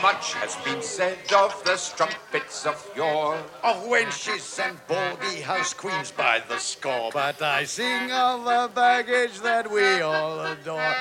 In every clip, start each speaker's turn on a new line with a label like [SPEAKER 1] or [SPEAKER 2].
[SPEAKER 1] Much has been said of the strumpets of yore,
[SPEAKER 2] Of wenches and baldy house queens by the score. But I sing of the baggage that we all adore.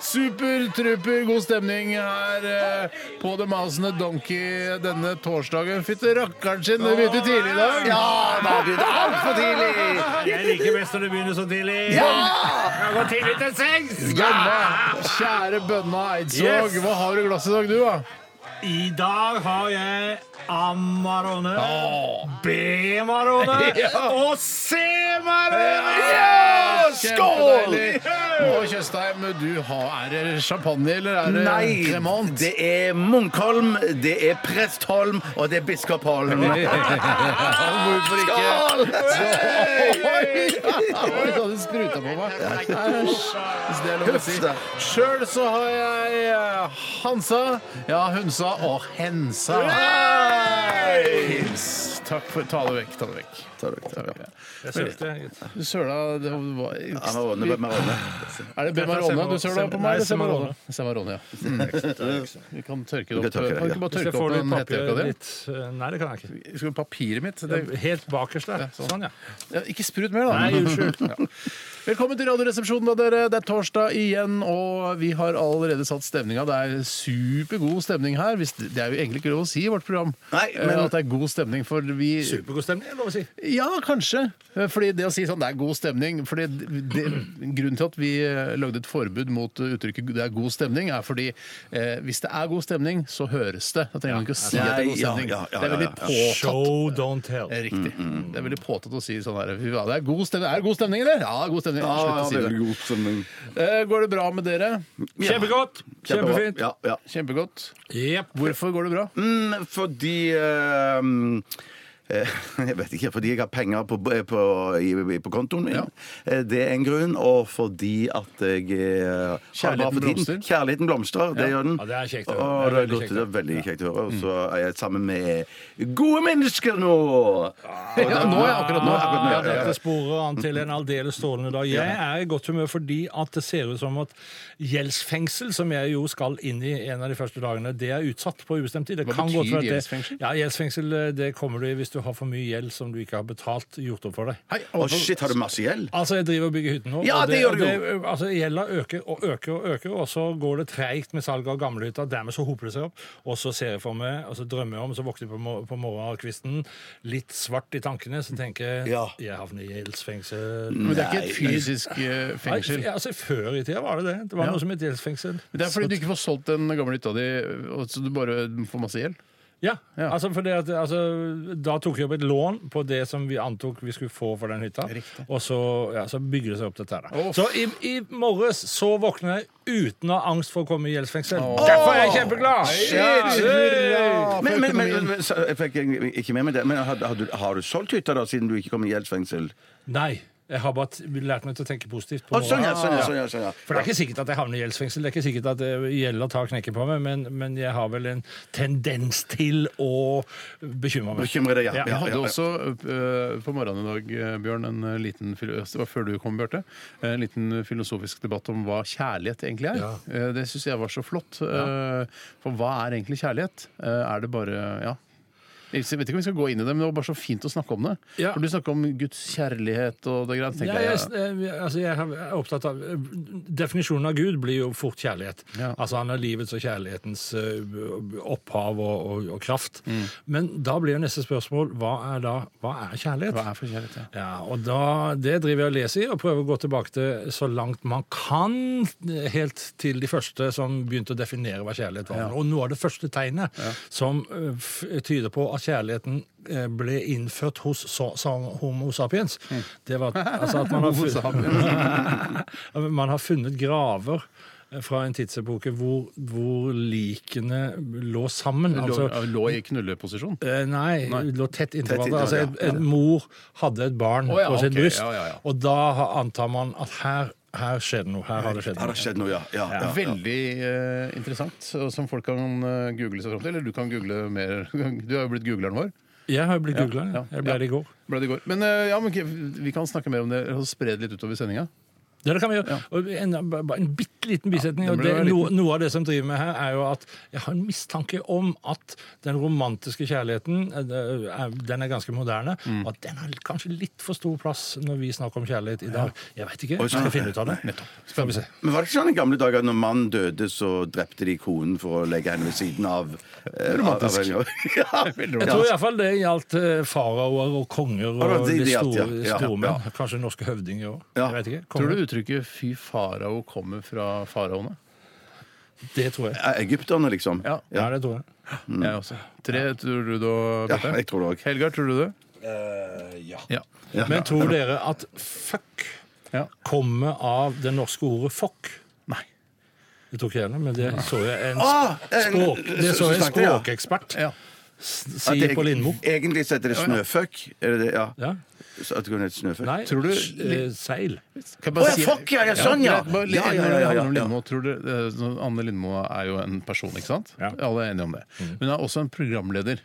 [SPEAKER 3] Supertrupper, god stemning her eh, på det masende donkey denne torsdagen. Fytte rakkeren sin, det begynte tidlig i dag.
[SPEAKER 2] Ja, da blir det altfor tidlig!
[SPEAKER 4] Jeg liker best når det begynner så tidlig. Jeg går tidlig til sengs!
[SPEAKER 3] Bønne, kjære Bønna Eidsvåg,
[SPEAKER 4] Yes.
[SPEAKER 3] hva har du i glasset i dag, du, da?
[SPEAKER 4] I dag har jeg Amarone, B-marone og C-marone!
[SPEAKER 3] Skål! Og Tjøstheim, du har, er det champagne eller er det
[SPEAKER 5] Nei,
[SPEAKER 3] kremant?
[SPEAKER 5] det er Munkholm, det er Prestholm, og det er Biskopholm.
[SPEAKER 3] Hvorfor
[SPEAKER 5] Skål!
[SPEAKER 3] ikke? Oi! Du hadde spruta på meg. Æsj. Hvis det er lov å si.
[SPEAKER 5] Huff da.
[SPEAKER 3] Sjøl så har jeg eh, Hansa, ja, Hunsa og Hensa. Hils. Takk for Ta det vekk. Ta det vekk. Ta det vekk,
[SPEAKER 4] Jeg sølte, gitt.
[SPEAKER 3] Du søla det var,
[SPEAKER 5] Amarone, Amarone.
[SPEAKER 3] Er det Bemarone du søla på
[SPEAKER 4] Nei,
[SPEAKER 3] meg? eller
[SPEAKER 4] Semarone.
[SPEAKER 3] Semarone? Semarone, ja. Mm. Vi kan tørke det opp.
[SPEAKER 5] Vi kan tørke det,
[SPEAKER 3] Kan vi
[SPEAKER 5] ja.
[SPEAKER 3] ikke bare
[SPEAKER 4] Hvis jeg
[SPEAKER 3] tørke
[SPEAKER 4] får
[SPEAKER 3] opp
[SPEAKER 4] litt
[SPEAKER 3] den hettejakka
[SPEAKER 4] papir
[SPEAKER 3] di?
[SPEAKER 4] litt eh, Nei, det kan jeg ikke.
[SPEAKER 3] Skal du papiret mitt? Det,
[SPEAKER 4] Helt bakerst der. Sånn, ja.
[SPEAKER 3] ja, ikke sprut mer, da.
[SPEAKER 4] Nei, unnskyld.
[SPEAKER 3] Ja. Velkommen til Radioresepsjonen, da, dere. Det er torsdag igjen, og vi har allerede satt stemninga. Det er supergod stemning her. Hvis det det er jo egentlig ikke lov å si i vårt program
[SPEAKER 5] Nei,
[SPEAKER 3] eh,
[SPEAKER 5] men-
[SPEAKER 3] at det er god stemning, for vi
[SPEAKER 4] Supergod stemning, er det lov å si.
[SPEAKER 3] Ja, kanskje. Eh, Fordi det å si sånn det er god stemning fordi det, Grunnen til at vi eh, lagde et forbud mot eh, uttrykket det er god stemning, er fordi eh, hvis det er god stemning, så høres det. Da trenger man ikke å si at det er god
[SPEAKER 5] Ja,
[SPEAKER 3] stemning.
[SPEAKER 5] ja, ja,
[SPEAKER 3] Det er veldig
[SPEAKER 5] ja,
[SPEAKER 3] påtatt.
[SPEAKER 4] Show, don't tell.
[SPEAKER 3] Det er Riktig. Det er veldig påtatt å si sånn her "Fy faen, Det er god stemning, er det god stemning eller? Ja, det er god stemning. Slutt å si det.
[SPEAKER 5] god stemning.
[SPEAKER 3] Eh, Går det bra med dere?
[SPEAKER 4] Kjempegodt! Kjempefint.
[SPEAKER 5] Ja, ja.
[SPEAKER 3] Kjempegodt.
[SPEAKER 4] Jepp.
[SPEAKER 3] Hvorfor går det bra?
[SPEAKER 5] Mm, fordi ehm, eh, jeg vet ikke, fordi jeg har penger på, på, i, i- på kontoen min.
[SPEAKER 3] Ja.
[SPEAKER 5] Eh, Det er en grunn. Og fordi at jeg eh, har det bra for
[SPEAKER 3] Kjærligheten
[SPEAKER 5] tiden.
[SPEAKER 3] blomstrer.
[SPEAKER 5] Kjærligheten blomstrer. Det gjør den.
[SPEAKER 4] Ja, det er kjekt å høre.
[SPEAKER 5] Og
[SPEAKER 4] Det Mm. er
[SPEAKER 5] det
[SPEAKER 4] veldig kjekt å
[SPEAKER 5] er godt, det er veldig kjekt å høre. Og så er jeg sammen med gode mennesker nå!
[SPEAKER 4] Ah.
[SPEAKER 3] Ja, nå, ja, akkurat nå.
[SPEAKER 5] akkurat nå,
[SPEAKER 4] Ja,
[SPEAKER 5] ja, ja,
[SPEAKER 4] dette
[SPEAKER 5] ja.
[SPEAKER 4] sporer an til en aldeles strålende dag. Jeg er i godt humør fordi at det ser ut som at gjeldsfengsel, som jeg jo skal inn i en av de første dagene, det er utsatt på ubestemt tid. Det
[SPEAKER 3] Hva
[SPEAKER 4] kan
[SPEAKER 3] betyr
[SPEAKER 4] godt være at det-
[SPEAKER 3] gjeldsfengsel?
[SPEAKER 4] Ja, gjeldsfengsel eh, det kommer du i hvis du har for mye gjeld som du ikke har betalt, gjort opp for deg.
[SPEAKER 3] Hei,
[SPEAKER 5] Å, shit, har du masse gjeld?
[SPEAKER 4] Altså, jeg driver og bygger hytte nå.
[SPEAKER 5] Ja,
[SPEAKER 4] og
[SPEAKER 5] det gjør du jo.
[SPEAKER 4] det- altså, Gjelda øker og øker og øker, og så går det treigt med salget av gamlehytta. Dermed så hoper det seg opp. Og så ser jeg for meg, og så drømmer jeg om, så våkner jeg på, mor på morgenkvisten litt svart i tankene, så tenker jeg
[SPEAKER 5] Ja. Mm.
[SPEAKER 4] jeg havner i gjeldsfengsel.
[SPEAKER 3] Men det er ikke et fysisk eh, fengsel.
[SPEAKER 4] Nei, altså, før i tida var det det. Det var noe som het gjeldsfengsel.
[SPEAKER 3] Det er fordi du ikke får solgt den gamle hytta di, og så du bare får masse gjeld?
[SPEAKER 4] Ja,
[SPEAKER 3] Ja.
[SPEAKER 4] altså fordi at altså, Da tok jeg opp et lån på det som vi antok vi skulle få for den hytta. Og så, ja, så bygger det seg opp dette her. da.
[SPEAKER 3] Åh.
[SPEAKER 4] Så i, i morges så våkna jeg uten å ha angst for å komme i gjeldsfengsel. Derfor er jeg kjempeglad! Ja,
[SPEAKER 3] Hurra for
[SPEAKER 5] Men, men, men,
[SPEAKER 3] økonomien.
[SPEAKER 5] men, så jeg fikk ikke med meg det. Men har, har, du, har du solgt hytta, da, siden du ikke kom i gjeldsfengsel?
[SPEAKER 4] Nei. Jeg har bare t- lært meg til å tenke positivt. på
[SPEAKER 5] Å, sånn, ja,
[SPEAKER 4] morgenen.
[SPEAKER 5] sånn, ja, sånn, ja, sånn, ja.
[SPEAKER 4] For det er ikke sikkert at jeg havner i gjeldsfengsel. Det er ikke sikkert at eh, gjelda tar knekken på meg, men, men jeg har vel en tendens til å bekymre meg.
[SPEAKER 5] Bekymre deg, ja.
[SPEAKER 4] Ja,
[SPEAKER 5] ja,
[SPEAKER 3] Jeg
[SPEAKER 5] ja,
[SPEAKER 3] hadde
[SPEAKER 5] ja.
[SPEAKER 3] også øh, på morgenen i dag, øh, Bjørn, en øh, liten filo- det var før du kom, Bjørte, en liten filosofisk debatt om hva kjærlighet egentlig er. Eh, Det syns jeg var så flott. eh, For hva er egentlig kjærlighet? Eh, Er det bare ja. Jeg vet ikke om vi skal gå inn i det, men det var bare så fint å snakke om det.
[SPEAKER 4] Ja.
[SPEAKER 3] For Du snakker om Guds kjærlighet og det
[SPEAKER 4] Ja,
[SPEAKER 3] greiene. tenker
[SPEAKER 4] jeg,
[SPEAKER 3] jeg,
[SPEAKER 4] jeg, altså jeg er opptatt av Definisjonen av Gud blir jo fort kjærlighet.
[SPEAKER 3] Ja.
[SPEAKER 4] Altså Han er livets og kjærlighetens eh, opphav og, og, og kraft.
[SPEAKER 3] Mm.
[SPEAKER 4] Men da blir jo neste spørsmål hva er da hva er kjærlighet?
[SPEAKER 3] Hva er for kjærlighet? Ja.
[SPEAKER 4] Ja, og da, Det driver jeg og leser i, og prøver å gå tilbake til så langt man kan, helt til de første som begynte å definere hva kjerlighet var. Og noe av det første tegnet som eh, f- tyder på at kjærligheten eh, ble innført hos så, som Homo sapiens. Det var altså at man har,
[SPEAKER 3] Mm. Homo
[SPEAKER 4] funnet, man har funnet graver eh, fra en tidsepoke hvor, hvor likene lå sammen.
[SPEAKER 3] Lå,
[SPEAKER 4] Altså,
[SPEAKER 3] lå i knulleposisjon?
[SPEAKER 4] Eh, Nei, det lå tett inntil
[SPEAKER 5] Tett
[SPEAKER 4] hverandre. Altså,
[SPEAKER 5] inntil
[SPEAKER 4] en,
[SPEAKER 5] hverandre, ja.
[SPEAKER 4] en mor hadde et barn
[SPEAKER 3] Å, ja,
[SPEAKER 4] på sitt
[SPEAKER 3] ok,
[SPEAKER 4] bryst,
[SPEAKER 3] ja, ja, ja.
[SPEAKER 4] og da ha- antar man at her, her skjer det noe. Her har det skjedd
[SPEAKER 5] Har det
[SPEAKER 4] noe.
[SPEAKER 5] skjedd noe, ja? ja, ja, ja.
[SPEAKER 3] Veldig eh, interessant, og som folk kan eh, google seg fram til. Eller du kan google mer. Du har jo blitt googleren vår.
[SPEAKER 4] Jeg har jo blitt googla.
[SPEAKER 3] ja,
[SPEAKER 4] Jeg ble
[SPEAKER 3] ja.
[SPEAKER 4] det i går.
[SPEAKER 3] Ble det i går. Men, eh, ja, men ok, vi kan snakke mer om det og spre det litt utover sendinga.
[SPEAKER 4] Ja, det kan vi gjøre. Og en, bare en bitte liten bisetning.
[SPEAKER 3] Ja,
[SPEAKER 4] og
[SPEAKER 3] den
[SPEAKER 4] det,
[SPEAKER 3] ble
[SPEAKER 4] noe, noe av det som driver med her, er jo at jeg har en mistanke om at den romantiske kjærligheten eh, det er- den er ganske moderne, og at den har kanskje litt for stor plass når vi snakker om kjærlighet i dag. Jeg veit ikke. Skal finne ut av det. Skal vi se.
[SPEAKER 5] Men var det ikke sånn i gamle dager at når mannen døde, så drepte de konen for å legge henne ved siden av? eh,
[SPEAKER 3] Romantisk.
[SPEAKER 5] av- av- ja,
[SPEAKER 3] Veldig
[SPEAKER 4] Jeg tror iallfall det gjaldt eh, faraoer og konger og
[SPEAKER 5] Ja, det-
[SPEAKER 4] de,
[SPEAKER 5] det gjaldt,
[SPEAKER 4] store,
[SPEAKER 5] ja. Ja,
[SPEAKER 4] store
[SPEAKER 5] ja.
[SPEAKER 4] menn. Kanskje norske høvdinger òg.
[SPEAKER 5] Ja.
[SPEAKER 4] Jeg vet ikke.
[SPEAKER 3] Tror
[SPEAKER 4] Konger.
[SPEAKER 3] du uttrykket 'fy farao' kommer fra faraoene?
[SPEAKER 4] Det tror jeg.
[SPEAKER 5] Ja, Egypterne, liksom.
[SPEAKER 3] Ja.
[SPEAKER 4] Ja, det tror jeg.
[SPEAKER 3] Jeg også. Tre, tror du det, Bjarte?
[SPEAKER 5] Mm. Ja, jeg tror det også.
[SPEAKER 3] Helgar, tror du det? ja.
[SPEAKER 5] Ja.
[SPEAKER 4] Men tror dere at fuck
[SPEAKER 3] Ja.
[SPEAKER 4] kommer av det norske ordet fuck?
[SPEAKER 3] Nei.
[SPEAKER 4] Det tror ikke jeg heller, men det så jeg en,
[SPEAKER 5] Ah,
[SPEAKER 4] sp-
[SPEAKER 5] en-
[SPEAKER 4] språk, det så jeg en
[SPEAKER 5] snakket, ja.
[SPEAKER 4] språkekspert
[SPEAKER 3] Ja.
[SPEAKER 4] si
[SPEAKER 5] At det-
[SPEAKER 4] på Lindmo.
[SPEAKER 5] Egentlig så heter det snøføkk. Er det det? Ja.
[SPEAKER 4] Ja.
[SPEAKER 5] Så at det kunne hete snøføkk?
[SPEAKER 4] Nei,
[SPEAKER 3] Tror du-
[SPEAKER 4] s- eh, seil.
[SPEAKER 3] Kan jeg
[SPEAKER 5] Å
[SPEAKER 3] bare
[SPEAKER 5] ja,
[SPEAKER 3] si-
[SPEAKER 5] fuck, ja, ja, sånn, ja!
[SPEAKER 3] Greit, bare litt-
[SPEAKER 5] Ja, ja,
[SPEAKER 3] når det
[SPEAKER 5] ja, ja,
[SPEAKER 3] handler om
[SPEAKER 5] ja.
[SPEAKER 3] Lindmo, tror du, eh, Anne Lindmo er jo en person, ikke sant?
[SPEAKER 4] Ja.
[SPEAKER 3] Alle er enige om det. Hun er også en programleder.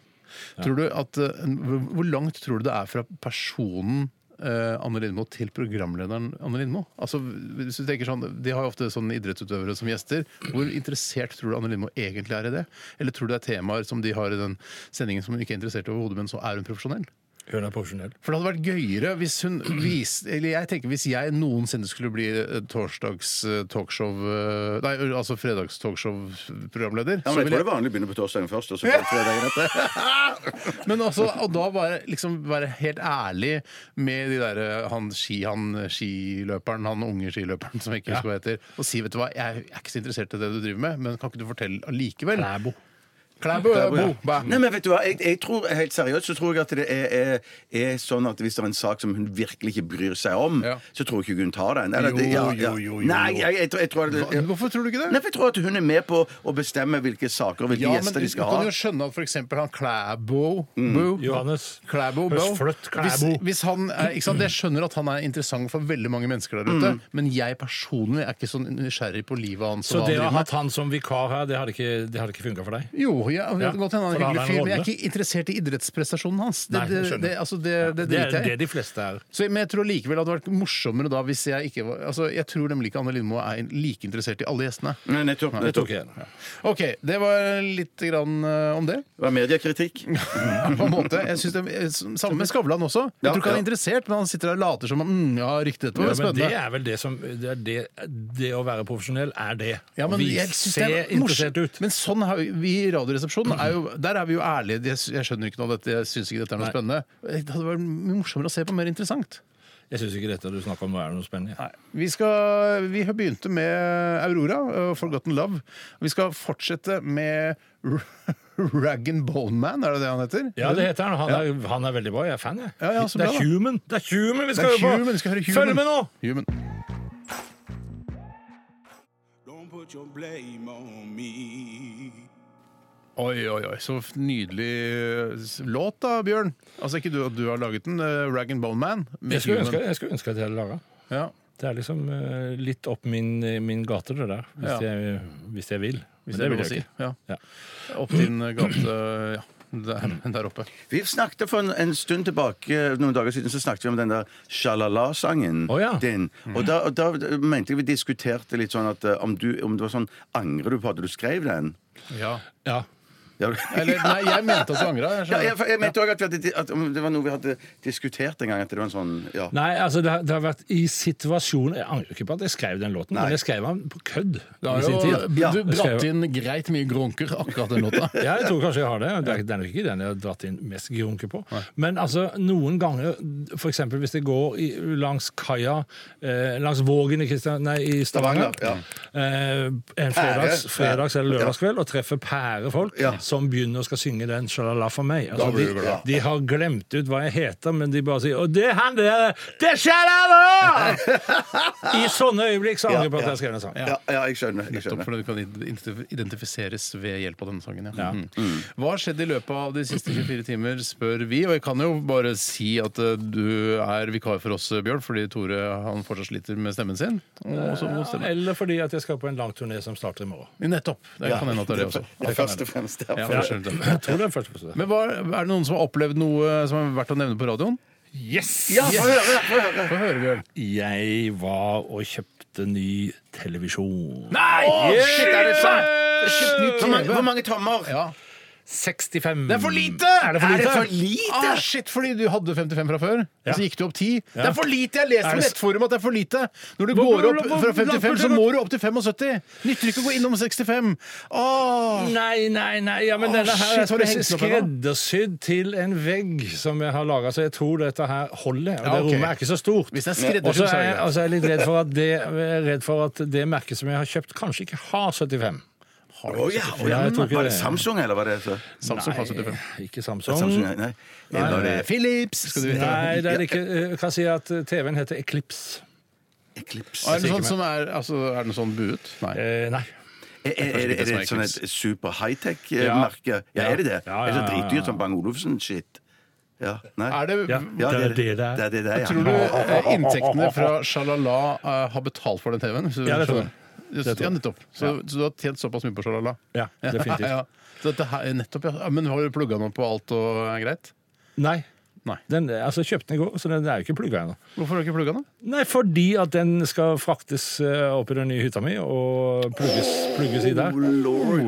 [SPEAKER 3] Tror du at, eh, hvor- hvor langt tror du det er fra personen eh, Anne Lindmo til programlederen Anne Lindmo? Altså, hvis du tenker sånn, De har jo ofte sånne idrettsutøvere som gjester. Hvor interessert tror du Anne Lindmo egentlig er i det? Eller tror du det er temaer som de har i den sendingen som hun ikke er interessert i overhodet, men så er hun profesjonell?
[SPEAKER 4] Hun er profesjonell.
[SPEAKER 3] For det hadde vært gøyere hvis hun viste Eller jeg tenker hvis jeg noensinne skulle bli eh, torsdags eh, talkshow eh, Nei, altså fredags talkshow-programleder.
[SPEAKER 5] Ja,
[SPEAKER 3] så ville
[SPEAKER 5] men jeg tror det er vanlig å begynne på torsdagen først, og så på fredagen etter.
[SPEAKER 3] Men altså, og da bare liksom være helt ærlig med de der eh, han, ski, han eh, skiløperen, han unge skiløperen som jeg ikke husker hva heter, og si vet du hva, jeg er ikke så interessert i det du driver med, men kan ikke du fortelle allikevel?
[SPEAKER 4] Klæbo.
[SPEAKER 3] Klæbo, ja,
[SPEAKER 5] Ja.
[SPEAKER 3] bo, bæ.
[SPEAKER 5] Nei, men vet du hva, jeg, jeg tror, Helt seriøst så tror jeg at det er, er, er sånn at hvis det er en sak som hun virkelig ikke bryr seg om,
[SPEAKER 3] Ja.
[SPEAKER 5] så tror jeg ikke hun tar den. Eller
[SPEAKER 3] Jo,
[SPEAKER 5] det- ja, ja.
[SPEAKER 3] jo, jo, jo.
[SPEAKER 5] Nei, jeg, jeg, tror- jeg tror
[SPEAKER 3] Hva- Hvorfor tror du ikke det?
[SPEAKER 5] Nei, for jeg tror at hun er med på å bestemme hvilke saker og hvilke
[SPEAKER 3] Ja, men
[SPEAKER 5] gjester
[SPEAKER 3] du
[SPEAKER 5] de skal
[SPEAKER 3] kan
[SPEAKER 5] ha. Mm.
[SPEAKER 3] jo skjønne at for eksempel han Klæbo Bo-
[SPEAKER 4] Johannes.
[SPEAKER 3] Klæbo Bo.
[SPEAKER 4] Høstfløtt Klæbo.
[SPEAKER 3] Hvis, hvis han er, ikke sant? Jeg skjønner at han er interessant for veldig mange mennesker der
[SPEAKER 5] Mm.
[SPEAKER 3] ute, men jeg personlig er ikke sånn nysgjerrig på livet hans.
[SPEAKER 4] Så
[SPEAKER 3] og hva
[SPEAKER 4] det
[SPEAKER 3] han
[SPEAKER 4] å ha
[SPEAKER 3] driver med.
[SPEAKER 4] hatt han som vikar her, det hadde ikke, det hadde ikke funka for deg?
[SPEAKER 3] Jo, ja, det
[SPEAKER 4] Ja,
[SPEAKER 3] kan godt hende
[SPEAKER 4] for
[SPEAKER 3] han er en
[SPEAKER 4] han er
[SPEAKER 3] hyggelig
[SPEAKER 4] en
[SPEAKER 3] fyr, men jeg er
[SPEAKER 4] rolle.
[SPEAKER 3] ikke interessert i idrettsprestasjonen hans. Det,
[SPEAKER 4] Nei,
[SPEAKER 3] det,
[SPEAKER 4] jeg skjønner.
[SPEAKER 3] det, altså, det, det
[SPEAKER 4] Det er
[SPEAKER 3] driter
[SPEAKER 4] det
[SPEAKER 3] jeg i.
[SPEAKER 4] de fleste er.
[SPEAKER 3] Så- Men jeg tror likevel at det hadde vært morsommere da hvis jeg ikke var Altså, Jeg tror nemlig ikke Anne Lindmo er like interessert i alle gjestene.
[SPEAKER 5] Nei, nettopp.
[SPEAKER 4] Det
[SPEAKER 5] nettopp.
[SPEAKER 4] tok jeg. igjen.
[SPEAKER 3] OK, det var litt grann eh, om det.
[SPEAKER 5] Det var mediekritikk.
[SPEAKER 3] på en måte. Jeg synes det, eh, samme med Skavlan også. Jeg
[SPEAKER 5] Ja,
[SPEAKER 3] tror ikke han
[SPEAKER 5] ja.
[SPEAKER 3] er interessert, men han sitter der og later som om, mm, ja, riktig, dette var
[SPEAKER 4] Ja,
[SPEAKER 3] veldig
[SPEAKER 4] men det
[SPEAKER 3] spennende.
[SPEAKER 4] er vel det som Det, er det, det å være profesjonell er det.
[SPEAKER 3] Ja, men
[SPEAKER 4] Å vise-
[SPEAKER 3] jeg synes
[SPEAKER 4] se
[SPEAKER 3] det er
[SPEAKER 4] interessert
[SPEAKER 3] morsomt.
[SPEAKER 4] ut.
[SPEAKER 3] Men sånn har vi, vi i Radioresepsjonen er jo, der er vi jo ærlige. Jeg, sy- jeg skjønner ikke noe av dette, jeg syns ikke dette er noe spennende. Det hadde vært mye morsommere å se på, mer interessant.
[SPEAKER 4] Jeg syns ikke dette du snakker om nå er noe spennende.
[SPEAKER 3] Vi, skal, vi har begynt med Aurora og Forgotten Love. Vi skal fortsette med Rag and Bone Man, er det det han heter?
[SPEAKER 4] Ja, det heter han. Han er, han er veldig bra. Jeg er fan, jeg.
[SPEAKER 3] Ja, ja, så
[SPEAKER 4] det
[SPEAKER 3] bra,
[SPEAKER 4] er
[SPEAKER 3] da.
[SPEAKER 4] human. Det er human vi
[SPEAKER 3] Det
[SPEAKER 4] skal
[SPEAKER 3] er
[SPEAKER 4] høre på!
[SPEAKER 3] Human, vi skal høre Human.
[SPEAKER 4] Følg med nå!
[SPEAKER 3] Human.
[SPEAKER 6] Don't put your blame on me.
[SPEAKER 3] Oi, oi, oi. Så nydelig eh, låt, da, Bjørn. Altså ikke du at du har laget den, eh, Rag and Bone Man. med
[SPEAKER 4] Jeg skulle
[SPEAKER 3] Human.
[SPEAKER 4] ønske, jeg skulle ønske at jeg hadde laga.
[SPEAKER 3] Ja.
[SPEAKER 4] Det er liksom eh, litt opp min, min gate, det der. Hvis,
[SPEAKER 3] Ja.
[SPEAKER 4] jeg, hvis jeg vil.
[SPEAKER 3] Hvis
[SPEAKER 4] Men
[SPEAKER 3] det er
[SPEAKER 4] vil
[SPEAKER 3] lov å si.
[SPEAKER 4] ikke.
[SPEAKER 3] Ja.
[SPEAKER 4] Ja.
[SPEAKER 3] Opp din eh, gate ja, der, der oppe.
[SPEAKER 5] Vi snakket for en, en stund tilbake, noen dager siden, så snakket vi om den der sjalala-sangen
[SPEAKER 4] Å, ja.
[SPEAKER 5] din. Og da, og da mente jeg vi diskuterte litt sånn at eh, om, du, om det var sånn Angrer du på at du skrev den?
[SPEAKER 3] Ja.
[SPEAKER 4] Ja.
[SPEAKER 5] Ja, du-
[SPEAKER 3] Eller nei, jeg mente at du angra.
[SPEAKER 5] Ja, jeg, jeg mente òg at, vi hadde- at om det var noe vi hadde diskutert en gang. At det var en sånn, ja.
[SPEAKER 4] Nei, altså det har, det har vært i situasjonen Jeg angrer ikke på at jeg skrev den låten, men jeg skrev den på kødd. i sin tid.
[SPEAKER 5] Ja.
[SPEAKER 3] Du bratt inn greit mye grunker akkurat den låta.
[SPEAKER 4] Ja, jeg tror kanskje jeg har det. Det er, det er nok ikke den jeg har dratt inn mest grunke på. Men altså, noen ganger, f.eks. hvis det går i, langs kaia eh, langs Vågen i, Kristian, nei, i Stavanger
[SPEAKER 5] Stavanger,
[SPEAKER 4] eh, en fredags,
[SPEAKER 5] Pære.
[SPEAKER 4] fredags eller lørdagskveld og treffer pærefolk,
[SPEAKER 5] Ja.
[SPEAKER 4] som begynner og skal synge den 'Shalala for meg'. Altså,
[SPEAKER 3] blir du
[SPEAKER 4] de,
[SPEAKER 3] glad.
[SPEAKER 4] de har glemt ut hva jeg heter, men de bare sier 'Å, det er han der! Det er Shalala!' I sånne øyeblikk så angrer jeg på at jeg skrev den sangen.
[SPEAKER 5] Ja, ja, jeg skjønner. Jeg
[SPEAKER 3] Nettopp
[SPEAKER 5] skjønner.
[SPEAKER 3] fordi du kan identif- identifiseres ved hjelp av denne sangen. Ja. Mm. Hva har skjedd i løpet av de siste 24 timer, spør vi. Og jeg kan jo bare si at eh, du er vikar for oss, Bjørn, fordi Tore han fortsatt sliter med stemmen sin. Og så må stemme.
[SPEAKER 4] Eller fordi at jeg skal på en lang turné som starter i morgen.
[SPEAKER 3] Nettopp. Det kan hende at det er det også.
[SPEAKER 5] Ja, først og fremst. Ja,
[SPEAKER 3] Ja,
[SPEAKER 5] for-
[SPEAKER 3] jeg skjønner det.
[SPEAKER 4] Jeg tror det er første episode.
[SPEAKER 3] Men hva, er det noen som har opplevd noe som er verdt å nevne på radioen?
[SPEAKER 4] Yes!
[SPEAKER 5] ja få høre! Få høre.
[SPEAKER 3] Få høre, Bjørn.
[SPEAKER 4] Jeg var og kjøpte ny televisjon.
[SPEAKER 3] Nei!
[SPEAKER 5] Shit, er det sant? Shit, ny Eh, Hvor mange-
[SPEAKER 3] TV.
[SPEAKER 5] Hvor mange tommer?
[SPEAKER 3] Ja.
[SPEAKER 4] 65.
[SPEAKER 3] Det er for lite!
[SPEAKER 4] Er det for lite?
[SPEAKER 3] Ah, shit, fordi du hadde 55 fra før,
[SPEAKER 4] Ja.
[SPEAKER 3] og så gikk du opp 10. Det er for lite! Jeg leser
[SPEAKER 4] Er
[SPEAKER 3] på
[SPEAKER 4] det s-
[SPEAKER 3] nettforum at det er for lite. Når du
[SPEAKER 4] Hva-
[SPEAKER 3] går opp
[SPEAKER 4] hva- hva-
[SPEAKER 3] fra 55, så
[SPEAKER 4] hva-
[SPEAKER 3] må du opp til 75. Nytter ikke å gå innom Ah. 65. Åh.
[SPEAKER 4] Nei, nei, nei. Ja, men
[SPEAKER 3] Å,
[SPEAKER 4] denne her
[SPEAKER 3] shit, har du
[SPEAKER 4] er
[SPEAKER 3] hengt den opp ennå?
[SPEAKER 4] skreddersydd til en vegg som jeg har laga, så jeg tror dette her holder. Og
[SPEAKER 3] Ja,
[SPEAKER 4] det
[SPEAKER 3] ok.
[SPEAKER 4] rommet er ikke så stort.
[SPEAKER 3] Hvis det er
[SPEAKER 4] Og så
[SPEAKER 3] skreddersydd, så
[SPEAKER 4] er
[SPEAKER 3] er
[SPEAKER 4] jeg,
[SPEAKER 3] det greit.
[SPEAKER 4] altså, jeg er litt redd for, at det, jeg er redd for at det merket som jeg har kjøpt, kanskje ikke har 75.
[SPEAKER 5] Å ja, å ja.
[SPEAKER 4] Ja, jeg tror ikke
[SPEAKER 5] Var det
[SPEAKER 4] det.
[SPEAKER 5] Samsung, eller var det så?
[SPEAKER 3] Samsung har 75.
[SPEAKER 4] Eh, Ikke Samsung.
[SPEAKER 5] Samsung, nei. nei. Eller det er
[SPEAKER 3] Philips, skal du vite.
[SPEAKER 4] Nei, det er det ikke. Jeg kan si at TV-en heter Eclipse.
[SPEAKER 5] Eclipse.
[SPEAKER 3] Og Er det noe sånn som er, altså, er det noe sånn buet? Nei.
[SPEAKER 4] Eh, nei.
[SPEAKER 5] Er, er, er, er det et sånn et super high-tech-merke? Ja.
[SPEAKER 4] Ja.
[SPEAKER 5] er det det?
[SPEAKER 4] Ja, ja,
[SPEAKER 5] Er
[SPEAKER 4] ja,
[SPEAKER 5] det
[SPEAKER 4] ja,
[SPEAKER 5] så
[SPEAKER 4] ja.
[SPEAKER 5] dritdyrt som Bang Olufsen-shit? Ja. Nei.
[SPEAKER 3] Er det,
[SPEAKER 4] Ja.
[SPEAKER 5] Ja,
[SPEAKER 4] Det er det det er.
[SPEAKER 5] Det er det det er, ja.
[SPEAKER 3] Tror du eh, inntektene fra Shalala eh, har betalt for den TV-en? hvis du
[SPEAKER 4] Ja, det tror jeg.
[SPEAKER 3] skjønner? Ja, nettopp. Så, så du har tjent såpass mye på Shalala?
[SPEAKER 4] Ja, definitivt.
[SPEAKER 3] Ja, ja. Så dette her, nettopp, ja. Ja, Men har du plugga den opp på alt og er greit?
[SPEAKER 4] Nei.
[SPEAKER 3] Nei.
[SPEAKER 4] Den, altså, jeg kjøpte den i går, så den er jo ikke plugga ennå.
[SPEAKER 3] Hvorfor har du ikke plugga den?
[SPEAKER 4] Nei, fordi at den skal fraktes eh, opp i den nye hytta mi og plugges, plugges i der.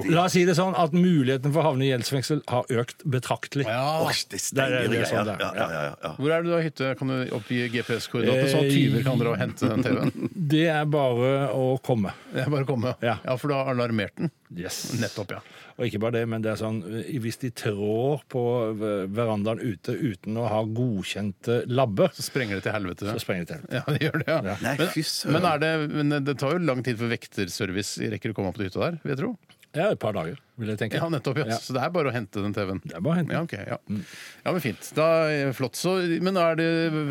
[SPEAKER 4] La oss si det sånn at muligheten for å havne i gjeldsfengsel har økt betraktelig.
[SPEAKER 5] Åh,
[SPEAKER 4] Det
[SPEAKER 5] det er
[SPEAKER 4] er-
[SPEAKER 5] steingreier.
[SPEAKER 4] det er sånn det er.
[SPEAKER 5] Ja, ja, ja, ja.
[SPEAKER 3] Hvor er det du har hytte? Kan du oppgi GPS-koordinater, så
[SPEAKER 4] Eh,
[SPEAKER 3] tyver kan dra og hente den TV-en?
[SPEAKER 4] Det er bare å komme.
[SPEAKER 3] Det er Bare å komme.
[SPEAKER 4] Ja.
[SPEAKER 3] Ja, for du har alarmert den.
[SPEAKER 4] Yes.
[SPEAKER 3] Nettopp, ja.
[SPEAKER 4] Og ikke bare det, men det er sånn eh, hvis de trår på eh, verandaen ute uten å ha godkjente labber,
[SPEAKER 3] Så sprenger det til helvete.
[SPEAKER 4] så sprenger de til.
[SPEAKER 3] Ja, det gjør det, ja.
[SPEAKER 5] Nei,
[SPEAKER 3] Men,
[SPEAKER 5] fy søren.
[SPEAKER 3] men, er det, men det tar jo lang tid før vekterservice rekker å komme opp til hytta der, vil jeg tro.
[SPEAKER 4] Ja, et par dager, vil jeg tenke.
[SPEAKER 3] Ja, nettopp, ja.
[SPEAKER 4] Ja.
[SPEAKER 3] Så det er bare å hente den TV-en.
[SPEAKER 4] Det er bare å hente den.
[SPEAKER 3] Ja, ok, ja.
[SPEAKER 4] Mm.
[SPEAKER 3] ja, men fint. Da, eh, flott. Så, men er, det,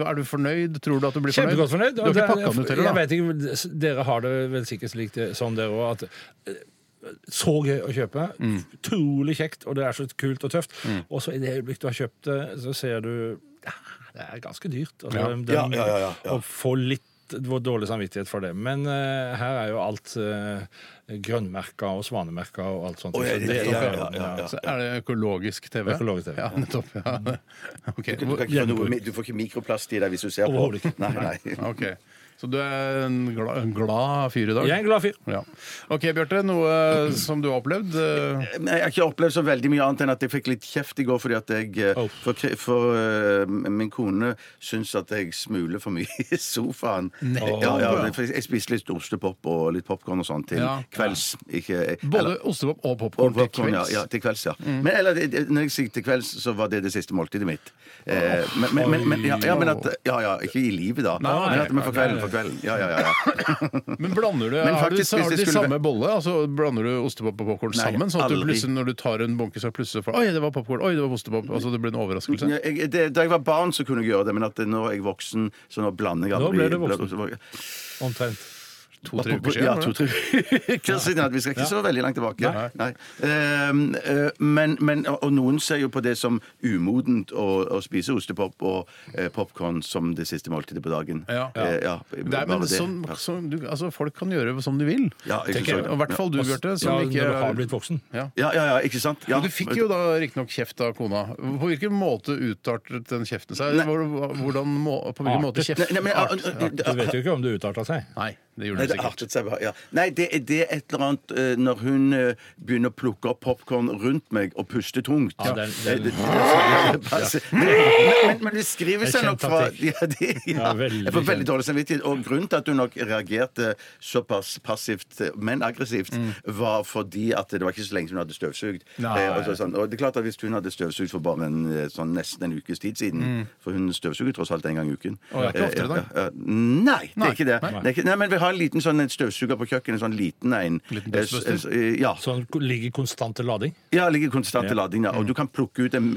[SPEAKER 3] er du fornøyd? Tror du at du blir fornøyd?
[SPEAKER 4] Kjempegodt fornøyd.
[SPEAKER 3] Du har ikke
[SPEAKER 4] Og det-
[SPEAKER 3] pakka den ut
[SPEAKER 4] jeg
[SPEAKER 3] heller, da?
[SPEAKER 4] vet ikke, Dere har det vel sikkert slik det- sånn, dere òg, at eh, så gøy å kjøpe. Utrolig kjekt, og det er så kult og tøft. Og så i det øyeblikk du har kjøpt det, så ser du ja, Det er ganske dyrt. Altså,
[SPEAKER 3] Ja.
[SPEAKER 4] den-
[SPEAKER 5] Ja, ja, ja, ja, ja.
[SPEAKER 4] Og få litt vår dårlig samvittighet for det. Men eh, her er jo alt uh, grønnmerka og svanemerka og alt sånt.
[SPEAKER 5] Å, ja,
[SPEAKER 4] Så
[SPEAKER 5] ja,
[SPEAKER 4] det-
[SPEAKER 5] ja, ja, ja, ja.
[SPEAKER 3] Så er det økologisk TV?
[SPEAKER 4] Økologisk TV,
[SPEAKER 3] Ja,
[SPEAKER 4] ja.
[SPEAKER 3] nettopp. Ja. Ok.
[SPEAKER 5] Du, kan ikke få noe, du får ikke mikroplast i deg hvis du ser på.
[SPEAKER 4] Overhodet ikke.
[SPEAKER 5] Nei, nei.
[SPEAKER 3] ok. Så du er en glad, en glad fyr i dag?
[SPEAKER 4] Jeg er en glad fyr.
[SPEAKER 3] Ja. OK, Bjarte. Noe som du har opplevd? Eh,
[SPEAKER 5] Nei, Jeg har ikke opplevd så veldig mye annet enn at jeg fikk litt kjeft i går fordi at jeg eh,
[SPEAKER 4] Oh.
[SPEAKER 5] For, kri- for eh, min kone syns at jeg smuler for mye i sofaen. Ja, ja, for jeg spiste litt ostepop og litt popkorn og sånn til
[SPEAKER 3] Ja.
[SPEAKER 5] kvelds. Ikke, eh, eller-
[SPEAKER 3] Både ostepop og
[SPEAKER 5] Og
[SPEAKER 3] popkorn til
[SPEAKER 5] popcorn, ja,
[SPEAKER 3] kvelds.
[SPEAKER 5] ja, til kvelds, ja. Men eller, det- det- når jeg sier til kvelds, så var det det siste måltidet mitt. Eh, men, men, men, men, ja, ja, men at, ja, ja, ikke i livet, da.
[SPEAKER 3] nei,
[SPEAKER 5] men, at, men for
[SPEAKER 3] nei,
[SPEAKER 5] kvelden, for kvelden. Ja, ja, ja. ja.
[SPEAKER 3] Men blander du,
[SPEAKER 5] Men
[SPEAKER 3] har du,
[SPEAKER 5] faktisk,
[SPEAKER 3] har
[SPEAKER 5] hvis
[SPEAKER 3] du
[SPEAKER 5] det
[SPEAKER 3] de
[SPEAKER 5] skulle
[SPEAKER 3] samme bolle? Altså, blander du ostepop og popkorn
[SPEAKER 5] Nei,
[SPEAKER 3] sammen? Sånn at du
[SPEAKER 5] aldri.
[SPEAKER 3] plutselig når du tar en bunke, så plutselig får du, Oi, det var popkorn! Oi, det var ostepop! Altså, det blir en overraskelse.
[SPEAKER 5] Ja, Jeg, det, da jeg var barn, så kunne jeg gjøre det, men at nå er jeg voksen, så nå blander jeg
[SPEAKER 4] Nå ble du voksen.
[SPEAKER 5] Blander-
[SPEAKER 4] Omtrent.
[SPEAKER 3] To-tre uker siden. var
[SPEAKER 5] Ja,
[SPEAKER 3] det?
[SPEAKER 5] to-tre uker siden. at Vi skal ikke så veldig langt tilbake.
[SPEAKER 3] Nei.
[SPEAKER 5] Nei. Ehm, eh, men, men, og noen ser jo på det som umodent å, å spise ostepop og eh, popkorn som det siste måltidet på dagen.
[SPEAKER 3] Ja.
[SPEAKER 5] Eh, ja.
[SPEAKER 3] Det er, men
[SPEAKER 5] Bare det.
[SPEAKER 3] sånn,
[SPEAKER 5] Ja.
[SPEAKER 3] sånn, du, altså, folk kan gjøre som de vil.
[SPEAKER 5] Ja, ikke
[SPEAKER 3] tenker jeg.
[SPEAKER 5] sant.
[SPEAKER 3] Og I hvert fall du, Bjarte.
[SPEAKER 4] Ja,
[SPEAKER 3] Som
[SPEAKER 4] når
[SPEAKER 3] ikke
[SPEAKER 4] du har blitt voksen.
[SPEAKER 3] ja.
[SPEAKER 5] Ja, ja, ja, ikke sant? Ja.
[SPEAKER 3] Men Du fikk jo da riktignok kjeft av kona. På hvilken måte utartet den kjeften seg?
[SPEAKER 5] Nei.
[SPEAKER 3] Hvor- Hvordan må, på hvilken måte
[SPEAKER 4] Artet.
[SPEAKER 3] kjeft
[SPEAKER 5] Nei, nei, men, eh,
[SPEAKER 3] Art.
[SPEAKER 4] Du vet jo ikke om det utarta seg.
[SPEAKER 3] Nei, det
[SPEAKER 5] Nei,
[SPEAKER 3] gjorde
[SPEAKER 5] det
[SPEAKER 3] den sikkert.
[SPEAKER 5] artet seg bare, ja. Nei, det er det er et eller annet eh, når hun eh, begynner å plukke opp popkorn rundt meg og puste tungt.
[SPEAKER 4] Ja, den-
[SPEAKER 5] Eh,
[SPEAKER 4] den-
[SPEAKER 5] det- det- det- passer. Men, men, men det skriver
[SPEAKER 4] Det er
[SPEAKER 5] seg nok
[SPEAKER 4] kjent
[SPEAKER 5] fra
[SPEAKER 4] taktikk.
[SPEAKER 5] ja, det, ja.
[SPEAKER 4] Ja, veldig
[SPEAKER 5] Jeg får veldig
[SPEAKER 4] kjent.
[SPEAKER 5] dårlig samvittighet. Og grunnen til at hun nok reagerte såpass passivt, eh, men aggressivt, var fordi at det var ikke så lenge siden hun hadde støvsugd.
[SPEAKER 3] Nei.
[SPEAKER 5] Eh, og, så, sånn. og det er klart at hvis hun hadde støvsugd for bare en, eh, sånn, nesten en ukes tid siden For hun støvsuger tross alt en gang i uken.
[SPEAKER 3] Og det er ikke
[SPEAKER 5] Eh,
[SPEAKER 3] oftere, da?
[SPEAKER 5] ja, ja, ja. Nei, det
[SPEAKER 3] Nei.
[SPEAKER 5] er ikke det.
[SPEAKER 3] Nei.
[SPEAKER 5] det er ikke, nei, men vi har har en liten sånn en støvsuger på kjøkkenet. En sånn liten en.
[SPEAKER 3] Liten dustbuster?
[SPEAKER 5] Eh, eh, Ja.
[SPEAKER 4] Sånn ligger i konstant lading.
[SPEAKER 5] ja ligger konstant i lading, ja.
[SPEAKER 3] Mm.
[SPEAKER 5] Og du kan plukke ut en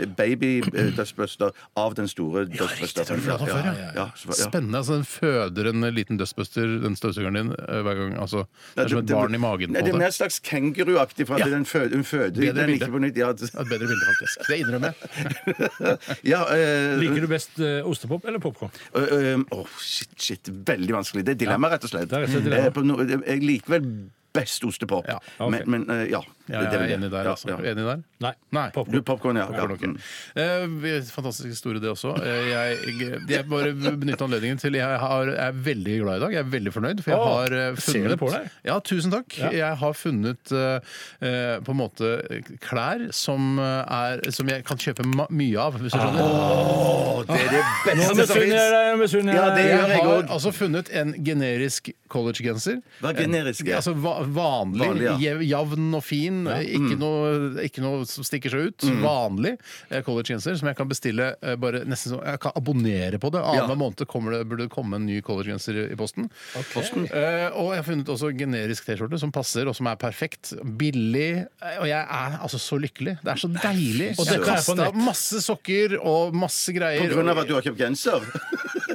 [SPEAKER 5] baby-dustbuster av den store dustbusteren.
[SPEAKER 3] det har du fortalt før, ja.
[SPEAKER 5] så- ja.
[SPEAKER 3] Spennende. altså Den føder en liten dustbuster, den støvsugeren din, eh, hver gang. altså Det er som et
[SPEAKER 5] det-
[SPEAKER 3] barn i magen.
[SPEAKER 5] Nei,
[SPEAKER 3] på
[SPEAKER 5] det
[SPEAKER 3] en
[SPEAKER 5] er mer
[SPEAKER 3] måte.
[SPEAKER 5] et slags kenguruaktig, for at
[SPEAKER 3] Ja.
[SPEAKER 5] den føder, hun føder
[SPEAKER 3] Bedre
[SPEAKER 5] den
[SPEAKER 3] bilde.
[SPEAKER 5] ikke på nytt. Ja,
[SPEAKER 3] Ja, Et bedre bilde, faktisk. Det innrømmer jeg.
[SPEAKER 5] ja, eh,
[SPEAKER 4] Liker du best eh, ostepop eller popkorn?
[SPEAKER 5] Ø, ø, Åh, shit, shit, veldig vanskelig. Det er dilemma, rett og slett.
[SPEAKER 4] Det er rett og slett dilemma.
[SPEAKER 5] Eh, på no- jeg liker vel best ostepop,
[SPEAKER 3] Ja,
[SPEAKER 4] ok.
[SPEAKER 5] men, men eh, ja.
[SPEAKER 3] Ja,
[SPEAKER 5] det
[SPEAKER 3] jeg
[SPEAKER 5] er vel
[SPEAKER 3] er
[SPEAKER 5] det.
[SPEAKER 3] enig der,
[SPEAKER 5] Ja,
[SPEAKER 3] altså.
[SPEAKER 5] ja.
[SPEAKER 3] Enig der?
[SPEAKER 4] Nei.
[SPEAKER 3] Nei.
[SPEAKER 4] Popcorn.
[SPEAKER 5] Du, popcorn, ja. ja.
[SPEAKER 3] Ok.
[SPEAKER 4] Mm.
[SPEAKER 3] Eh, vi- fantastisk historie, det også. Eh, jeg, jeg, jeg bare benytter anledningen til Jeg har, er veldig glad i dag. Jeg er veldig fornøyd. For jeg
[SPEAKER 4] Åh,
[SPEAKER 3] har eh,
[SPEAKER 4] ser
[SPEAKER 3] funnet
[SPEAKER 4] det på deg.
[SPEAKER 3] Ja, tusen takk.
[SPEAKER 4] Ja.
[SPEAKER 3] Jeg har funnet eh, eh, på en måte klær som, eh, er, som jeg kan kjøpe ma mye av, hvis du skjønner.
[SPEAKER 5] Åh, det er det
[SPEAKER 3] Ah.
[SPEAKER 4] Nå
[SPEAKER 5] beste som
[SPEAKER 4] misunner jeg
[SPEAKER 5] fins!
[SPEAKER 4] deg, misunner
[SPEAKER 5] Ja, det
[SPEAKER 4] jeg
[SPEAKER 5] gjør
[SPEAKER 4] deg.
[SPEAKER 5] jeg.
[SPEAKER 3] Jeg har
[SPEAKER 5] også.
[SPEAKER 3] altså funnet en generisk collegegenser.
[SPEAKER 5] Hva er generisk?
[SPEAKER 3] En- Altså va vanlig,
[SPEAKER 5] Vanlig, ja. Mm.
[SPEAKER 3] jev- jevn og fin, ikke, noe, ikke noe som stikker seg ut. Vanlig eh, collegegenser som jeg kan bestille eh, bare nesten sånn Jeg kan abonnere på det. Annenhver måned kommer det, burde det komme en ny collegegenser i i posten. Eh, og jeg har funnet også generisk T-skjorte som passer, og som er perfekt. Billig. eh, Og jeg er altså så lykkelig. Det er så deilig. Og det
[SPEAKER 4] søren.
[SPEAKER 3] kasta masse sokker og masse greier.
[SPEAKER 5] På grunn av at du har kjøpt genser?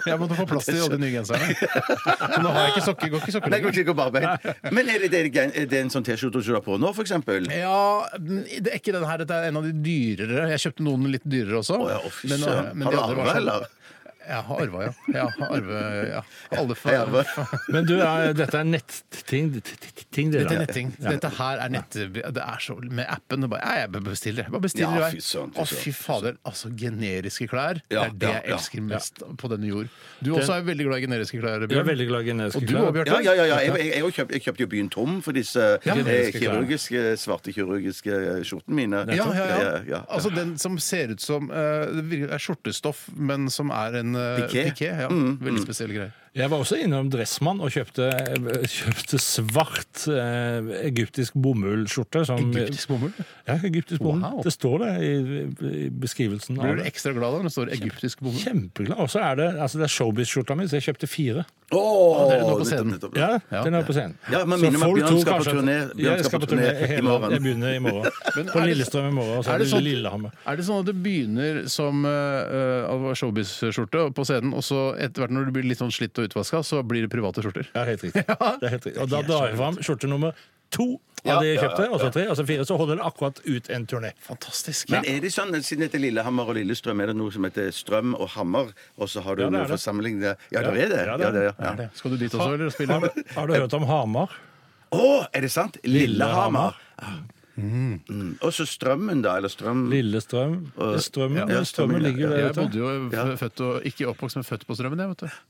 [SPEAKER 3] Jeg måtte få plass til alle de nye genserne. Så nå har jeg ikke sokker. Går ikke sokker
[SPEAKER 5] Nei, jeg
[SPEAKER 3] lenger.
[SPEAKER 5] går ikke barbeint. Men er det, det, er gen- er det en sånn T-skjorte du har på nå, for eksempel?
[SPEAKER 3] Ja, det er ikke den her. Dette er en av de dyrere. Jeg kjøpte noen litt dyrere også.
[SPEAKER 5] Å ja, å, fy
[SPEAKER 3] Men,
[SPEAKER 5] søren.
[SPEAKER 3] eh, men
[SPEAKER 5] Har
[SPEAKER 3] de
[SPEAKER 5] du
[SPEAKER 3] andre var
[SPEAKER 5] arvet,
[SPEAKER 3] sånn-
[SPEAKER 5] eller?
[SPEAKER 3] Jeg har arva, ja. Jeg har arve, ja. Alle
[SPEAKER 5] Jeg har
[SPEAKER 3] fa-
[SPEAKER 4] Men du, eh, dette er netting. Ting, det
[SPEAKER 3] Dette er
[SPEAKER 4] der.
[SPEAKER 3] netting. Dette her er nett... Det er så Med appen det bare, ja, Jeg bare bestiller. Jeg Bare bestiller
[SPEAKER 5] Ja,
[SPEAKER 3] jeg.
[SPEAKER 5] fy søren, fy
[SPEAKER 3] Å,
[SPEAKER 5] søren,
[SPEAKER 3] fy fader. Altså, generiske klær. Det
[SPEAKER 5] Ja,
[SPEAKER 3] er det
[SPEAKER 5] ja,
[SPEAKER 3] jeg
[SPEAKER 5] ja.
[SPEAKER 3] elsker mest på denne jord. Du også er veldig glad i generiske klær,
[SPEAKER 4] Jeg er
[SPEAKER 3] Bjørn.
[SPEAKER 4] veldig glad i generiske
[SPEAKER 3] Og du òg, Bjarte.
[SPEAKER 5] Ja, ja, ja. ja. Jeg, jeg, jeg, kjøpte, jeg kjøpte jo byen tom for disse
[SPEAKER 3] Ja.
[SPEAKER 5] eh, kirurgiske, svarte kirurgiske eh, skjortene mine.
[SPEAKER 3] Ja, ja, ja.
[SPEAKER 5] Ja, ja.
[SPEAKER 3] Altså den som ser ut som eh, det vir- er skjortestoff, men som er en uh,
[SPEAKER 5] Piké.
[SPEAKER 3] ja.
[SPEAKER 5] mm.
[SPEAKER 3] Veldig spesiell greie.
[SPEAKER 4] Jeg var også innom Dressmann og kjøpte, eh, kjøpte svart eh, egyptisk bomullskjorte. Som,
[SPEAKER 3] Egyptisk bomull?
[SPEAKER 4] Ja, egyptisk bomull.
[SPEAKER 3] Wow.
[SPEAKER 4] Det står det i, i beskrivelsen.
[SPEAKER 3] Blir
[SPEAKER 4] av
[SPEAKER 3] du
[SPEAKER 4] det.
[SPEAKER 3] ekstra glad da når det står egyptisk bomull?
[SPEAKER 4] Kjempeglad. Og så er det, altså det er Showbiz-skjorta mi, så jeg kjøpte fire.
[SPEAKER 5] Åh,
[SPEAKER 3] det er nå på scenen.
[SPEAKER 5] nettopp, nettopp.
[SPEAKER 4] Ja, den er på scenen.
[SPEAKER 5] Ja, men
[SPEAKER 4] Så
[SPEAKER 5] minner meg,
[SPEAKER 4] folk
[SPEAKER 5] Bjørn
[SPEAKER 4] tror
[SPEAKER 5] skal på
[SPEAKER 4] kanskje at-
[SPEAKER 5] turné.
[SPEAKER 4] Ja,
[SPEAKER 5] Bjørn
[SPEAKER 4] jeg
[SPEAKER 5] skal
[SPEAKER 4] skal
[SPEAKER 5] på
[SPEAKER 4] på turné
[SPEAKER 5] turné i
[SPEAKER 4] hele-
[SPEAKER 5] morgen.
[SPEAKER 4] Jeg begynner i morgen. På
[SPEAKER 3] er det-
[SPEAKER 4] Lillestrøm i morgen, og så er det
[SPEAKER 3] sånn,
[SPEAKER 4] Lillehammer.
[SPEAKER 3] er det sånn at du begynner som eh, eh, showbiz-skjorte på scenen, og så etter hvert når du blir litt sånn slitt og utvaska, så blir det private skjorter?
[SPEAKER 4] Ja, helt riktig. Det er helt riktig. Og da drar jeg fram skjorte nummer to
[SPEAKER 5] Ja,
[SPEAKER 4] av de jeg
[SPEAKER 5] ja,
[SPEAKER 4] kjøpte, og så tre, og så fire. Så holder det akkurat ut en turné.
[SPEAKER 3] Fantastisk.
[SPEAKER 5] Men er det sånn, siden det heter Lillehammer og Lillestrøm, er det noe som heter Strøm og Hammer, og så har du
[SPEAKER 4] Ja, det er
[SPEAKER 5] noe for
[SPEAKER 4] det.
[SPEAKER 5] samling der? Ja, det
[SPEAKER 4] Ja,
[SPEAKER 5] er
[SPEAKER 4] ja,
[SPEAKER 5] det. Ja,
[SPEAKER 4] det er
[SPEAKER 5] det er,
[SPEAKER 3] Er
[SPEAKER 5] ja.
[SPEAKER 3] det? Skal du dit også, eller spille?
[SPEAKER 4] Har, har du hørt om Hamar?
[SPEAKER 5] Å, er det sant? Lillehammer. Mm. Og så Strømmen, da, eller Strøm...
[SPEAKER 4] Lillestrøm.
[SPEAKER 5] Og-
[SPEAKER 4] Strømmen,
[SPEAKER 5] ja,
[SPEAKER 4] strømmen,
[SPEAKER 5] strømmen, ja.
[SPEAKER 4] ligger der
[SPEAKER 3] Jeg
[SPEAKER 4] ute.
[SPEAKER 3] bodde jo f- født og ikke oppvokst, men født på Strømmen, jeg, vet du.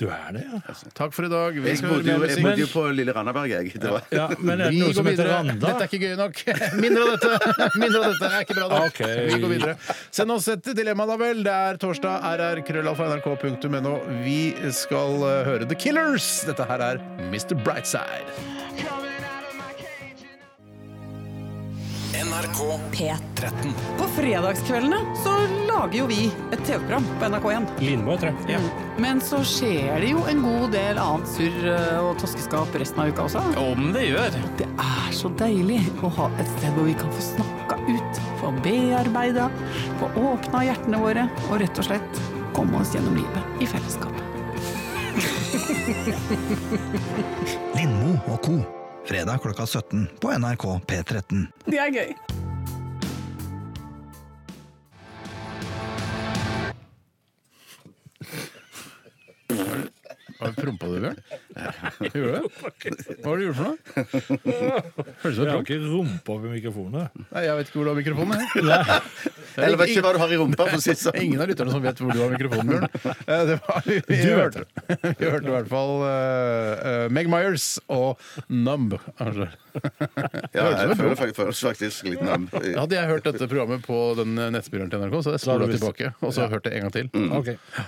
[SPEAKER 4] Du er det, ja.
[SPEAKER 3] Takk for i dag. Vi
[SPEAKER 5] Jeg
[SPEAKER 3] skal høre
[SPEAKER 5] bodde,
[SPEAKER 3] mer
[SPEAKER 5] jo, jeg
[SPEAKER 3] musikk.
[SPEAKER 5] bodde jo på Lille Randaberg, jeg. Det var.
[SPEAKER 4] ja men er det
[SPEAKER 3] Vi
[SPEAKER 4] noe
[SPEAKER 3] går
[SPEAKER 4] som heter
[SPEAKER 3] videre.
[SPEAKER 4] Randa?
[SPEAKER 3] Dette er ikke gøy nok. Mindre av dette. Mindre av dette er ikke bra nok.
[SPEAKER 4] Ok.
[SPEAKER 3] Vi går videre. Send oss et dilemma, da vel. Det er torsdag. rr.krøllalfa.nrk.no. Vi skal eh, høre The Killers. Dette her er Mr. Brightside.
[SPEAKER 7] NRK
[SPEAKER 8] P13.
[SPEAKER 7] 13.
[SPEAKER 8] På fredagskveldene så lager jo vi et TV-program på NRK1.
[SPEAKER 4] Lindmo, tror jeg.
[SPEAKER 8] Men så skjer det jo en god del annet surr eh, og toskeskap resten av uka også.
[SPEAKER 7] Om det gjør.
[SPEAKER 8] Det er så deilig å ha et sted hvor vi kan få snakka ut, få bearbeida, få åpna hjertene våre og rett og slett komme oss gjennom livet i fellesskap.
[SPEAKER 9] Lindmo og co. Fredag klokka 17 på NRK P13.
[SPEAKER 8] Det er gøy.
[SPEAKER 3] Har du prompa det, Bjørn? Gjorde du det? Hva var det du gjorde for noe? Høres ut
[SPEAKER 4] Jeg
[SPEAKER 3] som en
[SPEAKER 4] har
[SPEAKER 3] promp.
[SPEAKER 4] ikke rumpa ved mikrofonen. jeg.
[SPEAKER 3] Nei, Jeg vet ikke hvor du har mikrofonen. jeg. Det er
[SPEAKER 5] Eller vet ikke
[SPEAKER 3] ingen-
[SPEAKER 5] hva du har i rumpa, for å si det sånn.
[SPEAKER 3] Ingen av lytterne som vet hvor du har mikrofonen, Bjørn. Eh, Det var, vi, vi
[SPEAKER 4] Du vet
[SPEAKER 3] hørte, vi hørte i hvert fall eh, eh, Meg Myers og Numb. altså.
[SPEAKER 5] Ja,
[SPEAKER 3] hørtes
[SPEAKER 5] jeg
[SPEAKER 3] som en
[SPEAKER 5] føler fak- føler faktisk litt nam.
[SPEAKER 3] Hadde jeg hørt dette programmet på den nettspilleren til NRK, så
[SPEAKER 4] Da
[SPEAKER 3] hadde jeg
[SPEAKER 4] hadde
[SPEAKER 3] spola
[SPEAKER 4] du visst Mm.
[SPEAKER 3] tilbake og så hørt det en gang til.
[SPEAKER 4] Ok.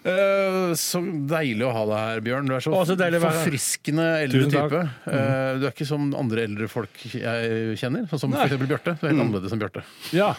[SPEAKER 3] Eh, så deilig å ha deg her, Bjørn. Du er så,
[SPEAKER 4] Å, så deilig å være her.
[SPEAKER 3] forfriskende eldre
[SPEAKER 4] Tusen takk. Mm.
[SPEAKER 3] type. Eh, du er
[SPEAKER 4] Mm.
[SPEAKER 3] ikke som andre eldre folk jeg kjenner, sånn som f.eks. Bjarte. Du er helt annerledes enn Bjarte.
[SPEAKER 4] Ja.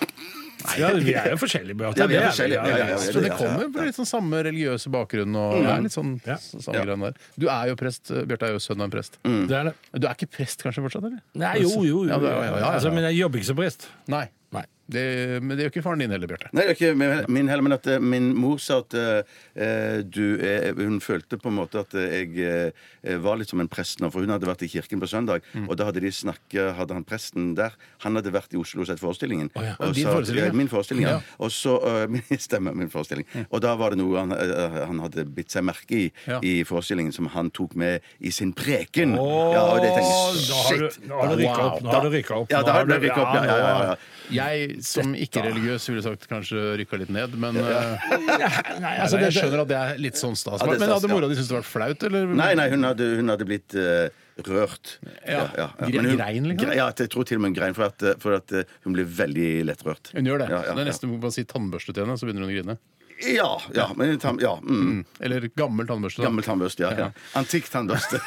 [SPEAKER 4] Ja, vi er jo forskjellige, Bjarte.
[SPEAKER 5] Ja, vi er
[SPEAKER 4] Det
[SPEAKER 5] forskjellige, ja, ja, ja, ja.
[SPEAKER 3] Så det kommer fra litt sånn samme religiøse bakgrunn og det er litt sånn
[SPEAKER 4] Mm. Ja.
[SPEAKER 3] samme greiene der. Du er jo prest, eh, Bjarte er jo sønn av en prest.
[SPEAKER 4] Det er det.
[SPEAKER 3] Du er ikke prest kanskje fortsatt, eller?
[SPEAKER 4] Nei, jo, jo. jo.
[SPEAKER 3] Ja, det- ja, ja, ja.
[SPEAKER 4] Altså, men jeg jobber ikke som prest.
[SPEAKER 3] Nei.
[SPEAKER 4] Nei.
[SPEAKER 3] Det, men det gjør ikke faren din heller, Bjarte.
[SPEAKER 5] Nei, det er ikke min- min heller, men at eh, min mor sa at eh, du er, Hun følte på en måte at eh, jeg eh, var litt som en prest nå, for hun hadde vært i kirken på søndag,
[SPEAKER 4] Mm.
[SPEAKER 5] og da hadde de snakket, hadde han presten der Han hadde vært i Oslo og sett forestillingen.
[SPEAKER 3] ja.
[SPEAKER 5] og
[SPEAKER 3] Din
[SPEAKER 5] sa at-
[SPEAKER 3] forestilling, ja.
[SPEAKER 5] ja, min forestilling, ja.
[SPEAKER 3] Ja.
[SPEAKER 5] Og så eh, min, Stemmer, min forestilling. Og da var det noe han, eh, han hadde bitt seg merke i
[SPEAKER 3] Ja.
[SPEAKER 5] i forestillingen, som han tok med i sin preken. ja,
[SPEAKER 4] da har
[SPEAKER 5] og det
[SPEAKER 4] du-
[SPEAKER 5] tenkte jeg, shit!
[SPEAKER 4] Da har du rykka
[SPEAKER 3] Wow.
[SPEAKER 4] opp. Da har du rykket opp.
[SPEAKER 5] Ja,
[SPEAKER 4] Nå
[SPEAKER 5] da
[SPEAKER 4] har
[SPEAKER 5] har det
[SPEAKER 4] du-
[SPEAKER 5] rykket opp. Ja, ja, ja, ja.
[SPEAKER 3] Jeg som ikke-religiøs ville sagt kanskje rykka litt ned, men eh,
[SPEAKER 4] Nei,
[SPEAKER 3] Nei,
[SPEAKER 4] altså,
[SPEAKER 3] jeg
[SPEAKER 4] det, det,
[SPEAKER 3] skjønner at det er litt sånn stas.
[SPEAKER 5] Ja, det er
[SPEAKER 3] Men
[SPEAKER 5] stas,
[SPEAKER 3] hadde
[SPEAKER 5] ja.
[SPEAKER 3] mora di syntes det var flaut, eller?
[SPEAKER 5] Nei, nei, hun hadde, hun hadde blitt eh, rørt.
[SPEAKER 3] Gre- grein, liksom?
[SPEAKER 5] Gre- Ja, jeg tror til og med hun grein, for at, eh, for at eh, hun ble veldig lettrørt.
[SPEAKER 3] Hun gjør det.
[SPEAKER 5] Ja, ja,
[SPEAKER 3] det er
[SPEAKER 5] ja.
[SPEAKER 3] nesten man sier tannbørste til henne, så begynner hun å grine.
[SPEAKER 5] ja, ja, men tam, ja, mm.
[SPEAKER 3] Eller gammel tannbørste. da.
[SPEAKER 5] Gammel tannbørste, ja. ja. Antikk tannbørste.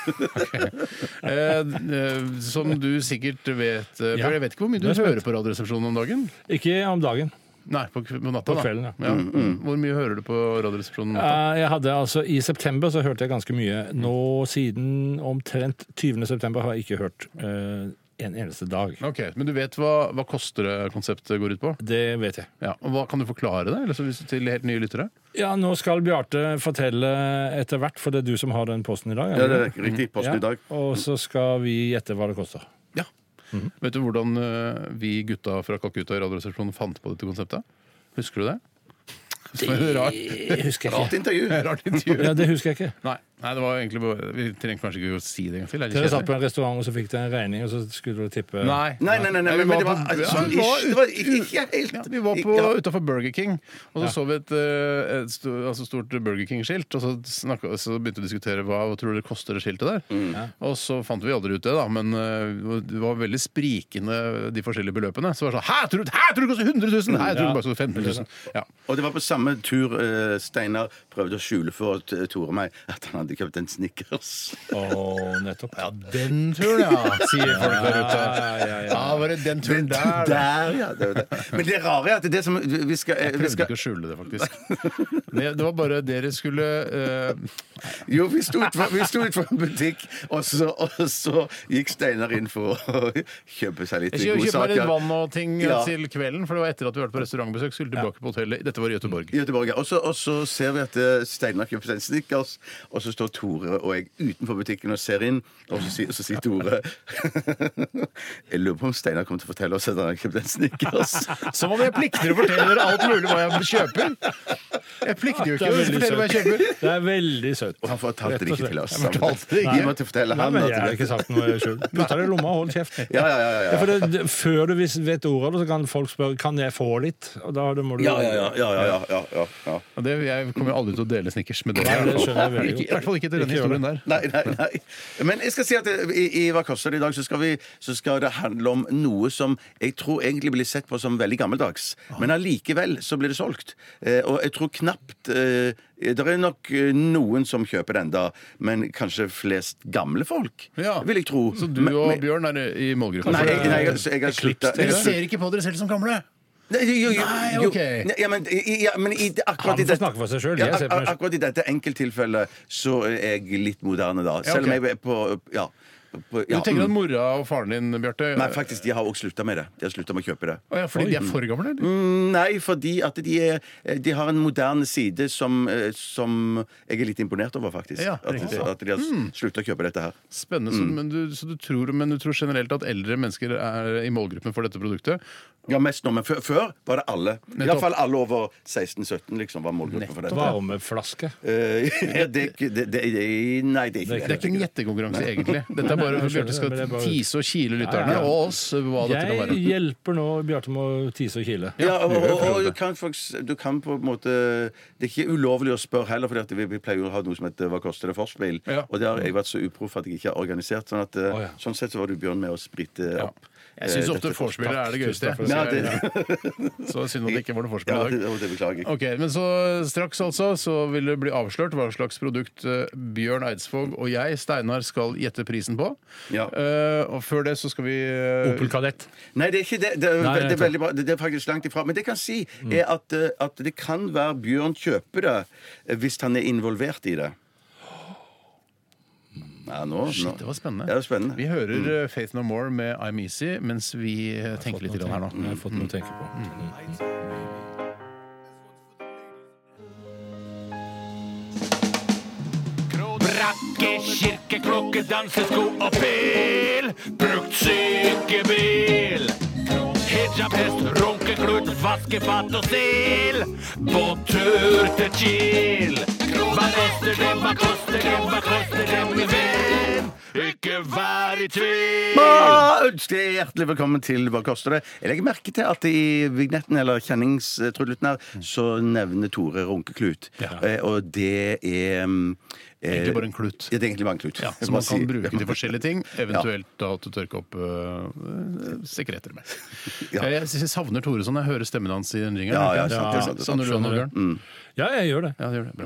[SPEAKER 3] Eh, eh, som du sikkert vet eh,
[SPEAKER 4] Ja.
[SPEAKER 3] Bjørn, Jeg vet ikke hvor mye du
[SPEAKER 4] Jeg er spent.
[SPEAKER 3] hører på Radioresepsjonen om dagen?
[SPEAKER 4] ikke om dagen.
[SPEAKER 3] Nei, på, kve- på natta.
[SPEAKER 4] På
[SPEAKER 3] da.
[SPEAKER 4] kvelden, ja.
[SPEAKER 5] Mm,
[SPEAKER 3] Hvor mye hører du på Radioresepsjonen om natta?
[SPEAKER 4] Eh, Jeg hadde altså, I september så hørte jeg ganske mye. Nå siden omtrent 20. september har jeg ikke hørt eh, en eneste dag.
[SPEAKER 3] Ok, Men du vet hva, hva koster-konseptet går ut på?
[SPEAKER 4] Det vet jeg.
[SPEAKER 3] Ja, og hva, Kan du forklare det eller så hvis, til helt nye lyttere?
[SPEAKER 4] Ja, nå skal Bjarte fortelle etter hvert, for det er du som har den posten i dag. er det
[SPEAKER 5] Ja, det
[SPEAKER 4] ikke?
[SPEAKER 5] er riktig. Posten i dag.
[SPEAKER 4] Ja, og så skal vi gjette hva det koster.
[SPEAKER 3] Ja. Vet du hvordan eh, vi gutta fra Calcutta i Radioresepsjonen fant på dette konseptet? Husker du det? Det var et rart,
[SPEAKER 4] Det husker jeg
[SPEAKER 5] Rart intervju.
[SPEAKER 3] rart intervju.
[SPEAKER 4] Ja, det husker jeg ikke.
[SPEAKER 3] Nei, nei, det var egentlig bare Vi trengte kanskje ikke å si det en gang til. er det
[SPEAKER 4] Dere satt
[SPEAKER 3] kjedelig?
[SPEAKER 4] på en restaurant, og så fikk dere en regning, og så skulle dere tippe
[SPEAKER 3] Nei.
[SPEAKER 5] Nei, nei, nei, nei, men, men det var altså, sånn
[SPEAKER 3] vi var
[SPEAKER 5] ish. Det var ikke, ikke helt
[SPEAKER 3] Ja, vi var på
[SPEAKER 5] Ja.
[SPEAKER 3] utafor Burger King, og så så vi et, eh, et sto, altså stort Burger King-skilt. Og så, snakket, så begynte vi å diskutere hva, hva tror dere koster det skiltet der. Og så fant vi aldri ut det, da, men eh, det var veldig sprikende de forskjellige beløpene. Så var det sånn Hæ, tror du, hæ, tror du det koster 100 000?! Hæ, jeg tror det bare koster 15 000. Ja.
[SPEAKER 5] Og det var på samme tur eh, Steinar prøvde å skjule for T- Tore og meg at han hadde kjøpt en Snickers.
[SPEAKER 4] Å, nettopp. Ja,
[SPEAKER 3] Den turen, ja, sier folk der ute.
[SPEAKER 4] Ja, ja, ja.
[SPEAKER 3] Ja, var det den turen der? da.
[SPEAKER 5] Der, ja! Det var det. Men det rare er at det som vi skal, eh, vi
[SPEAKER 3] Prøvde
[SPEAKER 5] skal
[SPEAKER 3] ikke å skjule det, faktisk. Det, det var bare dere skulle eh,
[SPEAKER 5] Jo, vi sto utfor, vi sto utfor en butikk, og så, og så gikk Steinar inn for å kjøpe seg litt
[SPEAKER 3] Jeg skulle kjøpe meg litt vann og ting eh,
[SPEAKER 5] Ja.
[SPEAKER 3] til kvelden, for det var etter at vi vært på restaurantbesøk. Skulle tilbake på hotellet. Dette var i Gøteborg.
[SPEAKER 5] I Göteborg, ja. Og så, og så ser vi at eh, Steinar kjøper seg en Snickers, og så står Tore og jeg utenfor butikken og ser inn, og så, sier- så sier Tore Jeg lurer på om Steinar kommer til å fortelle oss at han har kjøpt en Snickers.
[SPEAKER 3] Som om jeg plikter å fortelle dere alt mulig hva jeg kjøper! Jeg plikter jo
[SPEAKER 4] det
[SPEAKER 3] ikke
[SPEAKER 4] er
[SPEAKER 3] å
[SPEAKER 4] veldig
[SPEAKER 3] fortelle hva jeg
[SPEAKER 4] søtt.
[SPEAKER 3] kjøper.
[SPEAKER 4] Det er veldig søtt.
[SPEAKER 5] Og han fortalte det ikke til oss.
[SPEAKER 4] Jeg fortalte det
[SPEAKER 5] Gi
[SPEAKER 4] ikke.
[SPEAKER 5] meg til å fortelle
[SPEAKER 4] Nei,
[SPEAKER 5] han
[SPEAKER 4] men
[SPEAKER 5] at
[SPEAKER 4] jeg har
[SPEAKER 5] det-
[SPEAKER 4] ikke sagt noe sjøl. Putta det i lomma og hold kjeft.
[SPEAKER 5] Ja, ja, ja, ja, ja.
[SPEAKER 4] for det, det, før du vis- vet ordet av det, så kan folk spørre Kan jeg få litt. Og da må du
[SPEAKER 5] Ja, ja, ja, ja, ja, ja, ja, ja.
[SPEAKER 3] Og det, jeg kommer jo aldri til å dele snickers med dere.
[SPEAKER 4] Nei, det skjønner jeg veldig
[SPEAKER 3] Ikke-
[SPEAKER 4] godt.
[SPEAKER 3] I hvert fall ikke til denne
[SPEAKER 4] Ikke gjør det.
[SPEAKER 3] historien der.
[SPEAKER 5] Nei, nei, nei. Men jeg skal si at eh, i, i Hva koster det i dag, så skal, vi, så skal det handle om noe som jeg tror egentlig blir sett på som veldig gammeldags.
[SPEAKER 3] Ah.
[SPEAKER 5] Men allikevel så blir det solgt. Eh, og jeg tror knapt eh, Det er nok eh, noen som kjøper det enda, men kanskje flest gamle folk,
[SPEAKER 3] Ja.
[SPEAKER 5] vil jeg tro.
[SPEAKER 3] Så du
[SPEAKER 5] Men-
[SPEAKER 3] og
[SPEAKER 5] men-
[SPEAKER 3] Bjørn er i målgruppa?
[SPEAKER 5] Nei, jeg, nei, jeg, jeg har slutta.
[SPEAKER 3] Dere ser ikke på dere selv som gamle!
[SPEAKER 5] Nei, jo, jo,
[SPEAKER 3] Nei,
[SPEAKER 5] jo.
[SPEAKER 3] ok.
[SPEAKER 5] Nei, Ja, men, i- ja, men i, akkurat,
[SPEAKER 4] Han
[SPEAKER 5] i
[SPEAKER 4] får
[SPEAKER 5] dette-
[SPEAKER 4] snakke for seg selv.
[SPEAKER 5] Ja,
[SPEAKER 4] Jeg ser på meg selv.
[SPEAKER 5] akkurat i dette enkelttilfellet så er jeg litt moderne, da.
[SPEAKER 3] Ja,
[SPEAKER 5] Selv
[SPEAKER 3] ok.
[SPEAKER 5] om jeg er på Ja. på,
[SPEAKER 3] Du
[SPEAKER 5] ja
[SPEAKER 3] tenker at
[SPEAKER 5] mm.
[SPEAKER 3] mora og faren din, Bjarte
[SPEAKER 5] Nei, faktisk, de har også slutta med det. De har slutta med å kjøpe det.
[SPEAKER 3] Å ja, Fordi de er for gamle? eller?
[SPEAKER 5] Mm, Nei, fordi at de, er, de har en moderne side som, eh, som jeg er litt imponert over, faktisk.
[SPEAKER 3] Ja, Hmm.
[SPEAKER 5] at,
[SPEAKER 3] riktig.
[SPEAKER 5] at de har slutta å kjøpe dette her.
[SPEAKER 3] Spennende. Så,
[SPEAKER 5] Mm.
[SPEAKER 3] men, du, så du tror, men du tror generelt at eldre mennesker er i målgruppen for dette produktet?
[SPEAKER 5] Ja, mest nå, men før, før var det alle. I
[SPEAKER 3] Nettopp.
[SPEAKER 5] hvert fall alle over 16-17 liksom, var målgruppen for dette.
[SPEAKER 4] Varmeflaske.
[SPEAKER 5] Eh, ja, det, er ikke- det, det, det, nei, det er ikke
[SPEAKER 3] Det er ikke en gjettekonkurranse, egentlig. Dette er bare
[SPEAKER 4] Nei, jeg
[SPEAKER 3] for
[SPEAKER 4] skjønner
[SPEAKER 3] Bjarte
[SPEAKER 4] det,
[SPEAKER 3] skal
[SPEAKER 4] men det er bare-
[SPEAKER 3] tise og kile
[SPEAKER 4] Ja,
[SPEAKER 3] lytterne
[SPEAKER 4] ja.
[SPEAKER 3] og oss hva dette kan
[SPEAKER 4] Jeg
[SPEAKER 3] være.
[SPEAKER 4] hjelper nå Bjarte med å tise og kile.
[SPEAKER 5] Ja, og, og, og du, kan faktisk, du kan på en måte Det er ikke ulovlig å spørre heller, for vi, vi pleier jo å ha noe som heter 'Hva koster det?' forspill.
[SPEAKER 3] Ja.
[SPEAKER 5] Og det har jeg vært så uproff at jeg ikke har organisert. Sånn, at, eh,
[SPEAKER 4] Å, ja.
[SPEAKER 5] sånn sett så var du, Bjørn, med å sprite opp.
[SPEAKER 3] Jeg syns ofte vorspielet er det gøyeste. jeg.
[SPEAKER 5] Ja, det-
[SPEAKER 3] Så synd at det ikke var noe vorspiel
[SPEAKER 5] Ja,
[SPEAKER 3] i
[SPEAKER 5] det,
[SPEAKER 3] dag.
[SPEAKER 5] det beklager jeg.
[SPEAKER 3] Ok, Men så straks altså så vil det bli avslørt hva slags produkt eh, Bjørn Eidsvåg og jeg, Steinar, skal gjette prisen på.
[SPEAKER 5] Ja.
[SPEAKER 3] Eh, og før det så skal vi eh,
[SPEAKER 4] Opel Kadett.
[SPEAKER 5] Nei, det er ikke det. Det er,
[SPEAKER 4] Nei, jeg
[SPEAKER 5] det er
[SPEAKER 4] vet
[SPEAKER 5] veldig bra. Det det er faktisk langt ifra. Men det jeg kan si, er
[SPEAKER 3] Mm.
[SPEAKER 5] at, eh, at det kan være Bjørn kjøper det eh, hvis han er involvert i det. Ja, nå, nå.
[SPEAKER 3] Shit, det var spennende.
[SPEAKER 5] Ja, det var spennende.
[SPEAKER 3] Vi hører
[SPEAKER 4] Mm.
[SPEAKER 3] eh, Faith No More med I'm Easy mens vi eh, tenker litt grann her nå.
[SPEAKER 4] Jeg har fått noe å tenke på.
[SPEAKER 7] Brakke, kirkeklokke, dansesko og pil. Brukt sykebil. Hijabhest, runkeklut, vaskefat og stil. På tur til Kiel. Hva koster det, hva koster det, hva koster det, min venn? Ikke vær i tvil.
[SPEAKER 5] Ah, ønsker jeg hjertelig velkommen til Hva koster det? Jeg legger merke til at i vignetten eller kjenningstrudleten her,
[SPEAKER 3] Mm.
[SPEAKER 5] så nevner Tore runkeklut. Eh, Og det er mm, eh,
[SPEAKER 3] Egentlig bare en klut.
[SPEAKER 5] Ja, det er egentlig bare en klut.
[SPEAKER 3] Ja,
[SPEAKER 5] Som
[SPEAKER 3] Som man kan
[SPEAKER 5] sier.
[SPEAKER 3] bruke til forskjellige ting, eventuelt da til å tørke opp øh, sekreter med.
[SPEAKER 5] Ja.
[SPEAKER 3] Jeg, jeg, savner Tore sånn. Jeg hører stemmen hans i den ringen.
[SPEAKER 5] Ja, ja, Mm. sant, det er sant, det er sant.
[SPEAKER 3] Savner du han, Bjørn?
[SPEAKER 4] Ja, jeg gjør det.
[SPEAKER 3] Ja, det gjør det.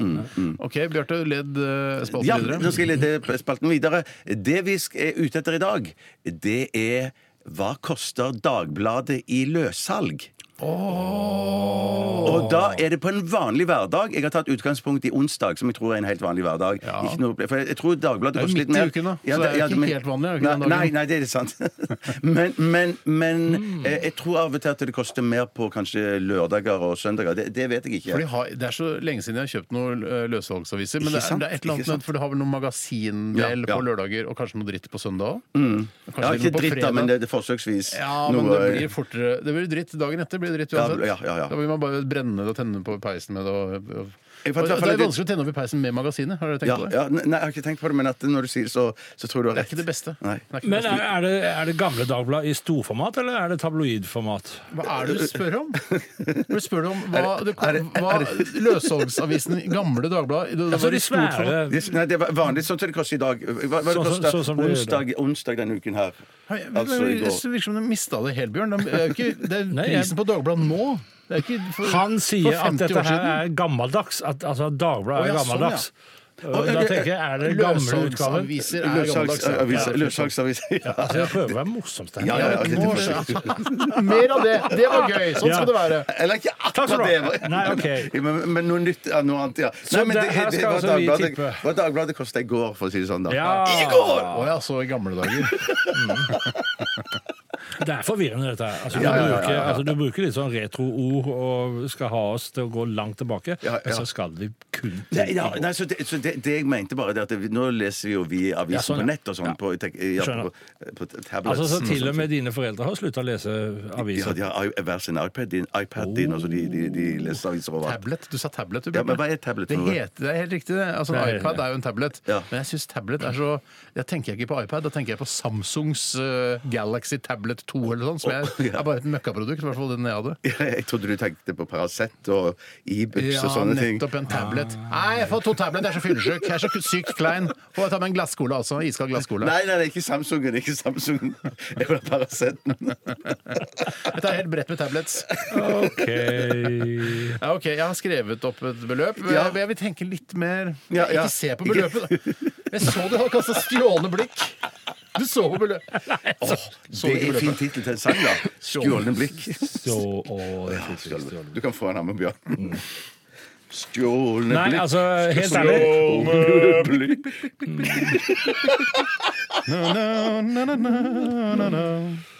[SPEAKER 3] Bra. OK, Bjarte, ledd øh, spalten
[SPEAKER 5] Mm, Ja,
[SPEAKER 3] videre.
[SPEAKER 5] nå skal jeg lede spalten videre. Det vi sk- er ute etter i dag, det er hva koster Dagbladet i løssalg? Og da er det på en vanlig hverdag. Jeg har tatt utgangspunkt i onsdag, som jeg tror er en helt vanlig hverdag.
[SPEAKER 3] Ja.
[SPEAKER 5] Ikke noe, for jeg tror Dagbladet
[SPEAKER 3] Det er jo
[SPEAKER 5] koster litt
[SPEAKER 3] midt i
[SPEAKER 5] mer.
[SPEAKER 3] uken, da, så det er ikke helt vanlig, er det
[SPEAKER 5] Nei,
[SPEAKER 3] ikke den dagen? Mm.
[SPEAKER 5] nei, nei, det er sant. men men, men eh, jeg tror av og til at det koster mer på kanskje lørdager og søndager. Det, det vet jeg ikke.
[SPEAKER 3] For de har, det er så lenge siden jeg har kjøpt noen øh, løssalgsaviser. Men det
[SPEAKER 5] Ikke
[SPEAKER 3] er,
[SPEAKER 5] sant,
[SPEAKER 3] det er et eller annet
[SPEAKER 5] ikke
[SPEAKER 3] med,
[SPEAKER 5] sant.
[SPEAKER 3] for du har vel noen magasindel
[SPEAKER 5] Ja, ja.
[SPEAKER 3] på
[SPEAKER 5] Mm.
[SPEAKER 3] lørdager, og kanskje noe dritt på søndag òg?
[SPEAKER 5] ja, ikke dritt, da, men det, det er forsøksvis.
[SPEAKER 3] Ja, men
[SPEAKER 5] noe-
[SPEAKER 3] det blir fortere Det blir dritt dagen etter. blir det dritt
[SPEAKER 5] Ja,
[SPEAKER 3] uansett.
[SPEAKER 5] ja, ja, ja.
[SPEAKER 3] Da vil man bare brenne det og tenne på peisen med det. Og, og,
[SPEAKER 5] Jeg
[SPEAKER 3] og,
[SPEAKER 5] fant i
[SPEAKER 3] det
[SPEAKER 5] hvert fall
[SPEAKER 3] er
[SPEAKER 5] litt-
[SPEAKER 3] vanskelig å tenne opp i peisen med magasinet. Har dere tenkt
[SPEAKER 5] ja,
[SPEAKER 3] på det?
[SPEAKER 5] ja, nei, jeg har ikke tenkt på det, men at når du sier det, så, så tror du har
[SPEAKER 3] Det er
[SPEAKER 5] rett.
[SPEAKER 3] ikke det beste.
[SPEAKER 5] Nei.
[SPEAKER 3] Det er ikke det
[SPEAKER 4] Men er, er, det, er det gamle Dagbladet i storformat, eller er det tabloidformat?
[SPEAKER 3] beste. Hva er det du spør om? Du spør om hva, det,
[SPEAKER 5] er det-
[SPEAKER 3] hva løssalgsavisen Gamle Dagbladet det- det
[SPEAKER 4] Altså
[SPEAKER 3] var i
[SPEAKER 4] de
[SPEAKER 3] stort format.
[SPEAKER 4] svære
[SPEAKER 5] Det- Nei, det var vanlig sånn som det koster i dag. Hva, hva det
[SPEAKER 4] Sånn som-
[SPEAKER 5] koster
[SPEAKER 4] sånn som det gjør i dag.
[SPEAKER 5] onsdag, onsdag denne uken her?
[SPEAKER 3] Hei, men-
[SPEAKER 5] Altså i
[SPEAKER 3] men- Det
[SPEAKER 5] går.
[SPEAKER 3] virker som du mista det helt, Bjørn. Det er, jo ikke, det er
[SPEAKER 4] Nei, jeg-
[SPEAKER 3] prisen på Dagbladet nå. Det er ikke for,
[SPEAKER 4] Han sier
[SPEAKER 3] for
[SPEAKER 4] at
[SPEAKER 3] 50
[SPEAKER 4] dette
[SPEAKER 3] år
[SPEAKER 4] her
[SPEAKER 3] siden.
[SPEAKER 4] er gammeldags. At, altså Dagbladet
[SPEAKER 3] Å,
[SPEAKER 4] er
[SPEAKER 3] ja, sånn,
[SPEAKER 4] gammeldags. Og Da tenker jeg, er det gamle utgaven?
[SPEAKER 3] Løssalgsaviser er gammeldags. ja.
[SPEAKER 5] Løssalgsavis. løssalgsavis. Ja.
[SPEAKER 4] Altså, jeg prøver å være morsom. Stein.
[SPEAKER 5] Ja, ja, ja,
[SPEAKER 3] Ja,
[SPEAKER 5] det-
[SPEAKER 3] nå skjønner jeg. Mer av det! Det var gøy! Sånn skal det være.
[SPEAKER 5] Eller ikke
[SPEAKER 4] Takk skal
[SPEAKER 5] akkurat
[SPEAKER 4] du ha.
[SPEAKER 5] det.
[SPEAKER 4] Nei, ok.
[SPEAKER 5] men, men noe nytt. Ja, noe annet, ja. Nei, men
[SPEAKER 4] det-
[SPEAKER 5] det, det,
[SPEAKER 4] her skal
[SPEAKER 5] var
[SPEAKER 4] altså vi
[SPEAKER 5] Dagbladet,
[SPEAKER 4] tippe.
[SPEAKER 5] hva Dagbladet kosta i går, for å si det sånn. da
[SPEAKER 4] Ja,
[SPEAKER 3] Å ja, så i gamle dager.
[SPEAKER 4] det er forvirrende, dette her. Altså, du,
[SPEAKER 5] Ja, ja, ja, ja,
[SPEAKER 4] bruker,
[SPEAKER 5] ja.
[SPEAKER 4] altså, du bruker litt sånn retroord og skal ha oss til å gå langt tilbake,
[SPEAKER 5] Ja, ja.
[SPEAKER 4] men så skal vi kun til
[SPEAKER 5] Nei, ja, nei, så det, så det, det jeg mente bare det at vi- Nå leser vi jo vi avisen
[SPEAKER 4] Ja, sånn, ja.
[SPEAKER 5] på nett og sånn. På, tek- ja,
[SPEAKER 4] Skjønner.
[SPEAKER 5] på, på Mm. tablets.
[SPEAKER 4] Altså, så
[SPEAKER 5] og
[SPEAKER 4] til
[SPEAKER 5] sånt.
[SPEAKER 4] og med dine foreldre har slutta å lese
[SPEAKER 5] sånn, Ja,
[SPEAKER 4] aviser.
[SPEAKER 5] de har i- hver sin iPad din, iPad din altså de, de, de leser aviser overalt.
[SPEAKER 3] Tablet. Du sa tablet. Du,
[SPEAKER 5] Ja, men
[SPEAKER 3] Bjørte.
[SPEAKER 5] hva er tablet
[SPEAKER 3] det,
[SPEAKER 5] for noe?
[SPEAKER 3] heter, det er helt riktig, det. Altså,
[SPEAKER 4] Det
[SPEAKER 3] en
[SPEAKER 4] er-
[SPEAKER 3] iPad er jo en tablet.
[SPEAKER 5] Ja.
[SPEAKER 3] Men jeg syns tablet er så Jeg tenker ikke på iPad, da tenker jeg på Samsungs eh, Galaxy Tablet 2 eller noe sånt, som jeg,
[SPEAKER 5] ja.
[SPEAKER 3] er bare et møkkaprodukt. I hvert fall den jeg hadde.
[SPEAKER 5] Jeg trodde du tenkte på Paracet og Ibux
[SPEAKER 3] Ja,
[SPEAKER 5] og sånne ting.
[SPEAKER 3] nettopp en tablet. Nei, jeg får to tablet, jeg er så fyllesyk. Jeg er så sykt klein. Får jeg ta med en glasscola også? Iskald glasscola.
[SPEAKER 5] Nei, nei, det er ikke Samsungen. Ikke Samsungen. Jeg vil ha Paraceten.
[SPEAKER 3] Dette er helt bredt med tablets.
[SPEAKER 4] Ok.
[SPEAKER 3] Ja, ok, Jeg har skrevet opp et beløp.
[SPEAKER 5] Ja.
[SPEAKER 3] Jeg- Jeg vil tenke litt mer
[SPEAKER 5] Ja, ja.
[SPEAKER 3] Ikke se på beløpet, da. Jeg så du hadde kasta stjålne blikk. Du så på beløpet. Åh, så
[SPEAKER 5] Det
[SPEAKER 3] du
[SPEAKER 5] er
[SPEAKER 3] ikke
[SPEAKER 5] fin
[SPEAKER 3] beløpet?
[SPEAKER 5] tittel til en sang, da. Stjålne blikk.
[SPEAKER 4] Så, og,
[SPEAKER 5] Stjålne. Du kan få en av med Bjørn. Stjålne
[SPEAKER 4] Nei,
[SPEAKER 5] blikk.
[SPEAKER 4] altså, helt ærlig.
[SPEAKER 5] Stjålne blikk.
[SPEAKER 3] Na, na, na, na, na, na.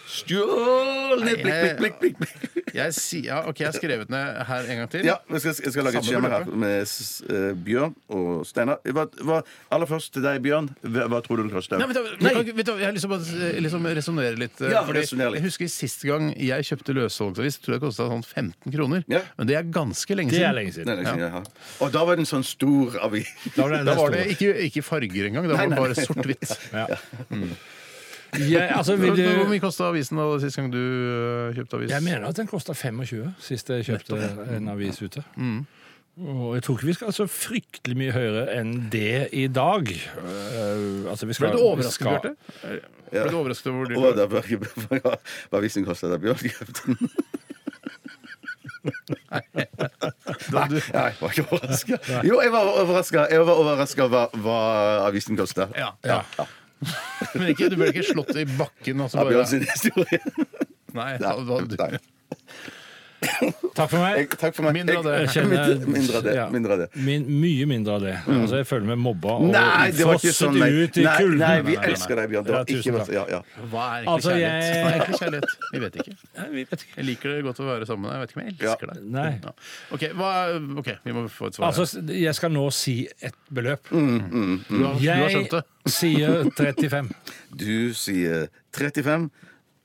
[SPEAKER 5] Stjålne blikk, blikk, blikk, blikk, blikk.
[SPEAKER 3] Jeg sier, ja, ok, jeg har skrevet ned her en gang til.
[SPEAKER 5] Ja, jeg skal, jeg skal lage et
[SPEAKER 3] Samme
[SPEAKER 5] skjema her
[SPEAKER 3] beløpet.
[SPEAKER 5] med s- eh, Bjørn og Steinar. Hva, hva, aller først til deg, Bjørn. Hva, hva tror du det koster?
[SPEAKER 3] Nei, vet du, vi kan ikke- vet du, jeg har lyst til å bare liksom resonnere litt. eh,
[SPEAKER 5] Ja,
[SPEAKER 3] fordi
[SPEAKER 5] resonner litt.
[SPEAKER 3] Jeg husker Sist gang jeg kjøpte løssalgsavis, tror jeg det kosta sånn 15 kroner.
[SPEAKER 5] Ja.
[SPEAKER 3] Men det er ganske lenge
[SPEAKER 4] Det
[SPEAKER 3] siden.
[SPEAKER 4] er lenge
[SPEAKER 5] Nei,
[SPEAKER 4] siden.
[SPEAKER 5] nei, nei, ja. Og da var det en sånn stor avis.
[SPEAKER 4] Da var det,
[SPEAKER 3] Da var det ikke, ikke farger engang. Da var det
[SPEAKER 5] nei,
[SPEAKER 3] bare
[SPEAKER 5] nei.
[SPEAKER 3] sort-hvitt.
[SPEAKER 4] Mm. ja, altså, vil du...
[SPEAKER 3] Hvor mye kosta avisen da sist gang du øh, kjøpte avis?
[SPEAKER 5] Mm.
[SPEAKER 4] Jeg mener at den kosta 25 sist jeg kjøpte en avis ute. Og jeg tror ikke vi skal så fryktelig mye høyere enn det i dag. Eh, altså, vi skal,
[SPEAKER 3] Ble du
[SPEAKER 4] vi
[SPEAKER 3] overrasket,
[SPEAKER 4] skal-
[SPEAKER 3] Bjarte? Ble du overrasket over
[SPEAKER 5] Å,
[SPEAKER 3] hvor dyrt det
[SPEAKER 5] da var jeg- Hva hvis den kosta da Bjørn kjøpte den? Nei, nei, jeg var ikke overraska. Jo, jeg var overraska. Jeg var overraska hva, hva avisen kosta.
[SPEAKER 3] Ja. Men ikke, du ble ikke slått i bakken? Altså
[SPEAKER 5] Av
[SPEAKER 3] bare,
[SPEAKER 5] Bjørn sin historie.
[SPEAKER 3] nei, altså,
[SPEAKER 5] Nei,
[SPEAKER 3] det var- du-
[SPEAKER 5] nei.
[SPEAKER 4] Takk for meg.
[SPEAKER 5] Jeg, takk for meg.
[SPEAKER 3] Mindre av det.
[SPEAKER 4] Jeg kjenner-
[SPEAKER 5] Mindre- mindre av det, mindre av det. Mm.
[SPEAKER 4] Min, mye mindre av det. Altså, jeg føler meg mobba og
[SPEAKER 5] Nei, det var ikke
[SPEAKER 4] frosset
[SPEAKER 5] sånn. Nei,
[SPEAKER 4] ut i
[SPEAKER 5] nei,
[SPEAKER 4] kulden.
[SPEAKER 5] nei
[SPEAKER 3] Nei,
[SPEAKER 5] vi
[SPEAKER 3] nei, nei.
[SPEAKER 5] elsker deg, Bjørn. Det
[SPEAKER 4] Ja,
[SPEAKER 5] var ikke
[SPEAKER 4] tusen takk.
[SPEAKER 5] ja, ja.
[SPEAKER 3] Hva er egentlig
[SPEAKER 4] Altså,
[SPEAKER 3] kjærlighet?
[SPEAKER 4] jeg-
[SPEAKER 3] Hva er egentlig kjærlighet? Vi vet ikke.
[SPEAKER 4] vi vet ikke.
[SPEAKER 3] Jeg liker det godt å være sammen med deg. Jeg vet ikke om jeg elsker deg.
[SPEAKER 4] Nei.
[SPEAKER 3] Ja. Ok, hva, ok, vi må få et svar.
[SPEAKER 4] Altså, jeg skal nå si et beløp.
[SPEAKER 3] her. du, har, du har skjønt det?
[SPEAKER 4] Jeg sier 35.
[SPEAKER 5] Du sier 35.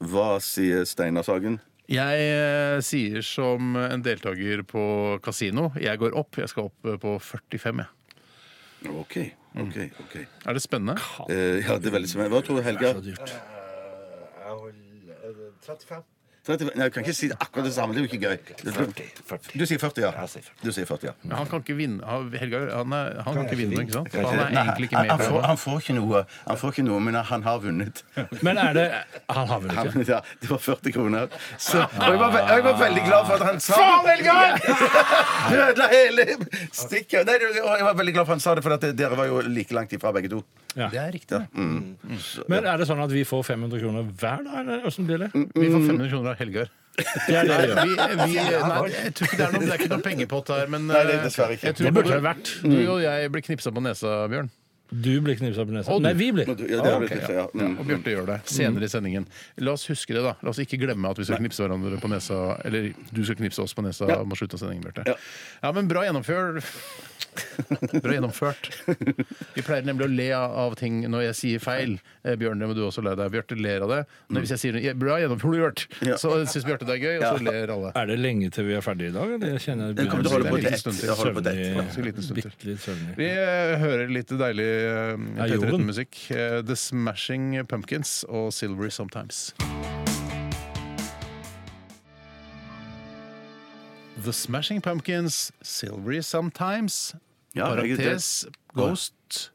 [SPEAKER 5] Hva sier Steinar Sagen?
[SPEAKER 3] Jeg eh, sier som en deltaker på kasino. Jeg går opp. Jeg skal opp eh, på 45, jeg.
[SPEAKER 5] OK. ok, ok
[SPEAKER 3] Er det spennende?
[SPEAKER 5] Eh, ja, det er veldig spennende. Hva tror du, Helga? 35. Nei, du kan ikke si akkurat det samme. Det er jo ikke gøy. Du sier 40, ja. Du sier 40, ja.
[SPEAKER 3] Men Han kan ikke vinne, han- Helga, han, er, han kan ikke vinne, ikke sant? Han er
[SPEAKER 5] Nei,
[SPEAKER 3] egentlig ikke med
[SPEAKER 5] han,
[SPEAKER 3] på
[SPEAKER 5] får,
[SPEAKER 3] det.
[SPEAKER 5] han får ikke noe, Han får ikke noe, men han har vunnet.
[SPEAKER 4] Men er det Han har vel
[SPEAKER 5] Han,
[SPEAKER 4] ikke
[SPEAKER 5] ja, det var 40 kroner. Så, og jeg var, ve- jeg var veldig glad for at han sa Faen, Helga! Du ødela hele stikket. Nei, du- og jeg var veldig glad for at han sa det, for at dere var jo like langt ifra begge to. Mm.
[SPEAKER 4] ja.
[SPEAKER 3] Det er riktig. det.
[SPEAKER 4] Men er det sånn at vi får 500 kroner hver, da? Eller hvordan blir det?
[SPEAKER 5] Mm.
[SPEAKER 3] Vi får 500 kroner av Helgar.
[SPEAKER 4] Det er det vi gjør.
[SPEAKER 3] Nei, vi, nei, jeg tror ikke det er noe, det er ikke noe pengepott her, men
[SPEAKER 5] Nei, det er dessverre ikke.
[SPEAKER 3] Jeg
[SPEAKER 4] Det
[SPEAKER 3] tror
[SPEAKER 4] burde
[SPEAKER 3] både,
[SPEAKER 4] det vært.
[SPEAKER 3] du og jeg blir knipsa på nesa, Bjørn.
[SPEAKER 4] Du blir knipsa på nesa.
[SPEAKER 3] Og du.
[SPEAKER 4] Nei, vi blir.
[SPEAKER 5] Ja, det har
[SPEAKER 3] Ah,
[SPEAKER 5] du
[SPEAKER 3] Ok,
[SPEAKER 5] litt,
[SPEAKER 3] ja.
[SPEAKER 5] ja. Mm.
[SPEAKER 3] Og Bjarte gjør det senere i sendingen. La oss huske det, da. La oss ikke glemme at vi skal knipse hverandre på nesa. Eller du skal knipse oss på nesa mot slutten av sendingen, Bjarte.
[SPEAKER 5] Ja.
[SPEAKER 3] Ja. men bra gjennomført. Bra gjennomført. Vi pleier nemlig å le av ting når jeg sier feil. Eh, Bjørn, det må du også le deg. Bjarte ler av det. Men hvis jeg sier noe, bra gjennomført,
[SPEAKER 5] Ja.
[SPEAKER 3] så syns Bjarte det er gøy, og så ler alle.
[SPEAKER 4] Er det lenge til vi er ferdige i dag? Eller jeg kjenner jeg
[SPEAKER 5] Jeg kommer til å holde på
[SPEAKER 3] Det er en
[SPEAKER 5] til ett. Jeg holder på til ett.
[SPEAKER 3] Ganske liten stund til.
[SPEAKER 4] Bitte litt søvnig.
[SPEAKER 3] Vi eh, hører litt deilig eh,
[SPEAKER 4] jorden.
[SPEAKER 3] P13-musikk. Eh, The Smashing Pumpkins og Silvery Sometimes. The Smashing Pumpkins, Silvery Sometimes,
[SPEAKER 5] Ja, jeg-
[SPEAKER 3] parentes Ghosts,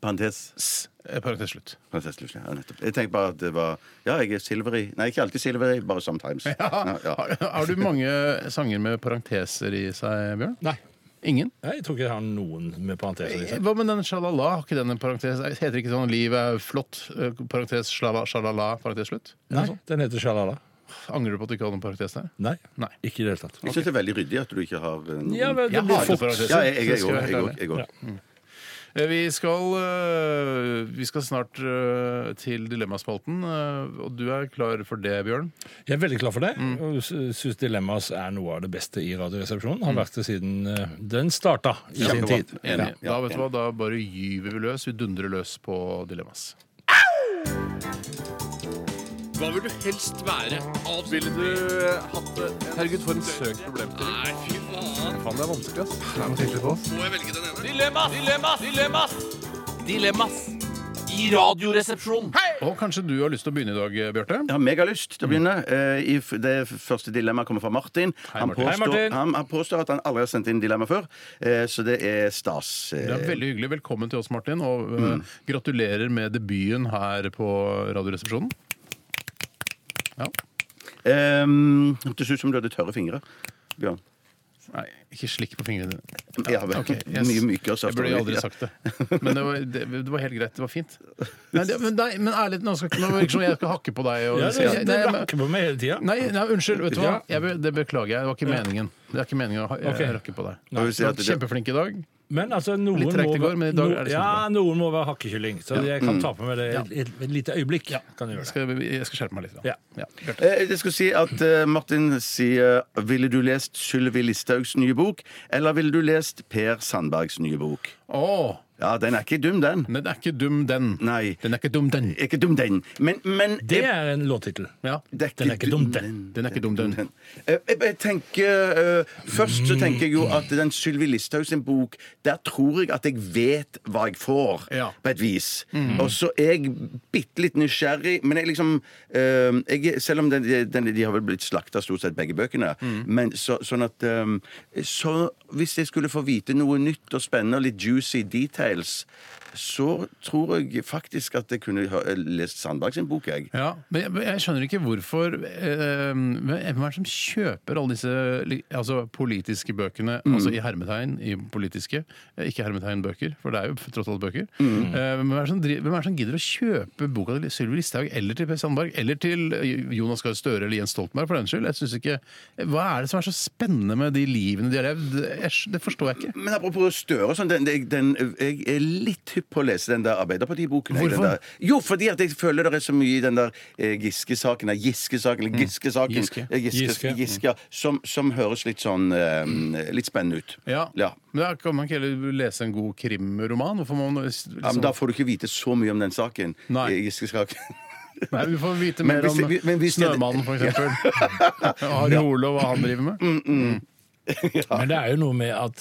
[SPEAKER 5] Parentes.
[SPEAKER 3] eh, parentes slutt.
[SPEAKER 5] Prinsesse Lucia, ja, nettopp. Jeg tenkte bare at det var Ja, jeg er silvery. Nei, ikke alltid silvery, bare sometimes. Ja, ja.
[SPEAKER 3] Har, har du mange sanger med parenteser i seg, Bjørn?
[SPEAKER 4] Nei.
[SPEAKER 3] Ingen?
[SPEAKER 4] Nei, Jeg tror ikke jeg har noen med parenteser i seg.
[SPEAKER 3] Hva med den shalala? Har ikke den en parentes? Heter ikke sånn 'livet er flott'? eh, Parentes shalala, shalala parentes slutt?
[SPEAKER 4] Nei, Den heter Shalala.
[SPEAKER 3] Angrer du på at du ikke hadde en parentes der?
[SPEAKER 4] Nei.
[SPEAKER 3] Nei.
[SPEAKER 4] Ikke i det hele tatt.
[SPEAKER 5] Jeg syns det er veldig ryddig at du ikke har eh, noen
[SPEAKER 4] Ja, men det
[SPEAKER 3] Jeg
[SPEAKER 4] blir
[SPEAKER 3] har
[SPEAKER 4] fort.
[SPEAKER 3] det for å
[SPEAKER 5] Ja, jeg-
[SPEAKER 3] Skal
[SPEAKER 5] jeg
[SPEAKER 3] jeg
[SPEAKER 5] òg.
[SPEAKER 3] være
[SPEAKER 5] Jeg
[SPEAKER 3] helt
[SPEAKER 5] òg, jeg òg.
[SPEAKER 3] Eh, Vi skal, eh, vi skal snart eh, til Dilemmaspalten, eh, og du er klar for det, Bjørn?
[SPEAKER 4] Jeg er veldig klar for det.
[SPEAKER 5] Mm.
[SPEAKER 4] og Syns Dilemmas er noe av det beste i Radioresepsjonen. Har vært det siden eh, den starta i sin
[SPEAKER 5] Kjempebra.
[SPEAKER 4] tid.
[SPEAKER 3] Enig.
[SPEAKER 5] Ja,
[SPEAKER 3] da vet du
[SPEAKER 5] enig.
[SPEAKER 3] hva, da bare gyver vi løs. Vi dundrer løs på Dilemmas. Og kanskje du har lyst til å begynne i dag, Bjarte?
[SPEAKER 5] Jeg har megalyst til å begynne. Eh, i f- Det første dilemmaet kommer fra Martin. Han
[SPEAKER 3] Martin.
[SPEAKER 5] påstår,
[SPEAKER 4] Hei, Martin.
[SPEAKER 5] Han, han påstår at han aldri har sendt inn dilemma før, eh, så det er stas.
[SPEAKER 3] Det er veldig hyggelig. Velkommen til oss, Martin. Og eh, gratulerer med debuten her på Radioresepsjonen. Ja.
[SPEAKER 5] Um, Hørtes ut som du hadde tørre fingre. Bjørn.
[SPEAKER 3] Nei, ikke slikk på fingrene dine.
[SPEAKER 5] Ja, vel.
[SPEAKER 3] Ok, yes.
[SPEAKER 5] Mye mykere
[SPEAKER 3] Jeg burde jo aldri
[SPEAKER 5] Ja.
[SPEAKER 3] sagt det. Men det var, det, det var helt greit. Det var fint. Nei, det, men, nei, men ærlig, nå skal ikke nå virker det som jeg skal hakke på deg. Og,
[SPEAKER 4] Ja, det,
[SPEAKER 3] Nei,
[SPEAKER 4] det
[SPEAKER 3] men-
[SPEAKER 4] lakker på meg hele tida.
[SPEAKER 3] nei, nei, unnskyld. Vet du hva?
[SPEAKER 4] Ja.
[SPEAKER 3] Jeg, be- det beklager jeg. Det var ikke meningen. Det er ikke meningen å ha-
[SPEAKER 4] Ok.
[SPEAKER 3] jeg rakke på deg.
[SPEAKER 5] Jeg vil si
[SPEAKER 3] Du
[SPEAKER 5] at
[SPEAKER 3] var
[SPEAKER 5] det-
[SPEAKER 3] kjempeflink i dag.
[SPEAKER 4] Men altså, noen
[SPEAKER 3] Litt tregt i
[SPEAKER 4] må
[SPEAKER 3] går, men i dag er det
[SPEAKER 4] ja,
[SPEAKER 3] kjempebra.
[SPEAKER 4] noen må være hakkekylling. Så jeg kan ta på meg det i et, et, et lite øyeblikk. Kan jeg gjøre det.
[SPEAKER 3] Skal, jeg- jeg skal skjerpe meg litt. da.
[SPEAKER 4] Ja.
[SPEAKER 3] Ja. Bjarte.
[SPEAKER 5] Eh, Jeg skulle si at eh, Martin sier Ville du lest Sylvi Listhaugs nye bok, eller ville du lest Per Sandbergs nye bok?
[SPEAKER 3] Å,
[SPEAKER 5] Ja, den er ikke dum, den.
[SPEAKER 3] Den er ikke dum, den.
[SPEAKER 5] Nei.
[SPEAKER 3] Den er ikke dum, den.
[SPEAKER 5] Ikke dum, den. Men, men
[SPEAKER 4] Det er en låttittel.
[SPEAKER 3] Ja.
[SPEAKER 4] Den er ikke dum, den.
[SPEAKER 3] Den er ikke dum, den.
[SPEAKER 5] Eh, Jeg, jeg tenker eh, Først så tenker jeg jo
[SPEAKER 3] Mm.
[SPEAKER 5] at den Sylvi Listhaug sin bok Der tror jeg at jeg vet hva jeg får,
[SPEAKER 3] Ja. Mm.
[SPEAKER 5] på et vis. Og så er jeg bitte litt nysgjerrig, men jeg liksom eh, jeg, Selv om den, den, de har vel blitt slakta, stort sett begge bøkene,
[SPEAKER 3] Mm.
[SPEAKER 5] men så, sånn at eh, Så hvis jeg skulle få vite noe nytt og spennende og litt juicy details så tror jeg faktisk at jeg kunne ha eh, lest Sandberg sin bok, jeg.
[SPEAKER 3] Ja, men jeg, men jeg skjønner ikke hvorfor eh, men Hvem er det som kjøper alle disse li- altså, politiske bøkene?
[SPEAKER 5] Mm.
[SPEAKER 3] Altså i hermetegn i politiske, eh, ikke hermetegnbøker, for det er jo tross alt bøker.
[SPEAKER 5] Mm.
[SPEAKER 3] Eh, hvem, er det som, dri- hvem er det som gidder å kjøpe boka til Sylvi Listhaug eller til Per Sandberg? Eller til eh, Jonas Gahr Støre eller Jens Stoltenberg, for den skyld? Jeg synes ikke, eh, Hva er det som er så spennende med de livene de har levd? Jeg, sk- det forstår jeg ikke.
[SPEAKER 5] Men apropos Støre og sånn, den, den, den, jeg er litt hypp på å lese den der Arbeiderparti-boken. jeg, den
[SPEAKER 3] Hvorfor?
[SPEAKER 5] der. Jo, fordi at jeg føler det er så mye i den der eh, Giske-saken, eller Giske-saken, eller Giske-saken,
[SPEAKER 3] Mm. Giske. mm.
[SPEAKER 5] eh, Giske,
[SPEAKER 4] Giske.
[SPEAKER 5] Giske, ja, som, som høres litt sånn eh, litt spennende ut.
[SPEAKER 3] Ja.
[SPEAKER 5] Ja.
[SPEAKER 3] Men da kan man ikke heller lese en god krimroman? Hvorfor må man liksom,
[SPEAKER 5] Ja, men da får du ikke vite så mye om den saken.
[SPEAKER 3] Nei.
[SPEAKER 5] eh, Giske-saken.
[SPEAKER 3] Nei, Vi får vite
[SPEAKER 5] Men
[SPEAKER 3] mer
[SPEAKER 5] hvis- vi- men
[SPEAKER 3] om
[SPEAKER 5] hvis-
[SPEAKER 3] Snømannen, for eksempel. Ari Ole og hva han driver
[SPEAKER 5] Mm,
[SPEAKER 3] med.
[SPEAKER 4] Men det er jo noe med at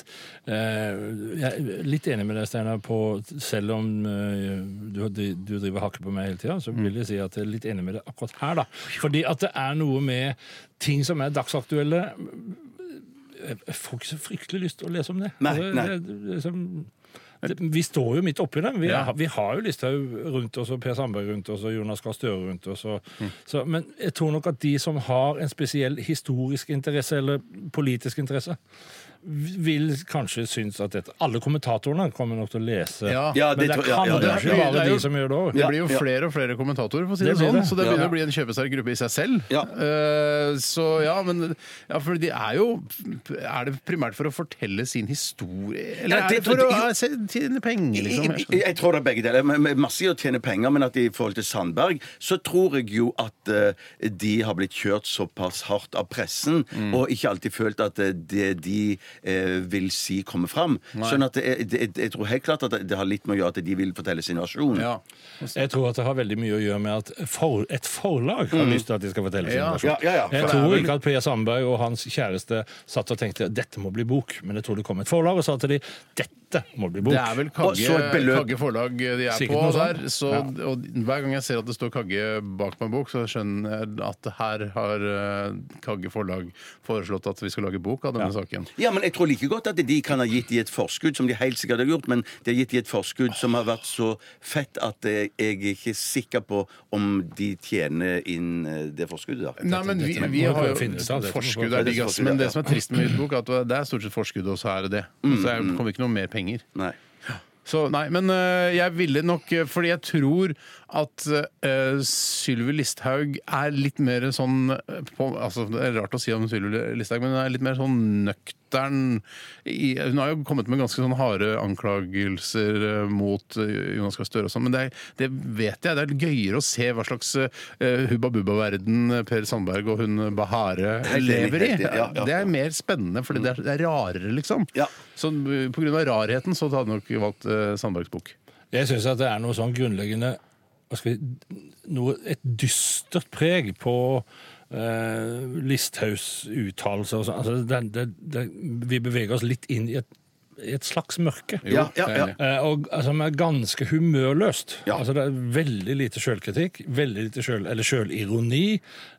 [SPEAKER 4] eh, Jeg er litt enig med deg, Steinar, på selv om eh, du, du driver hakket på meg hele tida, så vil jeg si at jeg er litt enig med deg akkurat her, da. Fordi at det er noe med ting som er dagsaktuelle. Jeg får ikke så fryktelig lyst til å lese om det.
[SPEAKER 5] Nei,
[SPEAKER 4] Altså,
[SPEAKER 5] nei.
[SPEAKER 4] det- det- liksom- det- Vi står jo midt oppi det. Vi,
[SPEAKER 3] Ja.
[SPEAKER 4] vi har jo Listhaug rundt oss, og Per Sandberg rundt oss, og Jonas Gahr Støre rundt oss. Og,
[SPEAKER 5] Mm.
[SPEAKER 4] så, men jeg tror nok at de som har en spesiell historisk interesse, eller politisk interesse, vil kanskje synes at dette Alle kommentatorene kommer nok til å lese.
[SPEAKER 3] Ja.
[SPEAKER 5] Ja,
[SPEAKER 4] men
[SPEAKER 5] det
[SPEAKER 4] det
[SPEAKER 5] tror- ja,
[SPEAKER 4] kan
[SPEAKER 5] ja,
[SPEAKER 4] jo
[SPEAKER 5] det er
[SPEAKER 4] ikke
[SPEAKER 3] jo- det
[SPEAKER 4] være
[SPEAKER 3] er jo-
[SPEAKER 4] de som gjør det òg.
[SPEAKER 3] Det blir jo flere og flere kommentatorer, for å si det,
[SPEAKER 4] Det blir
[SPEAKER 3] sånn.
[SPEAKER 4] det.
[SPEAKER 3] Så det
[SPEAKER 5] Ja.
[SPEAKER 3] begynner å bli en kjøpesterk gruppe i seg selv.
[SPEAKER 5] Ja.
[SPEAKER 3] Eh, så ja, men ja, for de er jo Er det primært for å fortelle sin historie? Eller
[SPEAKER 5] Ja,
[SPEAKER 3] er
[SPEAKER 5] det-
[SPEAKER 3] det for å
[SPEAKER 5] det-
[SPEAKER 3] eh, se- tjene penger, liksom? Jeg
[SPEAKER 5] Jeg,
[SPEAKER 3] skjønner.
[SPEAKER 5] jeg tror det er begge deler. Men- men Masse i å tjene penger, men at i forhold til Sandberg så tror jeg jo at eh, de har blitt kjørt såpass hardt av pressen,
[SPEAKER 3] Mm.
[SPEAKER 5] og ikke alltid følt at eh, det de eh, vil si, kommer fram. Sånn at det, er- det, jeg tror helt klart at det, det har litt med å gjøre at de vil fortelle sin versjon.
[SPEAKER 3] Ja.
[SPEAKER 4] Jeg tror at det har veldig mye å gjøre med at for, et forlag har lyst til at de skal fortelle sin
[SPEAKER 3] Ja.
[SPEAKER 4] versjon.
[SPEAKER 5] Mm. Ja, ja, ja.
[SPEAKER 4] Jeg
[SPEAKER 5] For
[SPEAKER 4] tror ikke at Per Sandberg og hans kjæreste satt og tenkte at dette må bli bok, men jeg tror det kom et forlag og sa til de dette må bli bok.
[SPEAKER 3] Det er vel
[SPEAKER 5] Og
[SPEAKER 3] Kagge,
[SPEAKER 5] så et beløp.
[SPEAKER 3] Kagge forlag de er
[SPEAKER 4] Sikkert noe
[SPEAKER 3] på der.
[SPEAKER 4] sånt.
[SPEAKER 3] Så, og hver gang jeg ser at det står Kagge bak meg bok, så skjønner jeg at her har eh, Kagge forlag foreslått at vi skal lage bok av denne saken.
[SPEAKER 5] Ja, men jeg tror like godt at de kan ha gitt de et forskudd, som de helt sikkert har gjort, men de har gitt de et forskudd som har vært så fett at eh, jeg er ikke sikker på om de tjener inn eh, det forskuddet. da.
[SPEAKER 3] Nei, men vi,
[SPEAKER 4] dette må
[SPEAKER 3] vi
[SPEAKER 4] vi
[SPEAKER 3] har
[SPEAKER 4] prøve
[SPEAKER 3] jo
[SPEAKER 4] å finne ut av. Dette må vi
[SPEAKER 3] Forskudd
[SPEAKER 5] prøve å
[SPEAKER 3] er digg,
[SPEAKER 5] finne ut av.
[SPEAKER 3] ass. Men det som er trist med mitt bok, er at det er stort sett forskudd, og så er det det. Så jeg
[SPEAKER 4] Mm.
[SPEAKER 3] kommer ikke noe mer penger.
[SPEAKER 5] Nei.
[SPEAKER 3] Så nei, men øh, jeg ville nok øh, Fordi jeg tror at øh, Sylvi Listhaug er litt mer sånn øh, på, altså, Det er rart å si om Sylvi Listhaug, men hun er litt mer sånn nøktern. I, hun har jo kommet med ganske sånn harde anklagelser øh, mot øh, Jonas Gahr Støre og sånn, men det, er- det vet jeg. Det er litt gøyere å se hva slags øh, hubba bubba-verden Per Sandberg og hun Bahare
[SPEAKER 5] Helt enig,
[SPEAKER 3] lever i.
[SPEAKER 5] helt enig, ja, ja.
[SPEAKER 3] Det er mer spennende, fordi det er, det er rarere, liksom.
[SPEAKER 5] Ja.
[SPEAKER 3] Så eh, pga. rarheten så hadde jeg nok valgt eh, Sandbergs bok.
[SPEAKER 4] Jeg syns at det er noe sånn grunnleggende hva skal vi, noe, Et dystert preg på eh, Listhaugs uttalelser og sånn. Altså, det- det- det- vi beveger oss litt inn i et, i et slags mørke.
[SPEAKER 5] Ja, ja, ja.
[SPEAKER 4] Eh, Og altså, som er ganske humørløst.
[SPEAKER 5] Ja.
[SPEAKER 4] Altså, det er veldig lite sjølkritikk, veldig lite sjøl, eller sjølironi.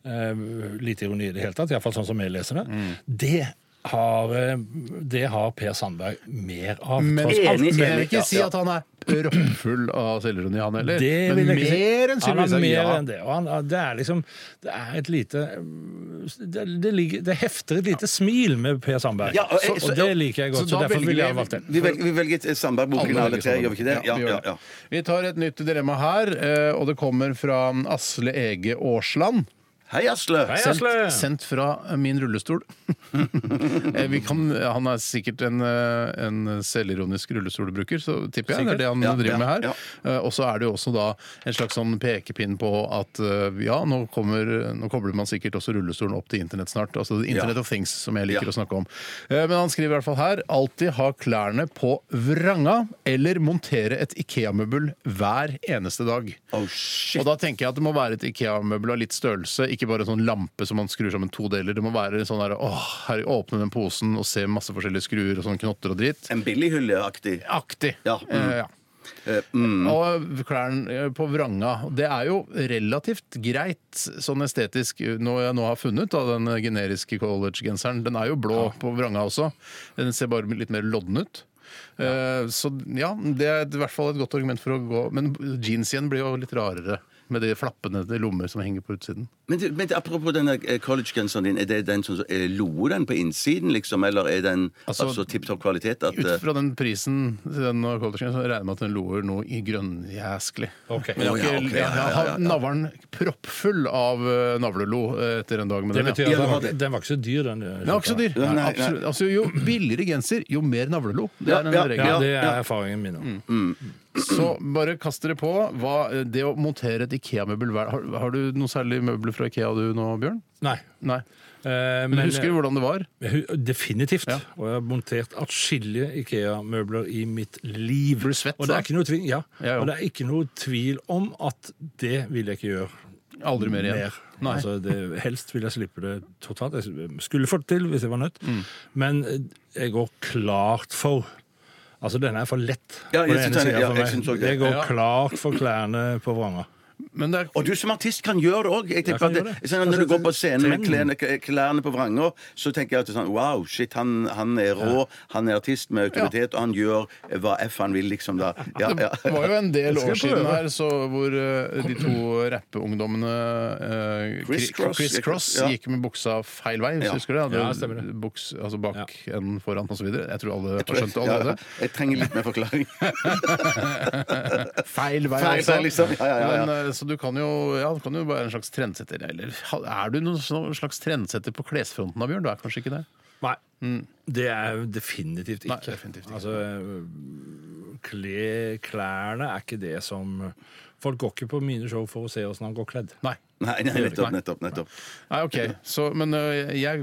[SPEAKER 4] Eh, lite ironi i det hele tatt, iallfall sånn som jeg leser det. Det, har, eh, det har Per Sandberg mer av.
[SPEAKER 3] Men
[SPEAKER 4] tross alt.
[SPEAKER 3] jeg
[SPEAKER 5] enig,
[SPEAKER 3] vil ikke
[SPEAKER 5] ja,
[SPEAKER 3] si
[SPEAKER 5] ja.
[SPEAKER 3] at han er proppfull av selvironi, han heller.
[SPEAKER 4] Det vil
[SPEAKER 3] Men
[SPEAKER 4] jeg ikke si.
[SPEAKER 3] mer enn Sylvi
[SPEAKER 4] Han er
[SPEAKER 3] Listhaug.
[SPEAKER 4] mer
[SPEAKER 3] Ja.
[SPEAKER 4] enn det. Og han, det er liksom Det er et lite Det, det, ligger, det hefter et lite smil med Per Sandberg.
[SPEAKER 5] Ja, og-
[SPEAKER 4] så, og
[SPEAKER 5] så-
[SPEAKER 4] det liker jeg godt.
[SPEAKER 3] så
[SPEAKER 4] Så,
[SPEAKER 3] da
[SPEAKER 4] derfor
[SPEAKER 3] velger
[SPEAKER 4] ville jeg
[SPEAKER 3] vi-
[SPEAKER 4] valgt den.
[SPEAKER 5] Vi velger, vi velger Sandberg-boken
[SPEAKER 3] Alle
[SPEAKER 5] alle tre,
[SPEAKER 3] velger
[SPEAKER 5] gjør vi ikke det?
[SPEAKER 3] Sandberg. Ja, vi gjør det. Vi tar et nytt dilemma her, eh, og det kommer fra Asle Ege Aasland.
[SPEAKER 5] Hei, Asle!
[SPEAKER 4] Hei,
[SPEAKER 3] Sendt,
[SPEAKER 4] Asle!
[SPEAKER 3] sendt fra min rullestol. Eh, Vi kan, han er sikkert en, eh, en selvironisk rullestolbruker, så tipper jeg. Det er det han
[SPEAKER 5] Ja,
[SPEAKER 3] driver med her.
[SPEAKER 5] ja,
[SPEAKER 3] Eh, Og så er det jo også da en slags sånn pekepinn på at eh, ja, nå, kommer, nå kobler man sikkert også rullestolen opp til internett snart. Altså Internet of Things, som jeg liker
[SPEAKER 5] Ja.
[SPEAKER 3] å snakke om. Eh, Men han skriver i hvert fall her alltid ha klærne på vranga eller montere et Ikea-møbel hver eneste dag.
[SPEAKER 5] Oh, shit.
[SPEAKER 3] Og da tenker jeg at det må være et Ikea-møbel av litt størrelse, ikke bare en sånn lampe som man skrur sammen to deler. Det må være sånn her, åh, her, åpne den posen og se masse forskjellige skruer og sånn knotter og dritt.
[SPEAKER 5] En billighylleaktig.
[SPEAKER 3] Aktig.
[SPEAKER 5] Ja. Mm.
[SPEAKER 3] Eh, ja. Og klærne eh, på vranga. Det er jo relativt greit sånn estetisk, når jeg nå har funnet da, den generiske college-genseren. Den er jo blå på vranga også. Den ser bare litt mer lodden ut. Eh, Så ja, det er i hvert fall et godt argument for å gå Men jeans igjen blir jo litt rarere. Med de flappene til lommer som henger på utsiden.
[SPEAKER 5] Men, du, men apropos denne eh, collegegenseren din, er det den som eh, loer den på innsiden, liksom? Eller er den
[SPEAKER 3] Altså,
[SPEAKER 5] altså, tipp topp kvalitet? At,
[SPEAKER 3] Ut
[SPEAKER 5] eh,
[SPEAKER 3] fra den prisen til den og collegeen, så regner jeg med at den loer noe i grønnjæsklig.
[SPEAKER 4] Ok.
[SPEAKER 3] Men jeg
[SPEAKER 5] Å,
[SPEAKER 3] har
[SPEAKER 5] ja,
[SPEAKER 3] ikke-
[SPEAKER 5] ok,
[SPEAKER 3] jeg
[SPEAKER 5] ja, ja, ja, ja.
[SPEAKER 3] har navlen proppfull av eh, navlelo eh, etter en dag med
[SPEAKER 4] Det
[SPEAKER 3] den. ja.
[SPEAKER 4] betyr at
[SPEAKER 5] Ja,
[SPEAKER 4] den
[SPEAKER 5] det
[SPEAKER 4] var,
[SPEAKER 5] var det.
[SPEAKER 4] den var ikke så dyr, den.
[SPEAKER 3] Den var ikke så dyr.
[SPEAKER 5] Nei, nei,
[SPEAKER 3] Absolutt. Altså, jo billigere genser, jo mer navlelo. Det
[SPEAKER 5] Ja,
[SPEAKER 3] er en
[SPEAKER 5] ja,
[SPEAKER 3] regel.
[SPEAKER 4] Ja, det
[SPEAKER 5] Ja,
[SPEAKER 4] er
[SPEAKER 5] ja.
[SPEAKER 4] erfaringen min
[SPEAKER 3] Mm.
[SPEAKER 4] òg.
[SPEAKER 3] Så bare kast dere på. Hva, eh, det å montere et Ikea-møbel hver- har, har du noe særlig møbler fra Ikea du nå, Bjørn?
[SPEAKER 4] Nei.
[SPEAKER 3] Nei.
[SPEAKER 4] Eh,
[SPEAKER 3] Men, husker du hvordan det var?
[SPEAKER 4] Jeg hu- Definitivt. Og jeg har montert atskillige Ikea-møbler i mitt liv.
[SPEAKER 3] Blir du svett
[SPEAKER 4] og det
[SPEAKER 3] da?
[SPEAKER 4] er ikke noe tvil, ja.
[SPEAKER 3] Ja, ja.
[SPEAKER 4] Og det er ikke noe tvil om at det vil jeg ikke gjøre.
[SPEAKER 3] Aldri mer igjen.
[SPEAKER 4] Mer.
[SPEAKER 3] Nei.
[SPEAKER 4] Altså, det, helst vil jeg slippe det totalt. Jeg skulle fått det til hvis jeg var nødt,
[SPEAKER 5] Mm.
[SPEAKER 4] men eh, jeg går klart for Altså, denne er for lett.
[SPEAKER 5] Ja,
[SPEAKER 4] på
[SPEAKER 5] jeg
[SPEAKER 4] den ene
[SPEAKER 5] synes den-
[SPEAKER 4] siden
[SPEAKER 5] ja,
[SPEAKER 4] for
[SPEAKER 5] jeg
[SPEAKER 4] meg.
[SPEAKER 5] synes også det.
[SPEAKER 4] jeg går
[SPEAKER 3] Ja.
[SPEAKER 4] klart for klærne på Vranga.
[SPEAKER 3] Men det er,
[SPEAKER 5] og du som artist kan gjøre det òg.
[SPEAKER 4] kan gjøre det.
[SPEAKER 5] Når du
[SPEAKER 3] Altså,
[SPEAKER 5] går på scenen med
[SPEAKER 4] Trenden.
[SPEAKER 5] klærne, eh, klærne på vranger, så tenker jeg at det er sånn, wow, shit, han, han er rå, han er artist med autoritet, og han gjør eh, hva F han vil, liksom. da. Ja, ja.
[SPEAKER 3] Det var jo en del
[SPEAKER 4] skal
[SPEAKER 3] år
[SPEAKER 4] jeg
[SPEAKER 3] siden
[SPEAKER 4] prøve.
[SPEAKER 3] her så, hvor eh, de to rappeungdommene eh,
[SPEAKER 5] Chris
[SPEAKER 3] Kri-
[SPEAKER 5] Cross.
[SPEAKER 3] Chris Cross
[SPEAKER 5] Ja.
[SPEAKER 3] gikk med buksa feil vei, hvis
[SPEAKER 5] Ja.
[SPEAKER 3] du husker det? Hadde
[SPEAKER 4] Ja, stemmer det.
[SPEAKER 3] Buks, altså bak enn foran osv. Jeg tror alle har skjønt det
[SPEAKER 5] Ja, ja.
[SPEAKER 3] allerede.
[SPEAKER 5] Jeg trenger litt mer forklaring.
[SPEAKER 3] Feil vei,
[SPEAKER 5] Feil
[SPEAKER 3] altså.
[SPEAKER 5] vei, liksom. Ja, ja, ja, ja.
[SPEAKER 3] Men, eh, så du kan jo, ja, du kan jo være en slags trendsetter. Eller ha- er du noen sånn slags trendsetter på klesfronten, da, Bjørn? Du er kanskje ikke det?
[SPEAKER 4] Nei.
[SPEAKER 5] Mm.
[SPEAKER 4] Det er jeg definitivt ikke.
[SPEAKER 3] Nei, definitivt ikke.
[SPEAKER 4] Altså, kle, klærne er ikke det som Folk går ikke på mine show for å se åssen han går kledd.
[SPEAKER 3] Nei.
[SPEAKER 5] Nei, nei, nettopp, nettopp. nettopp.
[SPEAKER 3] Nei, ok. Så, men eh, jeg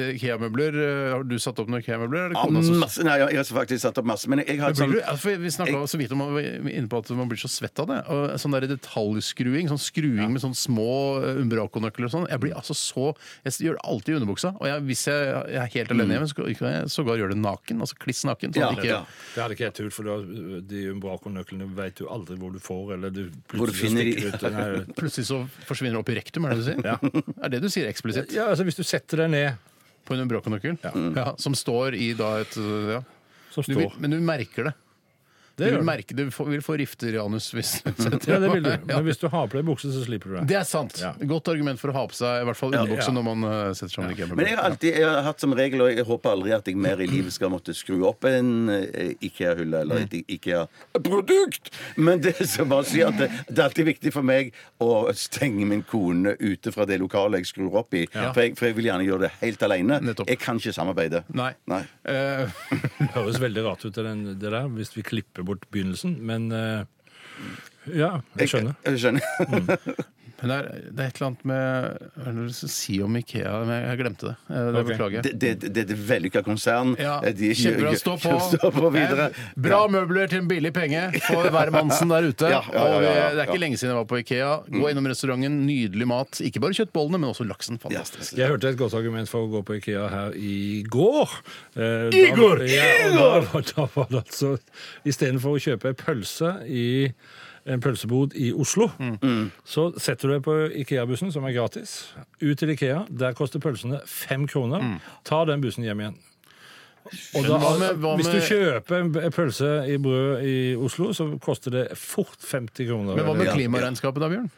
[SPEAKER 3] eh, IKEA-møbler eh, Har du satt opp noen IKEA-møbler? eller
[SPEAKER 5] Ja,
[SPEAKER 3] kona som-
[SPEAKER 5] masse, nei, jeg har faktisk satt opp masse, men jeg har sånn-
[SPEAKER 3] Men
[SPEAKER 5] et
[SPEAKER 3] blir
[SPEAKER 5] sånt
[SPEAKER 3] du, ja, for vi snakka så vidt om vi var inne på at man blir så svett av det. Og sånn der detaljskruing, sånn skruing med sånn små eh, Umbraco-nøkler og sånn. Jeg blir altså så Jeg gjør det alltid i underbuksa. Og jeg, hvis jeg, jeg er helt alene hjemme, så kan jeg sågar gjøre det naken. Altså kliss naken. Sånn
[SPEAKER 5] Ja,
[SPEAKER 3] at ikke,
[SPEAKER 5] ja.
[SPEAKER 4] Det hadde ikke jeg turt, for da, eh, de Umbraco-nøklene veit du aldri hvor du får, eller du
[SPEAKER 5] Hvor du finner de.
[SPEAKER 4] stikker ut den her-
[SPEAKER 3] Plutselig så forsvinner det opp i rektum, er det det du sier? Er det du sier eksplisitt?
[SPEAKER 4] Ja, altså Hvis du setter deg ned,
[SPEAKER 3] På en Umbraco-nøkkel? Ja. som står i da et eh, ja.
[SPEAKER 4] som
[SPEAKER 3] du vil,
[SPEAKER 4] står
[SPEAKER 3] Men du merker det. Du
[SPEAKER 4] Det
[SPEAKER 3] vil,
[SPEAKER 4] gjør du.
[SPEAKER 3] merke, du får- vil få rifter i anus hvis du setter
[SPEAKER 4] Ja, det vil du.
[SPEAKER 3] Ja.
[SPEAKER 4] Men hvis du har på deg bukse, så slipper du det.
[SPEAKER 3] Det er sant.
[SPEAKER 4] Ja.
[SPEAKER 3] Godt argument for å ha på seg i hvert fall underbukse
[SPEAKER 4] ja.
[SPEAKER 3] når man eh, setter sammen ja.
[SPEAKER 5] Men jeg har alltid jeg har hatt som regel, og jeg håper aldri at jeg mer i livet skal måtte skru opp en eh, Ikea-hylle eller et Ikea-produkt! Men det som bare sier at det, det er alltid viktig for meg å stenge min kone ute fra det lokalet jeg skrur opp i. For, jeg, for jeg vil gjerne gjøre det helt alene.
[SPEAKER 3] Nettopp.
[SPEAKER 5] Jeg kan ikke samarbeide.
[SPEAKER 3] Nei.
[SPEAKER 5] Nei.
[SPEAKER 3] Eh,
[SPEAKER 4] Det høres veldig rart ut det den- det der, hvis vi klipper bort begynnelsen, men eh, Ja, jeg skjønner.
[SPEAKER 5] Jeg skjønner.
[SPEAKER 3] Mm. men det er, det er et eller annet med Hva er det du skal si om Ikea? Men jeg glemte det. Eh, det
[SPEAKER 4] Ok.
[SPEAKER 3] Beklager
[SPEAKER 5] Det,
[SPEAKER 3] jeg.
[SPEAKER 5] det, det, det er et vellykka konsern.
[SPEAKER 3] Ja,
[SPEAKER 5] Eh, de er ikke-
[SPEAKER 3] kjempebra. Stå på.
[SPEAKER 5] Stå på videre.
[SPEAKER 3] Eh, Bra møbler til en billig penge for hvermannsen der ute.
[SPEAKER 5] Ja, ja, ja, ja,
[SPEAKER 3] Og vi- det er
[SPEAKER 5] ja. Mm.
[SPEAKER 3] ikke lenge siden jeg var på Ikea. Gå innom restauranten, nydelig mat. Ikke bare kjøttbollene, men også laksen.
[SPEAKER 5] Ja.
[SPEAKER 3] Fantastisk.
[SPEAKER 4] Jeg hørte et godt argument for å gå på Ikea her i går. Igor! Ja, og da, var- da var det altså Istedenfor å kjøpe en pølse i en pølsebod i Oslo,
[SPEAKER 3] Mm.
[SPEAKER 4] så setter du deg på Ikea-bussen, som er gratis, ut til Ikea. Der koster pølsene fem kroner. Ta den bussen hjem igjen. Og da,
[SPEAKER 3] Mm. Men hva med- hva
[SPEAKER 4] hvis du
[SPEAKER 3] med-
[SPEAKER 4] kjøper en en pølse i brød i Oslo, så koster det fort 50 kroner.
[SPEAKER 3] Men hva med
[SPEAKER 4] Eller-
[SPEAKER 3] klimaregnskapet da, Bjørn?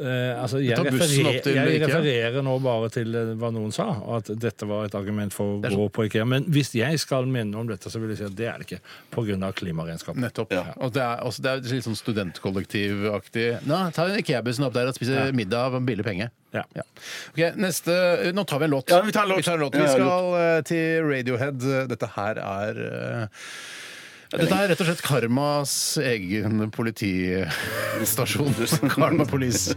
[SPEAKER 4] Eh, altså, jeg,
[SPEAKER 3] tar bussen opp
[SPEAKER 4] referer,
[SPEAKER 3] til
[SPEAKER 4] jeg
[SPEAKER 3] Ikea.
[SPEAKER 4] refererer nå bare til eh, hva noen sa, og at dette var et argument for å
[SPEAKER 3] Det er
[SPEAKER 4] gå på IKEA. Men hvis jeg skal mene om dette, så vil jeg si at det er det ikke. Pga. klimaregnskapet.
[SPEAKER 3] Nettopp. Og det er, også, det er litt sånn studentkollektivaktig. Nå, ta en IKEA-bussen opp der og spise middag av billig penge.
[SPEAKER 4] Ja.
[SPEAKER 3] Ja. Ok, neste Nå tar vi en låt.
[SPEAKER 5] Ja, vi tar en låt.
[SPEAKER 3] Vi
[SPEAKER 5] Ja, ja,
[SPEAKER 3] skal eh, til Radiohead. Dette her er eh, dette er rett og slett Karmas egen politistasjon. Karma Police.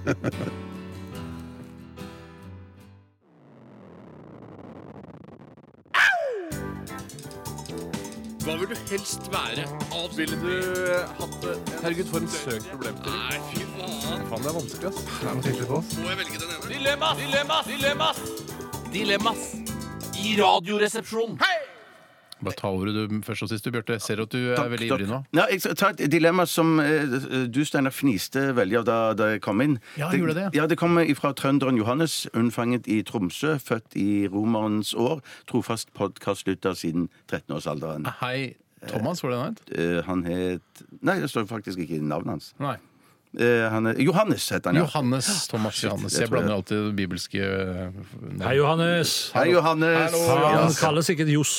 [SPEAKER 7] Dilemmas! Dilemmas! Dilemmas! Dilemmas i Radioresepsjonen.
[SPEAKER 3] Bare ta ordet du først og sist, du, Bjarte. Jeg ser at du er veldig ivrig nå.
[SPEAKER 5] Ja, jeg skal ta et dilemma som eh, du, Steinar, fniste veldig av da, da jeg kom inn.
[SPEAKER 3] Ja, gjorde det?
[SPEAKER 5] Ja, det kom fra trønderen Johannes, unnfanget i Tromsø, født i romerens år, trofast podkastlytter siden 13-årsalderen.
[SPEAKER 3] Hei, Thomas, var det han het?
[SPEAKER 5] Eh, han het Nei, det står faktisk ikke i navnet hans.
[SPEAKER 3] Nei.
[SPEAKER 5] Eh, han er, Johannes heter han, ja.
[SPEAKER 3] Johannes Thomas Johannes.
[SPEAKER 5] jeg
[SPEAKER 3] Jeg
[SPEAKER 5] tror
[SPEAKER 3] blander
[SPEAKER 5] jeg-
[SPEAKER 3] alltid det bibelske eh,
[SPEAKER 4] Hei, Johannes!
[SPEAKER 5] Hei, Johannes.
[SPEAKER 4] Han
[SPEAKER 5] Ja.
[SPEAKER 4] kalles ikke Johs.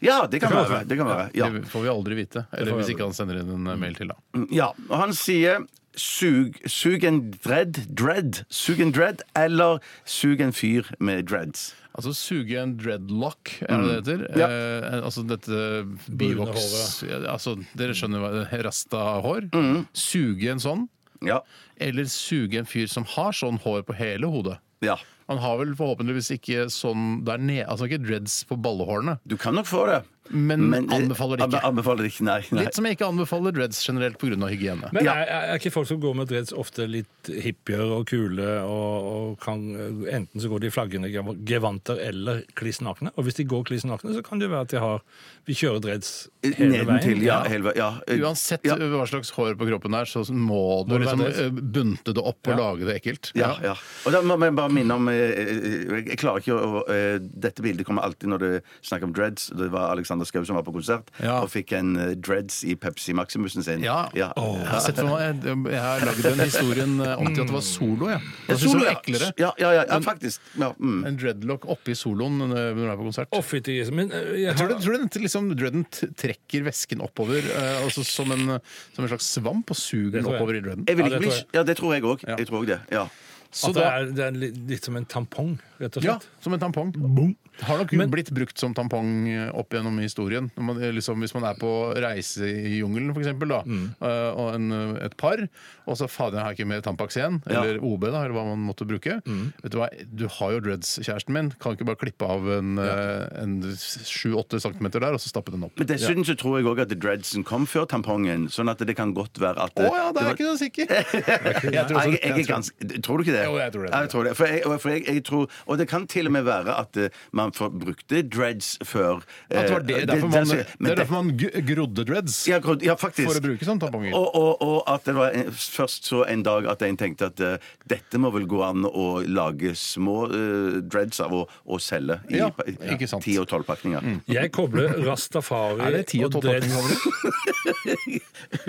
[SPEAKER 5] Ja, det kan være. Det kan være. Ja.
[SPEAKER 3] Det får vi aldri vite. Eller hvis ikke han sender inn en eh, mail til, da.
[SPEAKER 5] Ja, og han sier Sug, sug en dread, dread, sug en dread, eller sug en fyr med dreads.
[SPEAKER 3] Altså suge en dreadlock, er det det heter?
[SPEAKER 5] Ja.
[SPEAKER 3] Eh, altså dette bivoks ja, altså, Dere skjønner hva eh, Rasta-hår. Suge en sånn,
[SPEAKER 5] Ja.
[SPEAKER 3] eller suge en fyr som har sånn hår på hele hodet.
[SPEAKER 5] ja.
[SPEAKER 3] Han har vel forhåpentligvis ikke sånn der nede, altså ikke dreads på ballehårene.
[SPEAKER 5] Du kan nok få det. eh,
[SPEAKER 3] Men anbefaler det ikke.
[SPEAKER 5] Anbe- Anbefaler det ikke, nei. nei.
[SPEAKER 3] Litt som jeg ikke anbefaler dreads generelt pga. hygiene.
[SPEAKER 4] Men
[SPEAKER 5] Ja.
[SPEAKER 4] er, er- er ikke folk som går med dreads ofte litt hippier og kule, og, og kan, eh, enten så går de i flaggende gev- gevanter eller kliss nakne? Og hvis de går kliss nakne, så kan det jo være at de har Vi kjører dreads
[SPEAKER 3] Eh,
[SPEAKER 4] hele veien.
[SPEAKER 5] Eh, Nedentil, ja. Hele, veien, ja. Eh,
[SPEAKER 3] Uansett eh,
[SPEAKER 5] Ja.
[SPEAKER 3] hva slags hår på kroppen det er, så må
[SPEAKER 4] det
[SPEAKER 3] du
[SPEAKER 4] være
[SPEAKER 3] liksom
[SPEAKER 4] dreads?
[SPEAKER 3] eh, bunte det opp og lage det ekkelt.
[SPEAKER 5] Ja, ja. Og da må jeg bare minne om eh, eh, Jeg klarer ikke å eh, Dette bildet kommer alltid når du snakker om dreads. Det var Alexander Schou som var på konsert
[SPEAKER 3] Ja.
[SPEAKER 5] og fikk en eh, dreads i Pepsi Maximusen sin.
[SPEAKER 3] Ja. Jeg har sett for meg, jeg, jeg har lagd den historien eh, om til at det var solo, jeg. Ja. Jeg synes det var eklere.
[SPEAKER 5] Ja, ja, ja, ja faktisk. Ja, mm.
[SPEAKER 3] En dreadlock oppi soloen eh, når du er på konsert.
[SPEAKER 4] Å, fytti grisen. Men eh, jeg
[SPEAKER 3] Tror du,
[SPEAKER 4] har-
[SPEAKER 3] tror du den liksom, dreaden t- trekker væsken oppover eh, altså som, en, som en slags svamp og suger
[SPEAKER 4] Det
[SPEAKER 3] den
[SPEAKER 4] tror jeg.
[SPEAKER 3] oppover i dreaden?
[SPEAKER 5] Jeg vil
[SPEAKER 4] Ja,
[SPEAKER 5] ikke
[SPEAKER 4] det
[SPEAKER 5] bli
[SPEAKER 4] tror jeg.
[SPEAKER 5] Ja, det tror jeg òg. Jeg tror det. Ja.
[SPEAKER 3] Så
[SPEAKER 4] at det
[SPEAKER 3] da,
[SPEAKER 4] er, det er litt, litt som en tampong, rett og
[SPEAKER 3] ja,
[SPEAKER 4] slett.
[SPEAKER 3] som en tampong. Har nok
[SPEAKER 4] Men-
[SPEAKER 3] blitt brukt som tampong eh, opp gjennom historien. Når man, eh, liksom, hvis man er på reise i jungelen, for eksempel, da, eh, og en, eh, et par, og så fader, jeg har ikke mer Tampax igjen, eller OB, da, eller hva man måtte bruke. Vet du hva, du har jo dreads, kjæresten min. Kan ikke bare klippe av en, eh, en 7-8 cm der, og så stappe den opp?
[SPEAKER 5] Men dessuten så tror jeg òg at dreadsen kom før tampongen, sånn at det kan godt være at
[SPEAKER 3] Å ja, da er jeg ikke så sikker!
[SPEAKER 5] jeg tror, jeg, jeg er ganske, tror du ikke det?
[SPEAKER 3] Jo, jeg tror det.
[SPEAKER 5] Ja, Jeg tror det. For jeg, og- for jeg, jeg tror, og det kan til og med være at eh, man for, brukte dreads før eh,
[SPEAKER 3] At det var det,
[SPEAKER 5] det-
[SPEAKER 3] derfor
[SPEAKER 5] det-
[SPEAKER 3] man,
[SPEAKER 5] så-
[SPEAKER 3] det
[SPEAKER 5] men
[SPEAKER 3] er derfor man g- grodde dreads.
[SPEAKER 5] ja, grunn- ja, faktisk.
[SPEAKER 3] For å bruke sånne tamponger.
[SPEAKER 5] Og, og, og at det var en, først så en dag at en tenkte at eh, dette må vel gå an å lage små eh, dreads av og, og selge i
[SPEAKER 3] Ja,
[SPEAKER 5] pa-
[SPEAKER 3] ikke sant. Mm.
[SPEAKER 5] 10 og 12 pakninger.
[SPEAKER 4] Jeg kobler rastafari
[SPEAKER 3] Er det 10 og 12
[SPEAKER 4] dreads.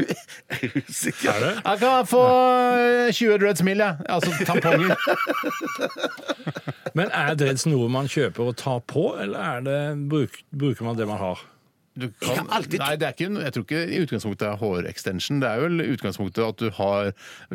[SPEAKER 4] Er det?
[SPEAKER 3] Jeg kan få eh, 20 dreads mil, jeg. Altså tamponger.
[SPEAKER 4] Men er dreads noe man kjøper og tar på, eller er det, bruk, bruker man det man har?
[SPEAKER 3] Du kan, nei, det er ikke, jeg tror ikke i utgangspunktet det er hårextension. Det er vel i utgangspunktet at du har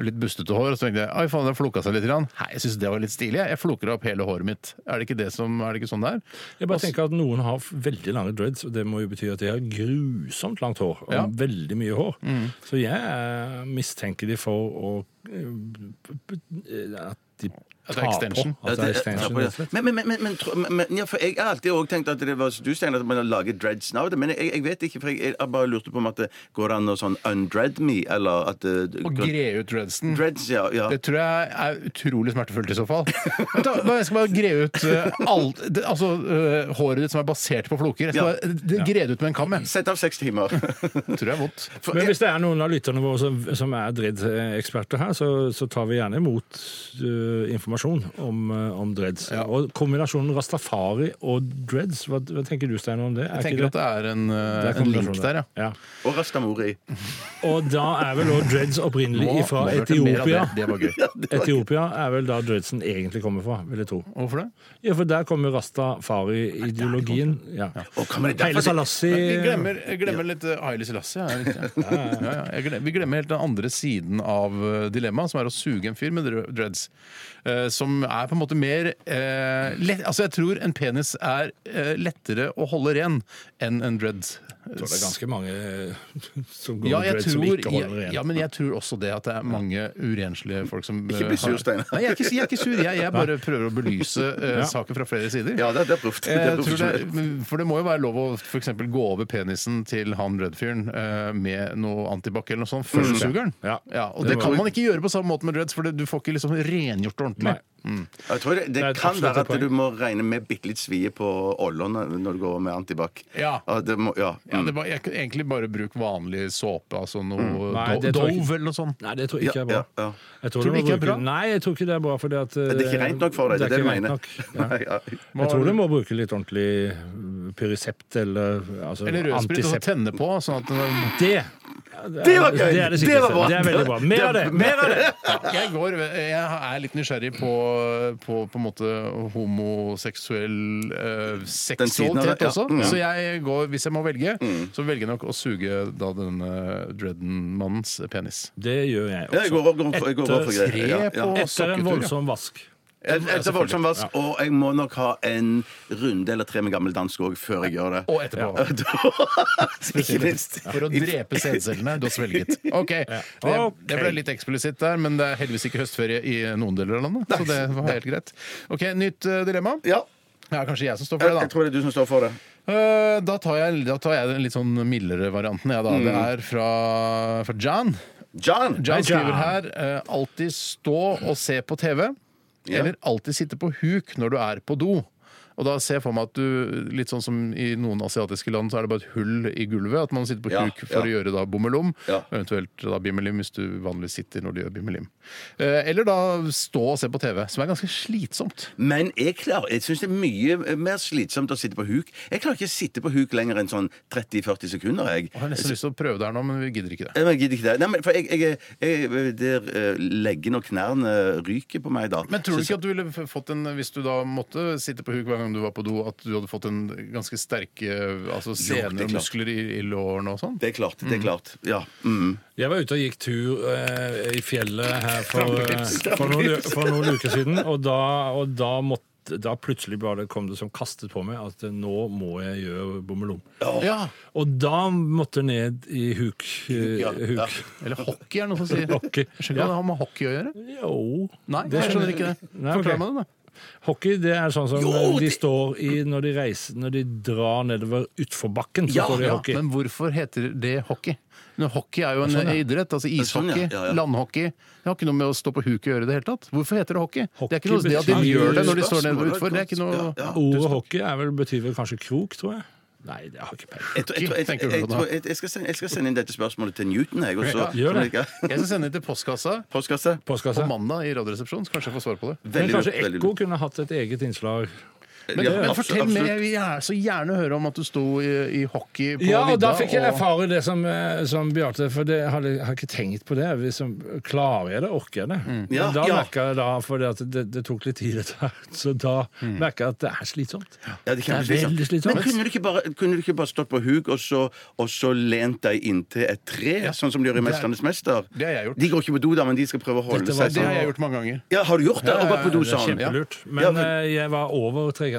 [SPEAKER 3] litt bustete hår, og så tenker jeg Oi, faen, det floka seg litt. Grann. Nei, jeg syns det var litt stilig. Jeg Jeg floker opp hele håret mitt. Er det ikke, det som, er det ikke sånn det er?
[SPEAKER 4] Jeg bare tenker at Noen har veldig lange dreads, og det må jo bety at de har grusomt langt hår. Og
[SPEAKER 3] Ja. Mm.
[SPEAKER 4] veldig mye hår. Så jeg eh, mistenker de for å eh, At de
[SPEAKER 3] At det er
[SPEAKER 4] tar på.
[SPEAKER 3] extension.
[SPEAKER 4] At det Altså, er
[SPEAKER 5] Ja,
[SPEAKER 4] extension.
[SPEAKER 5] på-
[SPEAKER 4] rett og slett.
[SPEAKER 5] Men, men, men, men, tro- men, men ja, for jeg har alltid også tenkt at det var du Steinar, at man har laget dreads nå. Men jeg, jeg vet ikke, for jeg, jeg bare lurte på om at det går an å sånn undread me, eller at
[SPEAKER 3] Å
[SPEAKER 5] uh,
[SPEAKER 3] gre ut dreadsen.
[SPEAKER 5] Dreads, ja. ja.
[SPEAKER 3] Det tror jeg er utrolig smertefullt i så fall. Vent da, Jeg skal bare gre ut eh, alt, det, altså, eh, håret ditt som er basert på floker. Jeg skal
[SPEAKER 5] Ja.
[SPEAKER 3] bare det- gre det ut med en kam. jeg.
[SPEAKER 5] Sett av seks timer.
[SPEAKER 3] Det tror jeg er vondt.
[SPEAKER 4] Men hvis det er noen av lytterne våre som, som er dread-eksperter her, så så, så tar vi gjerne imot eh, informasjon om, eh, om dreads. Og kombinasjonen rastafari og dreads, hva, hva tenker du Steinar om det? Er
[SPEAKER 3] Jeg
[SPEAKER 4] ikke
[SPEAKER 3] tenker at det er en, eh,
[SPEAKER 4] det er
[SPEAKER 3] en
[SPEAKER 4] kombinasjon
[SPEAKER 3] link der, ja.
[SPEAKER 4] ja.
[SPEAKER 5] Og Rastamori.
[SPEAKER 4] Og da er vel også dreads
[SPEAKER 3] Må-
[SPEAKER 4] opprinnelig fra
[SPEAKER 3] må ha hørt mer av
[SPEAKER 4] Etiopia.
[SPEAKER 3] Det. det var gøy.
[SPEAKER 4] Etiopia er vel da dreadsen egentlig kommer fra, vil jeg tro.
[SPEAKER 3] Hvorfor det?
[SPEAKER 4] Ja, for der kommer rastafari-ideologien. Ja.
[SPEAKER 5] Og kan man
[SPEAKER 4] Haile
[SPEAKER 5] derfor...
[SPEAKER 3] Vi
[SPEAKER 4] Salassi
[SPEAKER 3] glemmer, jeg glemmer litt eh, Haile Selassie. Ja, det er riktig. ja, ja, jeg glem- vi glemmer helt den andre siden av eh, dilemmaet, som er å suge en fyr med dre- dreads. Eh, som er på en måte mer eh, lett, Altså, jeg tror en penis er eh, lettere å holde ren enn en dreads.
[SPEAKER 4] Jeg tror det er ganske mange eh, som går
[SPEAKER 3] Ja,
[SPEAKER 4] med
[SPEAKER 3] jeg
[SPEAKER 4] dreads som
[SPEAKER 3] tror,
[SPEAKER 4] ikke holder
[SPEAKER 3] ja,
[SPEAKER 4] igjen.
[SPEAKER 3] ja, men jeg tror også det at det er mange urenslige folk som
[SPEAKER 5] Ikke bli
[SPEAKER 3] eh, har-
[SPEAKER 5] sur, Steinar.
[SPEAKER 3] Nei, jeg er ikke, jeg er ikke sur. Jeg, jeg bare prøver å belyse eh,
[SPEAKER 4] Ja.
[SPEAKER 3] saken fra flere sider. Eh,
[SPEAKER 5] Ja, det, det er proft. Det er
[SPEAKER 3] Jeg
[SPEAKER 5] proft.
[SPEAKER 3] tror det, men- for det må jo være lov å for eksempel gå over penisen til han Rødfyren eh, med noe antibac eller noe sånt før
[SPEAKER 5] Mm.
[SPEAKER 3] du suger den.
[SPEAKER 4] Ja.
[SPEAKER 3] og det,
[SPEAKER 4] Det var-
[SPEAKER 3] kan man ikke gjøre på samme måte med dreads, for det, du får ikke liksom rengjort det ordentlig.
[SPEAKER 4] Nei.
[SPEAKER 5] Jeg tror det, det,
[SPEAKER 4] er et
[SPEAKER 5] kan
[SPEAKER 4] absolutt
[SPEAKER 5] være
[SPEAKER 4] poeng.
[SPEAKER 5] at du må regne med bitte litt svie på ållene når du går med antibac.
[SPEAKER 3] Ja.
[SPEAKER 5] det må, ja. mm.
[SPEAKER 3] Ja, det var, jeg, kunne egentlig bare bruk vanlig såpe, altså noe
[SPEAKER 4] Mm. Nei,
[SPEAKER 3] do,
[SPEAKER 4] det tror jeg ikke.
[SPEAKER 3] Dove eller noe sånt.
[SPEAKER 4] Nei, det tror jeg ikke er bra.
[SPEAKER 5] Ja, ja, ja.
[SPEAKER 4] Jeg tror,
[SPEAKER 3] Tror
[SPEAKER 4] du
[SPEAKER 3] du
[SPEAKER 4] må
[SPEAKER 3] ikke det er
[SPEAKER 4] bruke-
[SPEAKER 3] bra?
[SPEAKER 4] Nei, jeg tror ikke det er bra. Fordi at, eh,
[SPEAKER 5] det er ikke rent nok for deg, det er det
[SPEAKER 4] ikke
[SPEAKER 5] jeg
[SPEAKER 4] rent
[SPEAKER 5] mener.
[SPEAKER 4] nok. Ja.
[SPEAKER 5] Nei, ja.
[SPEAKER 4] Jeg tror du må bruke litt ordentlig eh, Pyrisept eller altså,
[SPEAKER 3] Eller rødsprit og
[SPEAKER 4] antisept.
[SPEAKER 3] tenne på. Sånn at den-
[SPEAKER 4] Det!
[SPEAKER 5] Det var gøy!
[SPEAKER 4] Det er det
[SPEAKER 5] Det
[SPEAKER 4] sikreste.
[SPEAKER 5] var bra.
[SPEAKER 4] Det er veldig bra. Mer av det! Mer av det!
[SPEAKER 3] jeg, går, jeg er litt nysgjerrig på, på, på en måte homoseksuell eh,
[SPEAKER 5] siden av det,
[SPEAKER 3] seksualitet
[SPEAKER 5] ja.
[SPEAKER 3] også.
[SPEAKER 5] Mm.
[SPEAKER 3] Så jeg går, hvis jeg må velge, så velger jeg nok å suge da denne Dredden-mannens penis.
[SPEAKER 4] Det gjør jeg
[SPEAKER 5] Jeg går
[SPEAKER 4] også.
[SPEAKER 5] over, går over- jeg går over for
[SPEAKER 3] Tre
[SPEAKER 5] greier. Ja, ja.
[SPEAKER 3] på
[SPEAKER 4] Etter en
[SPEAKER 3] sokketur. ja.
[SPEAKER 4] voldsom vask.
[SPEAKER 5] Et- Etter voldsom vask, og jeg må nok ha en runde eller tre med gammel dansk òg før jeg gjør det.
[SPEAKER 3] Og etterpå.
[SPEAKER 5] Ikke minst.
[SPEAKER 3] For å drepe sædcellene du har svelget. Ok, det, det ble litt eksplisitt der, men det er heldigvis ikke høstferie i noen deler av landet. Så det var helt greit. Ok, Nytt eh, dilemma.
[SPEAKER 5] Ja,
[SPEAKER 3] Det er kanskje jeg som står for det,
[SPEAKER 5] jeg,
[SPEAKER 3] da.
[SPEAKER 5] jeg tror det er du som står for det.
[SPEAKER 3] Eh, Da tar, jeg, da tar jeg den litt sånn mildere varianten. Ja, da.
[SPEAKER 5] Mm.
[SPEAKER 3] Det er fra, fra John.
[SPEAKER 5] John!
[SPEAKER 3] John
[SPEAKER 4] John.
[SPEAKER 3] skriver her eh, alltid stå og se på TV,
[SPEAKER 5] Ja.
[SPEAKER 3] eller alltid sitte på huk når du er på do. Og da ser jeg for meg at du, litt sånn som i noen asiatiske land, så er det bare et hull i gulvet. At man sitter på
[SPEAKER 5] Ja,
[SPEAKER 3] huk for å
[SPEAKER 5] ja.
[SPEAKER 3] gjøre da bommelom,
[SPEAKER 5] Ja.
[SPEAKER 3] eventuelt da bimmelim, hvis du vanligvis sitter når du gjør bimmelim. Eh, Eller da stå og se på TV, som er ganske slitsomt.
[SPEAKER 5] Men jeg, klarer- jeg syns det er mye eh, mer slitsomt å sitte på huk. Jeg klarer ikke å sitte på huk lenger enn sånn 30-40 sekunder. Jeg.
[SPEAKER 3] Jeg har nesten lyst til å prøve det her nå, men vi gidder ikke det.
[SPEAKER 5] Nei, men Jeg gidder ikke det. Nei, men for jeg, jeg, jeg, der eh, leggen og knærne ryker på meg da.
[SPEAKER 3] Men tror du
[SPEAKER 5] Så-
[SPEAKER 3] ikke at du ville f- fått en Hvis du da måtte sitte på huk hver gang du var på do, at du hadde fått en ganske sterke eh, altså
[SPEAKER 5] det er
[SPEAKER 3] sener og
[SPEAKER 5] klart.
[SPEAKER 3] muskler i, i lårene og sånn?
[SPEAKER 5] Det er klart. det er klart, ja. Mm.
[SPEAKER 4] Jeg var ute og gikk tur eh, i fjellet her for, eh, for, noen, for noen uker siden, og da, og da måtte da plutselig bare kom det som kastet på meg at eh, nå må jeg gjøre bommelom.
[SPEAKER 3] Ja.
[SPEAKER 4] Og da måtte jeg ned i huk. eh,
[SPEAKER 5] Ja,
[SPEAKER 4] huk.
[SPEAKER 5] ja.
[SPEAKER 3] Eller hockey, er det noen som sier.
[SPEAKER 4] Hockey.
[SPEAKER 3] Jeg skjønner ikke hva det har med hockey å gjøre.
[SPEAKER 4] Jo.
[SPEAKER 3] Nei, jeg skjønner ikke det.
[SPEAKER 4] Nei, ok.
[SPEAKER 3] Forklar meg det, da.
[SPEAKER 4] Hockey det er sånn som
[SPEAKER 5] Jo,
[SPEAKER 4] de
[SPEAKER 5] det-
[SPEAKER 4] står i når de reiser, når de drar nedover utfor bakken. Så
[SPEAKER 5] Ja,
[SPEAKER 4] står de i
[SPEAKER 3] Ja,
[SPEAKER 4] hockey.
[SPEAKER 3] men hvorfor heter det hockey? Men hockey er jo en
[SPEAKER 4] Sånn, ja.
[SPEAKER 3] idrett. altså
[SPEAKER 5] Sånn, ja.
[SPEAKER 3] Ishockey,
[SPEAKER 5] Ja, ja.
[SPEAKER 3] landhockey. Det har ikke noe med å stå på huk å gjøre i det hele tatt. Hvorfor heter det hockey? Det er ikke
[SPEAKER 4] Hockey
[SPEAKER 3] noe det at de
[SPEAKER 4] betyr-
[SPEAKER 3] gjør det når de står
[SPEAKER 5] Spørsmålet
[SPEAKER 3] nede
[SPEAKER 5] er
[SPEAKER 3] utfor. Det er ikke
[SPEAKER 5] godt.
[SPEAKER 3] noe
[SPEAKER 5] Ja, ja.
[SPEAKER 4] Ordet hockey er vel, betyr vel kanskje krok, tror jeg. Nei, det har jeg ikke peiling.
[SPEAKER 5] Jeg, tror- jeg, tror- jeg,
[SPEAKER 3] tenker
[SPEAKER 5] jeg,
[SPEAKER 3] du på da?
[SPEAKER 5] tror- jeg, jeg, skal sende, jeg skal sende inn dette spørsmålet til Newton, jeg. Og så,
[SPEAKER 4] gjør det.
[SPEAKER 3] Jeg skal sende det til postkassa
[SPEAKER 5] Postkasse.
[SPEAKER 3] på
[SPEAKER 4] Postkasse.
[SPEAKER 3] mandag i Radioresepsjonen, så kanskje jeg får svar på det.
[SPEAKER 4] Men
[SPEAKER 5] Veldig lurt.
[SPEAKER 4] kanskje
[SPEAKER 5] veldig
[SPEAKER 4] Ekko
[SPEAKER 5] lurt.
[SPEAKER 4] kunne hatt et eget innslag.
[SPEAKER 3] Men,
[SPEAKER 5] Ja,
[SPEAKER 3] men
[SPEAKER 5] absolutt,
[SPEAKER 3] fortell
[SPEAKER 5] absolutt.
[SPEAKER 3] mer. Jeg vil gjerne, så gjerne høre om at du sto i, i hockey på
[SPEAKER 4] Ja, og
[SPEAKER 3] vidda.
[SPEAKER 4] da fikk jeg
[SPEAKER 3] og-
[SPEAKER 4] erfare det som, eh, som Bjarte, for det hadde, jeg har ikke tenkt på det. Liksom, klarer jeg det? Orker jeg det?
[SPEAKER 5] Mm. Ja,
[SPEAKER 4] Men da
[SPEAKER 5] ja.
[SPEAKER 4] merka jeg da, for det, at det, det tok litt tid dette her, så da merket merka jeg at det er slitsomt.
[SPEAKER 5] Mm. Ja, det, er
[SPEAKER 4] Det er veldig slitsomt.
[SPEAKER 5] Men kunne du ikke bare, kunne du ikke bare stått på huk og så, og så lent deg inntil et tre, sånn som de gjør i 'Mesternes mester'?
[SPEAKER 3] det har jeg gjort.
[SPEAKER 5] De går ikke på do, da, men de skal prøve å holde
[SPEAKER 4] Dette var-
[SPEAKER 5] seg
[SPEAKER 3] Det
[SPEAKER 5] sånn.
[SPEAKER 3] har jeg gjort mange ganger.
[SPEAKER 5] Ja, har du gjort det? Og vært på do
[SPEAKER 4] Det er
[SPEAKER 5] sånn?
[SPEAKER 4] kjempelurt.
[SPEAKER 5] Ja,
[SPEAKER 4] Men
[SPEAKER 5] men-
[SPEAKER 4] eh, jeg var over tregrensa.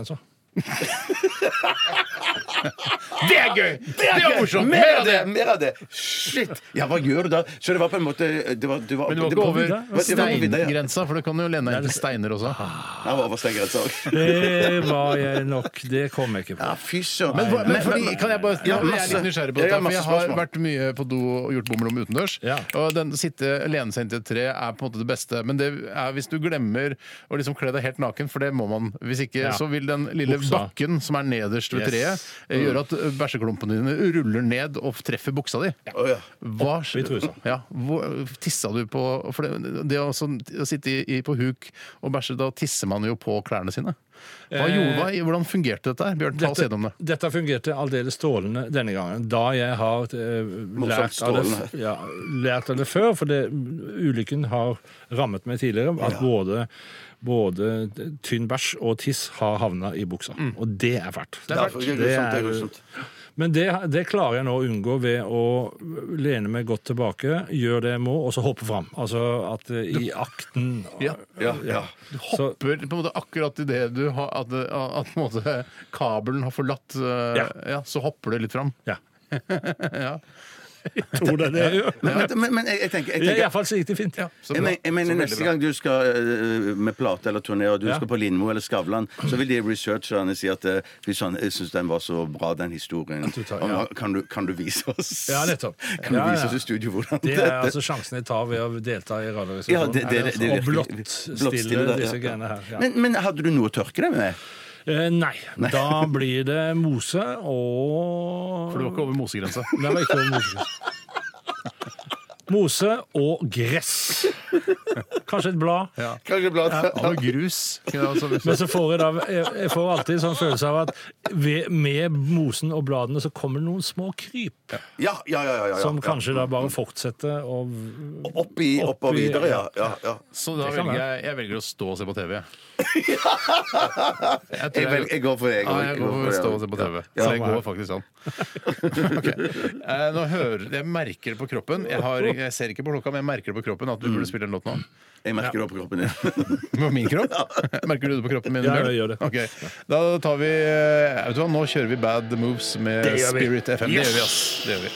[SPEAKER 3] Det er gøy! Det er morsomt!
[SPEAKER 5] Mer av det! Mer av det! Shit! Ja, hva gjør du da? Så det var på en måte det var, det var,
[SPEAKER 3] Men du var
[SPEAKER 5] det
[SPEAKER 3] ikke
[SPEAKER 5] var-
[SPEAKER 3] over
[SPEAKER 5] det var- det var på vidda, ja.
[SPEAKER 3] steingrensa, for det kan jo lene deg inn til steiner også.
[SPEAKER 5] Ja, det var over steingrensa òg.
[SPEAKER 4] Det var jeg nok. Det kom jeg ikke på.
[SPEAKER 5] Ja, fy søren.
[SPEAKER 3] Men, men fordi, kan jeg bare Jeg
[SPEAKER 5] Ja,
[SPEAKER 3] er
[SPEAKER 5] masse.
[SPEAKER 3] litt nysgjerrig på
[SPEAKER 5] Ja, ja,
[SPEAKER 3] dette, for
[SPEAKER 5] masse
[SPEAKER 3] jeg har
[SPEAKER 5] spørsmål.
[SPEAKER 3] vært mye på do og gjort bomrom utendørs.
[SPEAKER 4] Ja.
[SPEAKER 3] Og den sitte lene seg inntil et tre er på en måte det beste. Men det er hvis du glemmer å liksom kle deg helt naken, for det må man. Hvis ikke
[SPEAKER 4] Ja.
[SPEAKER 3] så vil den lille
[SPEAKER 4] Buksa.
[SPEAKER 3] bakken som er er nederst ved
[SPEAKER 5] Yes.
[SPEAKER 3] treet, eh, gjør at eh, bæsjeklumpene dine ruller ned og treffer buksa di.
[SPEAKER 5] Å, ja.
[SPEAKER 3] Hva,
[SPEAKER 4] i trusa.
[SPEAKER 3] Ja, hvor, tissa du på For det, det å, sånn- å sitte i, i, på huk og bæsje, da tisser man jo på klærne sine.
[SPEAKER 5] Eh.
[SPEAKER 3] Hva gjorde, hva, hvordan fungerte dette her? Bjørn, ta oss gjennom det.
[SPEAKER 4] dette fungerte aldeles strålende denne gangen. Da jeg har eh, lært, av det,
[SPEAKER 5] strålende.
[SPEAKER 4] ja, lært av det før, for det, ulykken har rammet meg tidligere, at både, både tynn bæsj og tiss har havna i buksa. Og det er fælt.
[SPEAKER 5] Mm. Det er grusomt. Det er grusomt.
[SPEAKER 4] Men det, det klarer jeg nå å unngå ved å lene meg godt tilbake, gjøre det jeg må, og så hoppe fram. Altså at eh, i akten
[SPEAKER 3] Ja.
[SPEAKER 5] Ja, ja.
[SPEAKER 4] Så,
[SPEAKER 3] Hopper på en måte akkurat idet du har At, det- at på en måte, kabelen har forlatt eh,
[SPEAKER 4] Ja.
[SPEAKER 3] ja, så hopper det litt fram.
[SPEAKER 4] ja. Tror du det er det jeg gjør?
[SPEAKER 5] Men, vet du, men, men jeg, jeg tenker, jeg tenker
[SPEAKER 4] Iallfall så gikk det fint.
[SPEAKER 3] Så
[SPEAKER 5] jeg,
[SPEAKER 3] bra.
[SPEAKER 5] men- jeg mener
[SPEAKER 3] Så veldig
[SPEAKER 5] Neste
[SPEAKER 3] bra.
[SPEAKER 5] gang du skal øh, med plate eller turné, og du
[SPEAKER 4] Ja.
[SPEAKER 5] skal på Lindmo eller Skavlan, så vil de researcherne si at øh, fy søren, jeg syns den var så bra, den historien.
[SPEAKER 4] tar-
[SPEAKER 5] Om-
[SPEAKER 4] ja.
[SPEAKER 5] kan, du, kan du vise oss
[SPEAKER 4] Ja, nettopp.
[SPEAKER 5] Kan du
[SPEAKER 4] Ja,
[SPEAKER 5] vise
[SPEAKER 4] ja.
[SPEAKER 5] oss i studio hvordan
[SPEAKER 4] Det er altså sånn- sjansen jeg tar ved å delta i
[SPEAKER 5] Ja,
[SPEAKER 4] Radioresepsjonen.
[SPEAKER 5] det, det, det, det
[SPEAKER 4] og
[SPEAKER 5] virker-
[SPEAKER 4] blottstille
[SPEAKER 5] det, ja.
[SPEAKER 4] altså disse greiene her. Ja.
[SPEAKER 5] Men, men hadde du noe å tørke deg med?
[SPEAKER 4] eh, nei. Da blir det mose og
[SPEAKER 3] For det var ikke over mosegrensa.
[SPEAKER 4] Nei, det var ikke over mose. Mose og gress. Kanskje et blad.
[SPEAKER 5] Kanskje bladet?
[SPEAKER 3] Ja, og grus. kunne jeg også-
[SPEAKER 4] Men så får jeg, da, jeg, jeg får alltid sånn følelse av at ved, med mosen og bladene så kommer det noen små kryp,
[SPEAKER 5] Ja, ja, ja. ja, ja,
[SPEAKER 4] som
[SPEAKER 5] ja.
[SPEAKER 4] kanskje da bare fortsetter å
[SPEAKER 5] Opp, i, opp og
[SPEAKER 4] Opp i-
[SPEAKER 5] videre, ja. ja, ja.
[SPEAKER 3] Så da
[SPEAKER 4] Det kan
[SPEAKER 3] velger jeg, jeg velger å stå og se på TV. jeg. Jeg, tror
[SPEAKER 5] Jeg, vel, jeg går for det. jeg
[SPEAKER 3] Ja,
[SPEAKER 5] går-
[SPEAKER 3] jeg
[SPEAKER 5] jeg
[SPEAKER 3] går for å
[SPEAKER 5] det,
[SPEAKER 3] stå
[SPEAKER 5] ja.
[SPEAKER 3] og se på TV.
[SPEAKER 5] Ja.
[SPEAKER 3] Så det går faktisk an. Ok. Eh, Nå hører, jeg merker det på kroppen. Jeg, har, jeg ser ikke på klokka, men jeg merker det på kroppen at du burde spille en låt nå.
[SPEAKER 5] Jeg merker det opp i kroppen din.
[SPEAKER 3] På min kropp? Merker du det på kroppen min?
[SPEAKER 4] Ja,
[SPEAKER 3] Bjørn?
[SPEAKER 4] jeg gjør det.
[SPEAKER 3] Ok. Da tar vi eh, Vet du hva, nå kjører vi Bad Moves med
[SPEAKER 4] Det gjør vi.
[SPEAKER 3] Spirit FM. Det
[SPEAKER 4] Yes!
[SPEAKER 3] gjør vi, ass. Det gjør vi.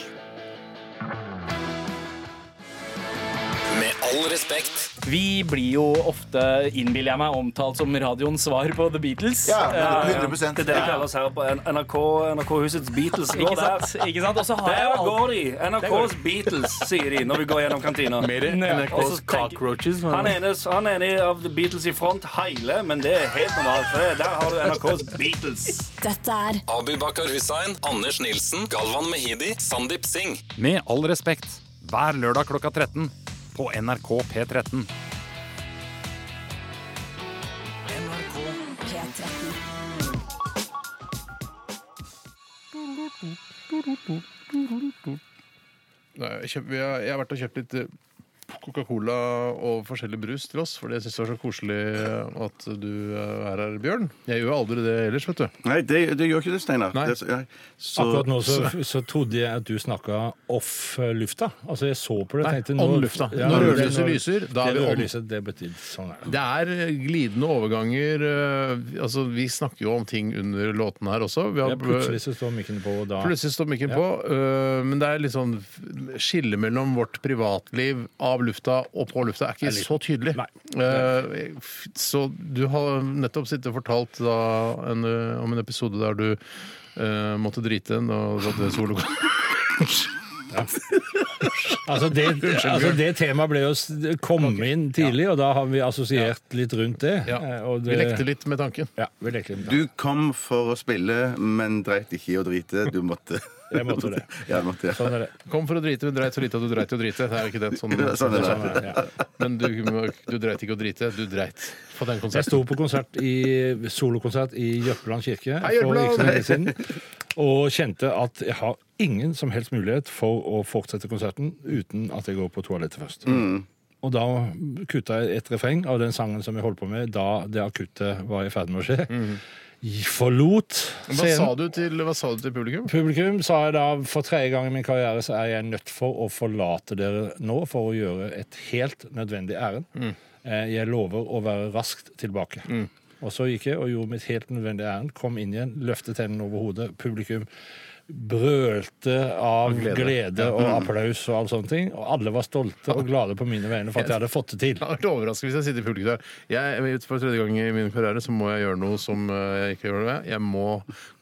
[SPEAKER 10] Med all respekt.
[SPEAKER 11] Vi blir jo ofte, innbiller jeg meg, omtalt som radioens svar på The Beatles.
[SPEAKER 2] Ja,
[SPEAKER 11] Eh,
[SPEAKER 2] 100%.
[SPEAKER 11] Det er det de kaller oss her på NRK, NRK-husets Beatles. Gå
[SPEAKER 10] Ikke
[SPEAKER 11] der.
[SPEAKER 10] sant? Ikke sant? Og så har jeg
[SPEAKER 11] Der
[SPEAKER 10] jo alt
[SPEAKER 11] går de! NRKs Beatles, sier de når vi går gjennom kantina.
[SPEAKER 10] Mer enn NRKs
[SPEAKER 11] Og så tenker-
[SPEAKER 10] cockroaches, men-
[SPEAKER 11] Han ene han ene av The Beatles i front, heile, men det er helt normalt. for det- Der har du NRKs Beatles.
[SPEAKER 12] Dette er
[SPEAKER 10] Abu Bakar Hussein, Anders Nilsen, Galvan Mehidi, Sandeep Singh.
[SPEAKER 7] Med all respekt, hver lørdag klokka 13 på NRK P13.
[SPEAKER 12] P13.
[SPEAKER 3] Nei, jeg kjøp- vi har- Jeg har vært og kjøpt litt eh, Coca-Cola og forskjellig brus til oss, for det syns jeg var så koselig eh, at du eh, er her, Bjørn. Jeg gjør jo aldri det ellers, vet du.
[SPEAKER 5] Nei, det, det gjør ikke det, Steinar.
[SPEAKER 3] Nei.
[SPEAKER 5] Det, nei. Så-
[SPEAKER 4] Akkurat nå så, så trodde jeg at du snakka off lufta. Altså jeg så på det
[SPEAKER 3] Nei,
[SPEAKER 4] og tenkte
[SPEAKER 3] on lufta.
[SPEAKER 4] Ja,
[SPEAKER 3] Når
[SPEAKER 4] det-
[SPEAKER 3] rødlyset lyser, da er
[SPEAKER 4] det
[SPEAKER 3] vi on.
[SPEAKER 4] rødlyset, Det betyr sånn er det.
[SPEAKER 3] Det er eh, glidende overganger. eh, Altså, vi snakker jo om ting under låtene her også. Vi har-
[SPEAKER 4] Ja, plutselig så står mikken på, og da
[SPEAKER 3] Plutselig står mikken på. øh, men det er litt sånn f- skille mellom vårt privatliv av lufta og på lufta er ikke så tydelig.
[SPEAKER 4] Nei.
[SPEAKER 3] Eh, f- så du har nettopp sittet og fortalt da en, øh, om en episode der du øh, måtte drite en og satt ved solo.
[SPEAKER 4] Altså det, altså det temaet ble jo s- kom inn tidlig, og da har vi assosiert litt rundt det. Eh, Og
[SPEAKER 3] Vi
[SPEAKER 4] det
[SPEAKER 3] lekte litt med tanken.
[SPEAKER 4] Ja, vi lekte litt.
[SPEAKER 5] Du kom for å spille, men dreit ikke i å drite. Du måtte.
[SPEAKER 4] Jeg måtte det.
[SPEAKER 5] Ja, du måtte, ja.
[SPEAKER 4] Sånn er det.
[SPEAKER 3] Kom for å drite, men dreit så lite at du dreit i å drite. Det er jo ikke det sånn,
[SPEAKER 5] Ja, sånn er det.
[SPEAKER 4] Sånn er det, ja.
[SPEAKER 3] Men du, du dreit ikke å drite, du dreit på den
[SPEAKER 4] Jeg
[SPEAKER 3] konserten.
[SPEAKER 4] sto på konsert i, solokonsert i Jørpeland kirke
[SPEAKER 3] Hei,
[SPEAKER 4] for
[SPEAKER 3] Jørpeland!
[SPEAKER 4] ikke så lenge siden, og kjente at jeg har ingen som helst mulighet for å fortsette konserten uten at jeg går på toalettet først. Og da kutta jeg et refreng av den sangen som jeg holdt på med da det akutte var i ferd med å skje. Jeg Forlot
[SPEAKER 3] Mm. Hva sa,
[SPEAKER 4] scenen.
[SPEAKER 3] du til, hva sa du til publikum?
[SPEAKER 4] Publikum sa jeg da for tredje gang i min karriere så er jeg nødt for å forlate dere nå for å gjøre et helt nødvendig ærend.
[SPEAKER 3] Mm.
[SPEAKER 4] Eh, Jeg lover å være raskt tilbake. Og så gikk jeg og gjorde mitt helt nødvendige ærend. Kom inn igjen, løftet hendene over hodet. Publikum brølte av
[SPEAKER 3] glede.
[SPEAKER 4] glede, og
[SPEAKER 3] Ja. Mm.
[SPEAKER 4] applaus og all sånne ting. Og alle var stolte og glade på mine vegne for at jeg hadde fått det til.
[SPEAKER 3] Det hadde vært overraskende hvis jeg sitter i publikum der. Jeg, ut for tredje gang i min karriere så må jeg gjøre noe som eh, jeg ikke gjør noe med. Jeg må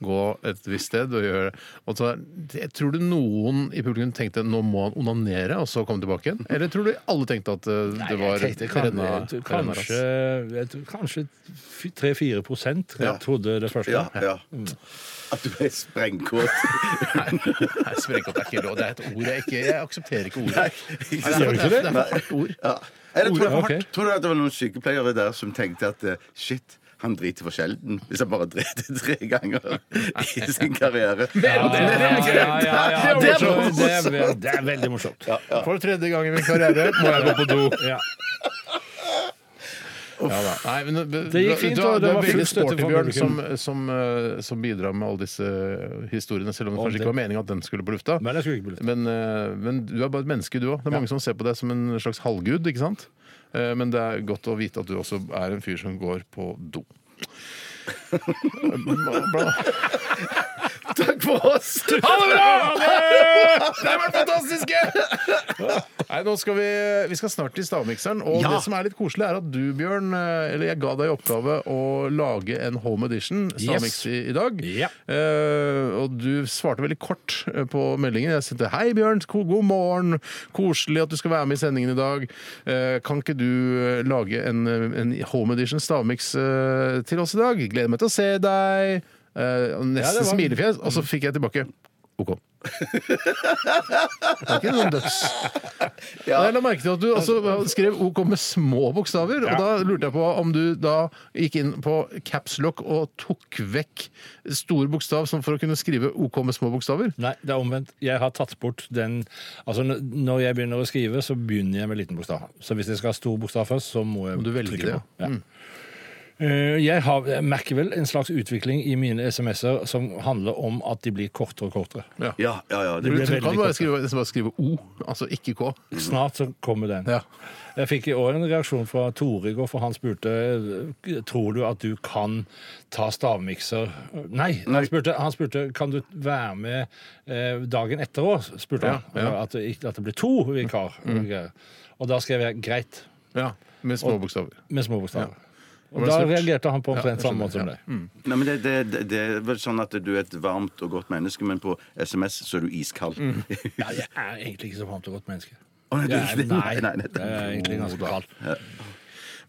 [SPEAKER 3] gå et visst sted og gjøre og så, jeg Tror du noen i publikum tenkte nå må han onanere og så komme tilbake igjen? Eller tror du alle tenkte at eh, det var
[SPEAKER 4] Jeg tenkte kan-
[SPEAKER 3] renna-
[SPEAKER 4] jeg tror
[SPEAKER 3] renna rass?
[SPEAKER 4] Kanskje, jeg tror kanskje f- 3-4 prosent
[SPEAKER 3] Ja.
[SPEAKER 4] trodde det første.
[SPEAKER 3] Ja, ja.
[SPEAKER 4] Mm.
[SPEAKER 5] At du ble sprengkåt.
[SPEAKER 3] Nei, sprengkåt er ikke lov. Det er et ord jeg ikke Jeg aksepterer ikke ordet.
[SPEAKER 5] Ikke
[SPEAKER 3] Nei,
[SPEAKER 5] sant?
[SPEAKER 3] det er- det er- det er for hardt ord.
[SPEAKER 5] Ja. Eller tror
[SPEAKER 3] Ordet,
[SPEAKER 5] du, det var
[SPEAKER 3] ok.
[SPEAKER 5] hardt? tror du at det var noen sykepleiere der som tenkte at eh, shit han driter for sjelden hvis han bare driter tre ganger i sin karriere.
[SPEAKER 3] Ja, det er-
[SPEAKER 4] Ja, ja, ja, ja.
[SPEAKER 3] Det er
[SPEAKER 4] Så
[SPEAKER 3] morsomt.
[SPEAKER 4] det er ve- Det er veldig morsomt.
[SPEAKER 3] For tredje gang i min karriere må jeg gå på do.
[SPEAKER 4] Ja.
[SPEAKER 3] Ja da. Nei, men, det
[SPEAKER 4] Det gikk fint,
[SPEAKER 3] du,
[SPEAKER 4] og
[SPEAKER 3] du,
[SPEAKER 4] det
[SPEAKER 3] du
[SPEAKER 4] var
[SPEAKER 3] er veldig
[SPEAKER 4] full støtte
[SPEAKER 3] sporty,
[SPEAKER 4] fra
[SPEAKER 3] Bjørn, som,
[SPEAKER 4] publikum.
[SPEAKER 3] som, eh, som bidrar med alle disse historiene, selv om det
[SPEAKER 4] Om
[SPEAKER 3] kanskje
[SPEAKER 4] det-
[SPEAKER 3] ikke var meninga at den skulle på lufta.
[SPEAKER 4] Men, jeg skulle ikke på lufta.
[SPEAKER 3] eh, men du er bare et menneske, du òg. Det er mange som ser på deg som en slags halvgud, ikke sant? Eh, Men det er godt å vite at du også er en fyr som går på do. Eh, Takk for oss! Ha det bra! Det har vært fantastiske! Nei, nå skal vi, vi skal snart til stavmikseren. Og
[SPEAKER 5] Ja.
[SPEAKER 3] det som er litt koselig, er at du, Bjørn, eh, eller jeg ga deg i oppgave å lage en home edition stavmiks
[SPEAKER 4] Yes.
[SPEAKER 3] i, i dag. Eh, og du svarte veldig kort eh, på meldingen. Jeg sendte 'Hei, Bjørn. ko- God morgen. Koselig at du skal være med i sendingen i dag. Eh, kan ikke du eh, lage en, eh, en home edition stavmiks eh, til oss i dag? Gleder meg til å se deg. Eh, og nesten
[SPEAKER 4] var-
[SPEAKER 3] smilefjes. Og så fikk jeg tilbake OK. Det er ikke noen døds... Jeg la merke til at du altså skrev OK med små bokstaver. Og da lurte jeg på om du da gikk inn på capslock og tok vekk stor bokstav sånn for å kunne skrive OK med små bokstaver.
[SPEAKER 4] Nei, det er omvendt. Jeg har tatt bort den Altså, n- når jeg begynner å skrive, så begynner jeg med liten bokstav. Så hvis jeg skal ha stor bokstav først, så må jeg
[SPEAKER 3] Må du velge
[SPEAKER 4] trykke
[SPEAKER 3] det, Mm.
[SPEAKER 4] på. Ja. Eh, Jeg, har, jeg merker vel en slags utvikling i mine SMS-er som handler om at de blir kortere og kortere.
[SPEAKER 3] Ja,
[SPEAKER 5] ja, ja
[SPEAKER 3] Du,
[SPEAKER 4] Det blir
[SPEAKER 3] kan
[SPEAKER 4] veldig
[SPEAKER 3] bare
[SPEAKER 4] kortere.
[SPEAKER 3] skrive, bare skrive O, altså ikke K.
[SPEAKER 4] Snart så kommer den.
[SPEAKER 3] Ja.
[SPEAKER 4] Jeg fikk i år en reaksjon fra Tore i går, for han spurte Tror du at du kan ta stavmikser Nei,
[SPEAKER 5] Nei.
[SPEAKER 4] Han, spurte, han spurte kan du være med eh, dagen etter òg, spurte han.
[SPEAKER 3] Ja, ja.
[SPEAKER 4] At, det, ikke- at det ble to vikar. og greier. Og da skrev jeg 'greit'
[SPEAKER 3] Ja, Med små bokstaver.
[SPEAKER 4] med små bokstaver.
[SPEAKER 3] Og
[SPEAKER 4] Og
[SPEAKER 3] det er
[SPEAKER 4] da
[SPEAKER 3] surt.
[SPEAKER 4] reagerte han på
[SPEAKER 3] Ja,
[SPEAKER 4] omtrent
[SPEAKER 3] jeg
[SPEAKER 4] samme
[SPEAKER 3] skjønner,
[SPEAKER 4] måte som
[SPEAKER 3] ja.
[SPEAKER 4] deg.
[SPEAKER 5] Nei, men det, det, det, det er vel sånn at du er et varmt og godt menneske, men på SMS så er du iskald.
[SPEAKER 3] Mm.
[SPEAKER 4] Ja, jeg er egentlig ikke så varmt og godt menneske.
[SPEAKER 5] Å, nei, du er
[SPEAKER 4] Jeg er-
[SPEAKER 5] ikke det?
[SPEAKER 4] nei,
[SPEAKER 5] Nei, nei, nei.
[SPEAKER 4] jeg er egentlig ganske kald.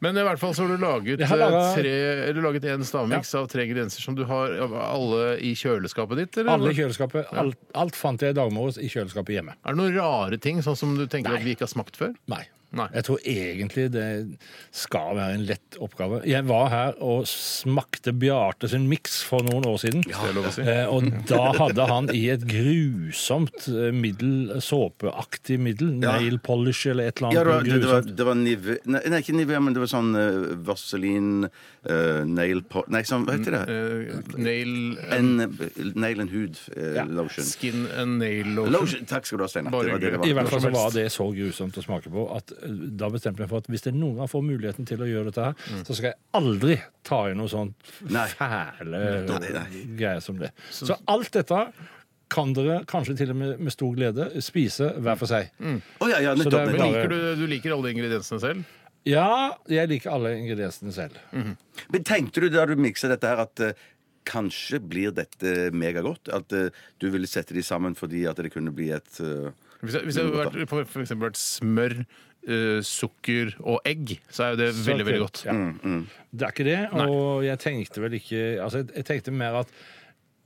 [SPEAKER 3] Men i hvert fall så har du laget,
[SPEAKER 4] Jeg har laget-
[SPEAKER 3] eh, tre, eller du har laget en stavmiks av tre grenser som du har av alle i kjøleskapet ditt? Eller?
[SPEAKER 4] Alle i kjøleskapet. Alt, alt fant jeg i dag morges i kjøleskapet hjemme.
[SPEAKER 3] Er det noen rare ting sånn som du tenker at vi ikke har smakt før?
[SPEAKER 4] Nei. Jeg tror egentlig det skal være en lett oppgave. Jeg var her og smakte Bjarte sin miks for noen år siden.
[SPEAKER 3] det er lov å si.
[SPEAKER 4] Eh, og da hadde han i et grusomt eh, middel, såpeaktig middel,
[SPEAKER 5] Ja.
[SPEAKER 4] nail polish eller et
[SPEAKER 5] Ja, det
[SPEAKER 4] eller
[SPEAKER 5] var,
[SPEAKER 4] annet.
[SPEAKER 5] det, det var,
[SPEAKER 4] grusomt.
[SPEAKER 5] det var Nive Nei, nei, ikke Nive, men det var sånn uh, Vaselin eh, Nail po Nei, sånn, hva heter
[SPEAKER 3] Mm,
[SPEAKER 5] det?
[SPEAKER 3] Nail
[SPEAKER 5] En, nail and Hood eh, Lotion.
[SPEAKER 3] Skin and nail lotion.
[SPEAKER 5] Lotion. Takk skal du ha, Steinar.
[SPEAKER 3] Bare
[SPEAKER 5] Det var det det
[SPEAKER 3] hyggelig.
[SPEAKER 5] var.
[SPEAKER 4] I hvert fall så var det så grusomt å smake på at eh, da bestemte jeg meg for at hvis jeg noen gang får muligheten til å gjøre dette her,
[SPEAKER 5] Mm.
[SPEAKER 4] så skal jeg aldri ta i noe sånt fæle
[SPEAKER 5] Nei, nei.
[SPEAKER 4] greier som det. Så alt dette kan dere kanskje til og med med stor glede spise hver for seg.
[SPEAKER 5] Å, ja, ja,
[SPEAKER 4] Så det er
[SPEAKER 5] Mm. nettopp,
[SPEAKER 3] Men
[SPEAKER 5] nettopp.
[SPEAKER 3] liker du, du liker alle ingrediensene selv?
[SPEAKER 4] Ja, jeg liker alle ingrediensene selv.
[SPEAKER 5] Men tenkte du da du miksa dette her, at eh, kanskje blir dette megagodt? At eh, du ville sette de sammen fordi at det kunne bli et eh,
[SPEAKER 3] Hvis det hvis det hadde vært, for for eksempel vært smør, eh, sukker og egg, så er jo det
[SPEAKER 4] Så
[SPEAKER 3] veldig, veldig
[SPEAKER 4] kult,
[SPEAKER 3] godt.
[SPEAKER 4] ja. Det er ikke det,
[SPEAKER 3] Nei.
[SPEAKER 4] og jeg tenkte vel ikke Altså, jeg, jeg tenkte mer at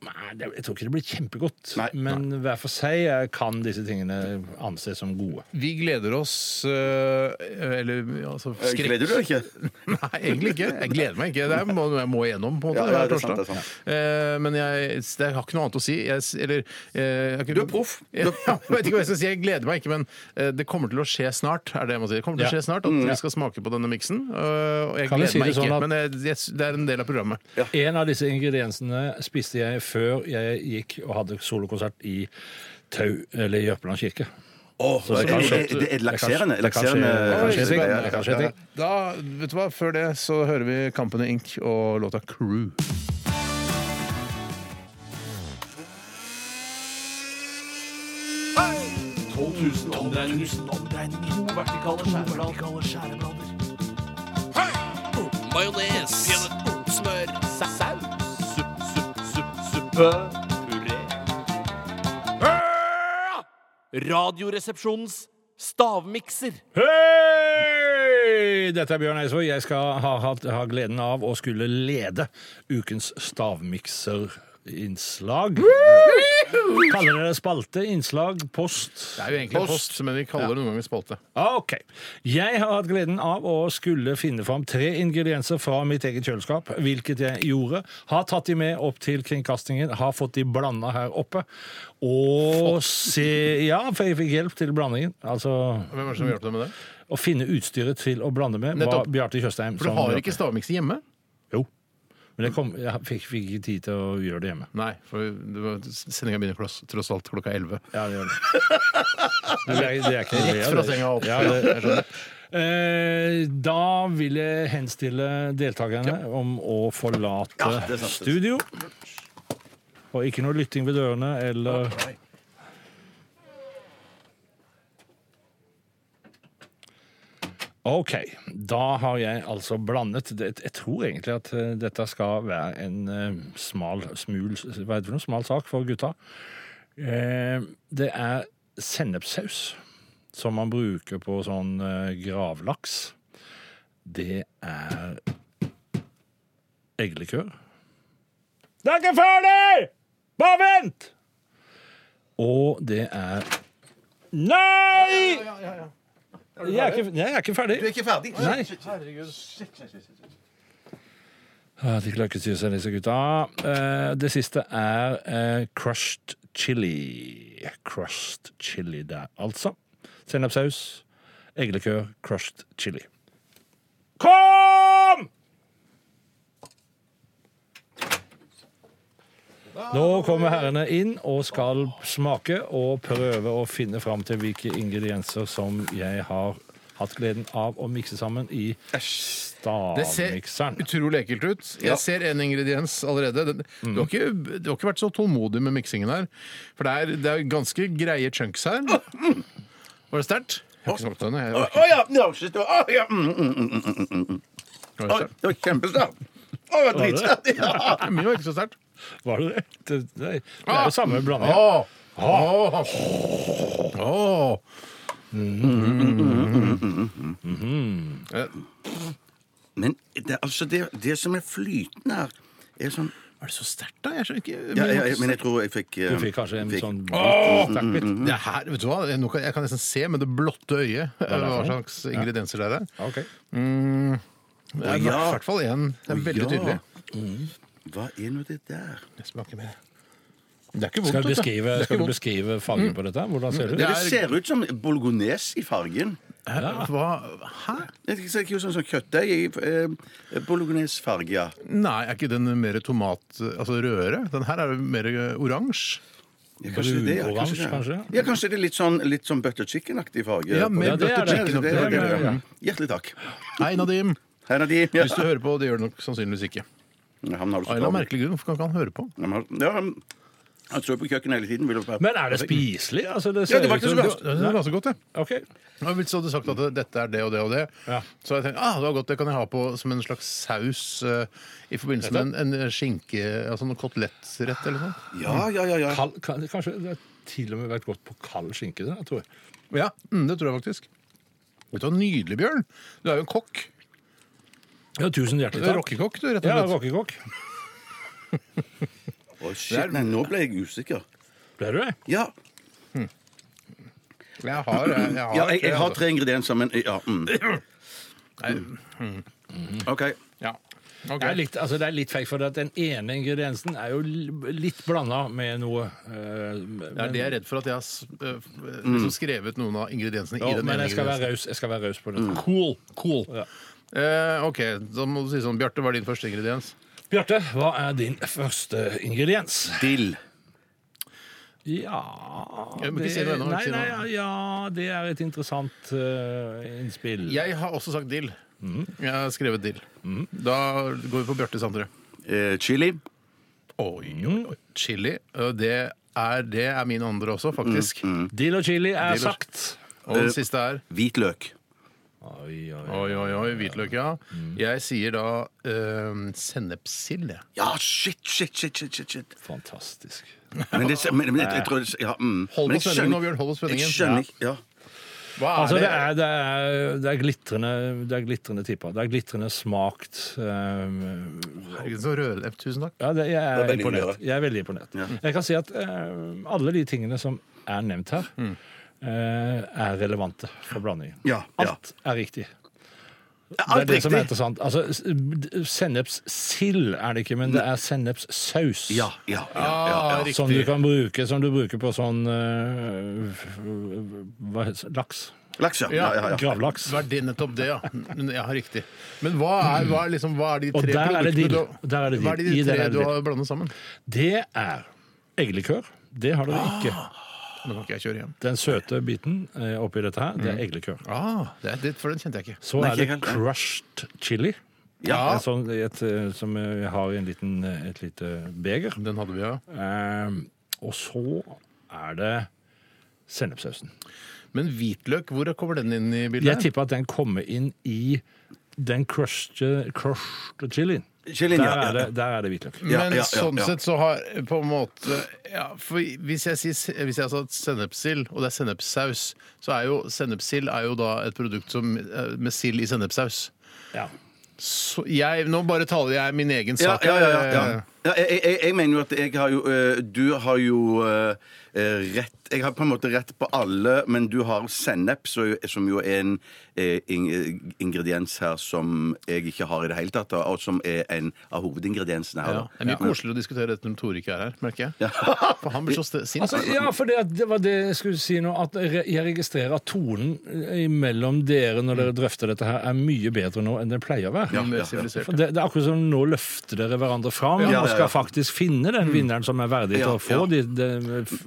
[SPEAKER 4] Nei, det- jeg tror ikke det blir kjempegodt, men hver for seg eh, kan disse tingene anses som gode.
[SPEAKER 3] Vi gleder oss eh, Eller altså
[SPEAKER 5] Eh,
[SPEAKER 3] skrekk.
[SPEAKER 5] Gleder du deg ikke?
[SPEAKER 3] Nei, egentlig ikke. Jeg gleder meg ikke. Det er noe jeg må igjennom. på en måte
[SPEAKER 5] Ja, ja,
[SPEAKER 3] hver
[SPEAKER 5] det er sant,
[SPEAKER 3] torsdag.
[SPEAKER 5] det er
[SPEAKER 3] Eh, Men jeg, det har ikke noe annet å si. Jeg, s- eller, eh,
[SPEAKER 5] Du er proff. Du
[SPEAKER 3] Jeg,
[SPEAKER 5] er-
[SPEAKER 3] ja, jeg vet ikke hva jeg skal si. Jeg gleder meg ikke, men eh, det kommer til å skje snart. er det jeg må si. Det kommer til å
[SPEAKER 4] Ja.
[SPEAKER 3] skje
[SPEAKER 5] Mm,
[SPEAKER 3] snart At vi skal smake på denne miksen. eh, Og jeg
[SPEAKER 4] Kan jeg
[SPEAKER 3] gleder
[SPEAKER 4] si
[SPEAKER 3] meg
[SPEAKER 4] det
[SPEAKER 3] ikke,
[SPEAKER 4] sånn at-
[SPEAKER 3] men eh, jeg, jeg, s- det er en del av programmet.
[SPEAKER 4] En av disse ingrediensene spiste jeg før jeg gikk og hadde solokonsert i Tau, eller i Jørpeland kirke.
[SPEAKER 5] Åh,
[SPEAKER 4] Så det
[SPEAKER 5] er,
[SPEAKER 4] kan
[SPEAKER 5] er,
[SPEAKER 4] skje-
[SPEAKER 5] er, er det lakserende?
[SPEAKER 4] det kan skje-
[SPEAKER 5] Lakserende
[SPEAKER 4] det kan skje ting.
[SPEAKER 5] Ja, ja,
[SPEAKER 4] Det kan
[SPEAKER 5] ja,
[SPEAKER 4] skje ting.
[SPEAKER 3] Da, vet du hva, Før det så hører vi Kampene Inc. og låta Crew.
[SPEAKER 7] 000 omdreininger. To vertikale skjæreblader. Majones. Smør. Saus. Supp, supp, supp, suppe. Puré. Radioresepsjonens stavmikser.
[SPEAKER 4] Hei! Dette er Bjørn Eidsvåg. Jeg skal ha, hatt- ha gleden av å skulle lede ukens stavmikserinnslag. Kaller dere det spalte, innslag, post?
[SPEAKER 3] Det er jo egentlig post, men vi kaller det noen ganger spalte.
[SPEAKER 4] Ok. Jeg har hatt gleden av å skulle finne fram tre ingredienser fra mitt eget kjøleskap, hvilket jeg gjorde. Har tatt de med opp til kringkastingen, har fått de blanda her oppe. Og se Ja, for jeg fikk hjelp til blandingen. Altså
[SPEAKER 3] Hvem er
[SPEAKER 7] Mm.
[SPEAKER 3] det som hjalp deg med det?
[SPEAKER 4] Å finne utstyret til å blande med var
[SPEAKER 3] Nettopp.
[SPEAKER 4] Bjarte Tjøstheim.
[SPEAKER 3] For du
[SPEAKER 4] som
[SPEAKER 3] har
[SPEAKER 4] hjalp
[SPEAKER 3] ikke
[SPEAKER 4] meg.
[SPEAKER 3] stavmikser hjemme?
[SPEAKER 4] Jo. Men jeg, kom, jeg fikk, fikk ikke tid til å gjøre det hjemme.
[SPEAKER 3] Nei, for sendinga begynner kloss, tross alt klokka 11.
[SPEAKER 4] Ja, det gjør det. Men det, er, det er ikke noe
[SPEAKER 3] Rett
[SPEAKER 4] å le av,
[SPEAKER 3] fra
[SPEAKER 4] det.
[SPEAKER 3] senga opp.
[SPEAKER 4] Ja, det, jeg skjønner. Eh, da vil jeg henstille deltakerne om å forlate
[SPEAKER 5] Ja, det er sant.
[SPEAKER 4] studio. Og ikke noe lytting ved dørene eller OK. Da har jeg altså blandet det- Jeg tror egentlig at eh, dette skal være en eh, smal smul Hva heter det? for noe? Smal sak for gutta. Eh, Det er sennepssaus som man bruker på sånn eh, gravlaks. Det er eggelikør. Det er ikke ferdig! Bare vent! Og det er Nei! Jeg er ikke, nei, jeg er ikke ferdig.
[SPEAKER 5] Du er ikke ferdig?
[SPEAKER 4] Nei.
[SPEAKER 5] Herregud. Shit, shit, shit, shit, shit.
[SPEAKER 4] Ah, De klarer ikke å styre seg, disse gutta. Eh, Det siste er eh, crushed chili. Crushed chili der, altså. Sennepssaus, eggelikør, crushed chili. Kom! Nå kommer herrene inn og skal smake og prøve å finne fram til hvilke ingredienser som jeg har hatt gleden av å mikse sammen i
[SPEAKER 3] Det ser
[SPEAKER 4] stavmikseren.
[SPEAKER 3] utrolig ekkelt ut.
[SPEAKER 4] Ja.
[SPEAKER 3] Jeg ser en ingrediens allerede. Den- Du har ikke, du har ikke vært så tålmodig med miksingen her. For det er, det er ganske greie chunks her. Var det sterkt? Jeg har ikke smakt den. jeg.
[SPEAKER 5] Å å ja! No, shit, å å, ja. Mm, mm, mm, mm, mm, mm, mm. Å, Det var kjempesterkt. Å, Det
[SPEAKER 4] Var
[SPEAKER 5] var
[SPEAKER 4] det?
[SPEAKER 5] dritsterkt. Ja.
[SPEAKER 3] Min var ikke så sterkt.
[SPEAKER 4] Var det det? Det, det, det er jo samme blanding.
[SPEAKER 3] Åh!
[SPEAKER 4] Åh.
[SPEAKER 3] Åh! Åh!
[SPEAKER 5] Men det, altså, det, det som er flytende her, er sånn
[SPEAKER 3] Er det så sterkt, da? Jeg skjønner ikke
[SPEAKER 5] ja, jeg, jeg, Men jeg tror jeg fikk eh,
[SPEAKER 4] Du fikk kanskje en sånn
[SPEAKER 3] Åh!
[SPEAKER 4] sterk bit.
[SPEAKER 3] Det her, vet du hva? Nå kan- Jeg kan nesten se med det blotte
[SPEAKER 4] er
[SPEAKER 3] øyet
[SPEAKER 4] det
[SPEAKER 3] hva
[SPEAKER 4] for noe?
[SPEAKER 3] slags ingredienser det er.
[SPEAKER 4] Ja, ok.
[SPEAKER 3] Mm, det er i
[SPEAKER 5] ja.
[SPEAKER 3] hvert fall én. Det er veldig tydelig.
[SPEAKER 5] Hva er nå det der?
[SPEAKER 3] Jeg smaker mer. Det er ikke vondt.
[SPEAKER 4] Skal du
[SPEAKER 3] vet
[SPEAKER 4] beskrive,
[SPEAKER 3] Det er ikke
[SPEAKER 4] skal du
[SPEAKER 3] vondt.
[SPEAKER 4] beskrive fargen på dette? Hvordan ser det
[SPEAKER 5] Det,
[SPEAKER 4] ut?
[SPEAKER 3] er-
[SPEAKER 5] ser ut som bolognes i fargen.
[SPEAKER 3] Hæ? Hva? Hæ?
[SPEAKER 5] Det ser ikke ut som sånn kjøttdeig i eh, bolognesfarge, ja.
[SPEAKER 3] Nei, er ikke den mer tomat... Altså rødere? Den her er jo mer eh, oransje.
[SPEAKER 5] Ja, kanskje det, ja. Kanskje det.
[SPEAKER 4] Brunoransje, kanskje?
[SPEAKER 5] Ja, kanskje det er litt sånn, litt sånn butter chicken-aktig farge.
[SPEAKER 3] Ja, mer
[SPEAKER 5] Ja,
[SPEAKER 4] butter
[SPEAKER 5] det er det.
[SPEAKER 3] chicken
[SPEAKER 5] Det er det,
[SPEAKER 3] oppi der,
[SPEAKER 5] det er
[SPEAKER 3] ja.
[SPEAKER 5] det. Hjertelig takk.
[SPEAKER 3] Hei, Nadim.
[SPEAKER 5] Hei, Nadim. Ja.
[SPEAKER 3] Hvis du hører på, det gjør du nok sannsynligvis ikke.
[SPEAKER 5] Ja, Han har
[SPEAKER 3] Av en eller annen merkelig grunn. Hvorfor kan ikke han høre på?
[SPEAKER 5] Han har- Ja, han han står på kjøkkenet hele tiden. vil jeg bare-
[SPEAKER 4] Men er det spiselig? Altså, det ser
[SPEAKER 5] Ja, det var
[SPEAKER 4] ut
[SPEAKER 5] ikke så
[SPEAKER 4] som
[SPEAKER 5] bra.
[SPEAKER 3] Det var ganske godt, det.
[SPEAKER 4] Ok.
[SPEAKER 3] Ja, Hvis du hadde sagt at dette er det og det og det,
[SPEAKER 4] Ja.
[SPEAKER 3] så hadde jeg tenkt ah, det var godt, det kan jeg ha på som en slags saus eh, i forbindelse med en, en skinke, altså noe kotelettrett eller noe.
[SPEAKER 5] Ja, ja, ja, ja.
[SPEAKER 4] Kald, kan- kanskje det har til og med vært godt på kald skinke? Det, tror jeg.
[SPEAKER 3] Ja, mm, det tror jeg faktisk. Vet du hva, Nydelig, Bjørn. Du er jo en kokk.
[SPEAKER 4] Ja, tusen hjertelig
[SPEAKER 3] Du er
[SPEAKER 4] takk.
[SPEAKER 3] rockekokk, du, rett og
[SPEAKER 4] Ja,
[SPEAKER 3] slett.
[SPEAKER 4] rockekokk.
[SPEAKER 5] Å, shit, nei, nå ble jeg usikker.
[SPEAKER 4] Ble du det?
[SPEAKER 5] Ja, Mm.
[SPEAKER 3] Jeg har, jeg, jeg har,
[SPEAKER 5] ja jeg, jeg har tre ingredienser, men ja. Mm.
[SPEAKER 3] mm.
[SPEAKER 5] OK.
[SPEAKER 3] Ja.
[SPEAKER 4] Det er litt, altså det er litt feigt, for at den ene ingrediensen er jo l- litt blanda med noe. eh,
[SPEAKER 3] Det er
[SPEAKER 4] men-
[SPEAKER 3] det jeg er redd for, at jeg har s- eh, f- liksom skrevet noen av ingrediensene
[SPEAKER 4] Ja,
[SPEAKER 3] i den
[SPEAKER 4] men
[SPEAKER 3] ene
[SPEAKER 4] jeg skal
[SPEAKER 3] ingrediensen.
[SPEAKER 4] være raus- jeg skal være raus på det.
[SPEAKER 3] Cool. cool.
[SPEAKER 4] Ja.
[SPEAKER 3] Eh, OK, da må du si sånn. Bjarte, hva er din første ingrediens?
[SPEAKER 4] Bjarte, hva er din første ingrediens?
[SPEAKER 5] Dill.
[SPEAKER 4] Ja
[SPEAKER 3] Jeg må ikke si noe ennå,
[SPEAKER 4] Nei,
[SPEAKER 3] ikke si
[SPEAKER 4] nei, ja,
[SPEAKER 3] noe.
[SPEAKER 4] ja, det er et interessant eh, innspill.
[SPEAKER 3] Jeg har også sagt dill. Jeg har skrevet dill. Da går vi på Bjarte Sandre.
[SPEAKER 5] Eh, chili.
[SPEAKER 4] Mm.
[SPEAKER 3] Oi, oi, oi. Chili. ø, Det er det er min andre også, faktisk.
[SPEAKER 5] Mm,
[SPEAKER 4] Dill og chili er
[SPEAKER 3] Dill og-
[SPEAKER 4] sagt.
[SPEAKER 3] Og den siste er
[SPEAKER 5] Hvitløk.
[SPEAKER 4] Oi,
[SPEAKER 3] oi, oi. hvitløk, ja.
[SPEAKER 4] Mm.
[SPEAKER 3] Jeg sier da eh, sennepssild. jeg.
[SPEAKER 5] Ja, shit, shit, shit, shit, shit, shit.
[SPEAKER 4] Fantastisk.
[SPEAKER 5] Men, det, men, men jeg, jeg tror det- ja, mm.
[SPEAKER 3] Hold
[SPEAKER 5] Men
[SPEAKER 3] på
[SPEAKER 5] jeg
[SPEAKER 3] spenningen
[SPEAKER 5] skjønner-
[SPEAKER 3] nå, Bjørn, hold på spenningen.
[SPEAKER 5] Jeg skjønner ikke ja.
[SPEAKER 3] Hva
[SPEAKER 4] Altså, det, er, det, er, det er glitrende Det er glitrende tipper. Det er glitrende smakt. Um,
[SPEAKER 3] Herregud, så rørende. Tusen takk.
[SPEAKER 4] ja, det, jeg,
[SPEAKER 3] Det er
[SPEAKER 4] er
[SPEAKER 3] veldig mye, da.
[SPEAKER 4] imponert. jeg er veldig imponert. Jeg kan si at um, alle de tingene som er nevnt her,
[SPEAKER 3] Mm.
[SPEAKER 4] eh, er relevante for blandingen.
[SPEAKER 5] Ja, ja.
[SPEAKER 4] Alt er riktig. Det er
[SPEAKER 5] Alt
[SPEAKER 4] det som er
[SPEAKER 5] riktig.
[SPEAKER 4] interessant. Altså, s- d- Sennepssild er det ikke, men det er sennepssaus.
[SPEAKER 5] Ja, ja, ja,
[SPEAKER 3] ja, ja.
[SPEAKER 4] Som du
[SPEAKER 3] riktig.
[SPEAKER 4] kan bruke Som du bruker på sånn eh, hva, heter det? Laks.
[SPEAKER 5] Laks, ja. ja, ja, ja.
[SPEAKER 4] Gravlaks.
[SPEAKER 3] Det var det nettopp det, ja. Men, ja riktig. Men hva er, hva er, liksom, hva er de
[SPEAKER 4] Og
[SPEAKER 3] tre
[SPEAKER 4] der er det
[SPEAKER 3] produktene
[SPEAKER 4] dill.
[SPEAKER 3] du-
[SPEAKER 4] Der er det
[SPEAKER 3] Hva er
[SPEAKER 4] dill. I
[SPEAKER 3] de
[SPEAKER 4] der
[SPEAKER 3] tre
[SPEAKER 4] er det
[SPEAKER 3] du
[SPEAKER 4] dill.
[SPEAKER 3] har blanda sammen?
[SPEAKER 4] Det er eggelikør. Det har
[SPEAKER 3] Ah.
[SPEAKER 4] dere ikke.
[SPEAKER 3] Nå kan ikke jeg kjøre hjem.
[SPEAKER 4] Den søte biten eh, oppi dette her, det er eggelikør.
[SPEAKER 3] Ah, det er, det, for den kjente jeg ikke.
[SPEAKER 4] Så
[SPEAKER 3] Nei,
[SPEAKER 4] er det
[SPEAKER 3] ikke helt, nei.
[SPEAKER 4] crushed chili.
[SPEAKER 3] Ja.
[SPEAKER 4] En Sånn, et, eh, som jeg har i en liten, eh, et lite beger.
[SPEAKER 3] Den hadde vi, ja.
[SPEAKER 4] Eh, og så er det sennepssausen.
[SPEAKER 3] Men hvitløk, hvor kommer den inn i bildet?
[SPEAKER 4] Jeg tipper at den kommer inn i den crushed, crushed chilien.
[SPEAKER 5] Chilien,
[SPEAKER 4] der,
[SPEAKER 5] ja, ja,
[SPEAKER 4] er det, der er det hvitløk.
[SPEAKER 3] Men sånn sett så har på en måte ja, for Hvis jeg sier hvis jeg har sagt sennepssild, og det er sennepssaus, så er jo sennepssild er jo da et produkt som, eh, med sild i sennepssaus.
[SPEAKER 4] Ja.
[SPEAKER 3] Så jeg, nå bare taler jeg min egen
[SPEAKER 5] Ja,
[SPEAKER 3] sak.
[SPEAKER 5] ja, ja,
[SPEAKER 3] her. eh,
[SPEAKER 5] ja, ja. Ja, jeg, jeg, jeg mener jo at jeg har jo øh, Du har jo øh, øh, rett Jeg har på en måte rett på alle, men du har sennep, så jo- som jo er en eh, ing- eh, ingrediens her som jeg ikke har i det hele tatt, da, og som er en av hovedingrediensene her.
[SPEAKER 3] Ja,
[SPEAKER 5] da.
[SPEAKER 3] Det er mye koseligere å diskutere dette når Tore ikke er her, merker jeg. For han blir så st- sint.
[SPEAKER 4] Altså, ja, for det, at- det var det jeg skulle si nå. At re- jeg registrerer at tonen mellom dere når
[SPEAKER 5] Mm.
[SPEAKER 4] dere drøfter dette her, er mye bedre nå enn den pleier å være.
[SPEAKER 3] Ja, mer sivilisert.
[SPEAKER 4] For det, det er akkurat som nå løfter dere hverandre fram
[SPEAKER 5] Ja, ja,
[SPEAKER 4] og skal
[SPEAKER 5] ja.
[SPEAKER 4] faktisk finne den vinneren som er verdig til
[SPEAKER 5] Ja,
[SPEAKER 4] å få
[SPEAKER 5] ja.
[SPEAKER 4] de, de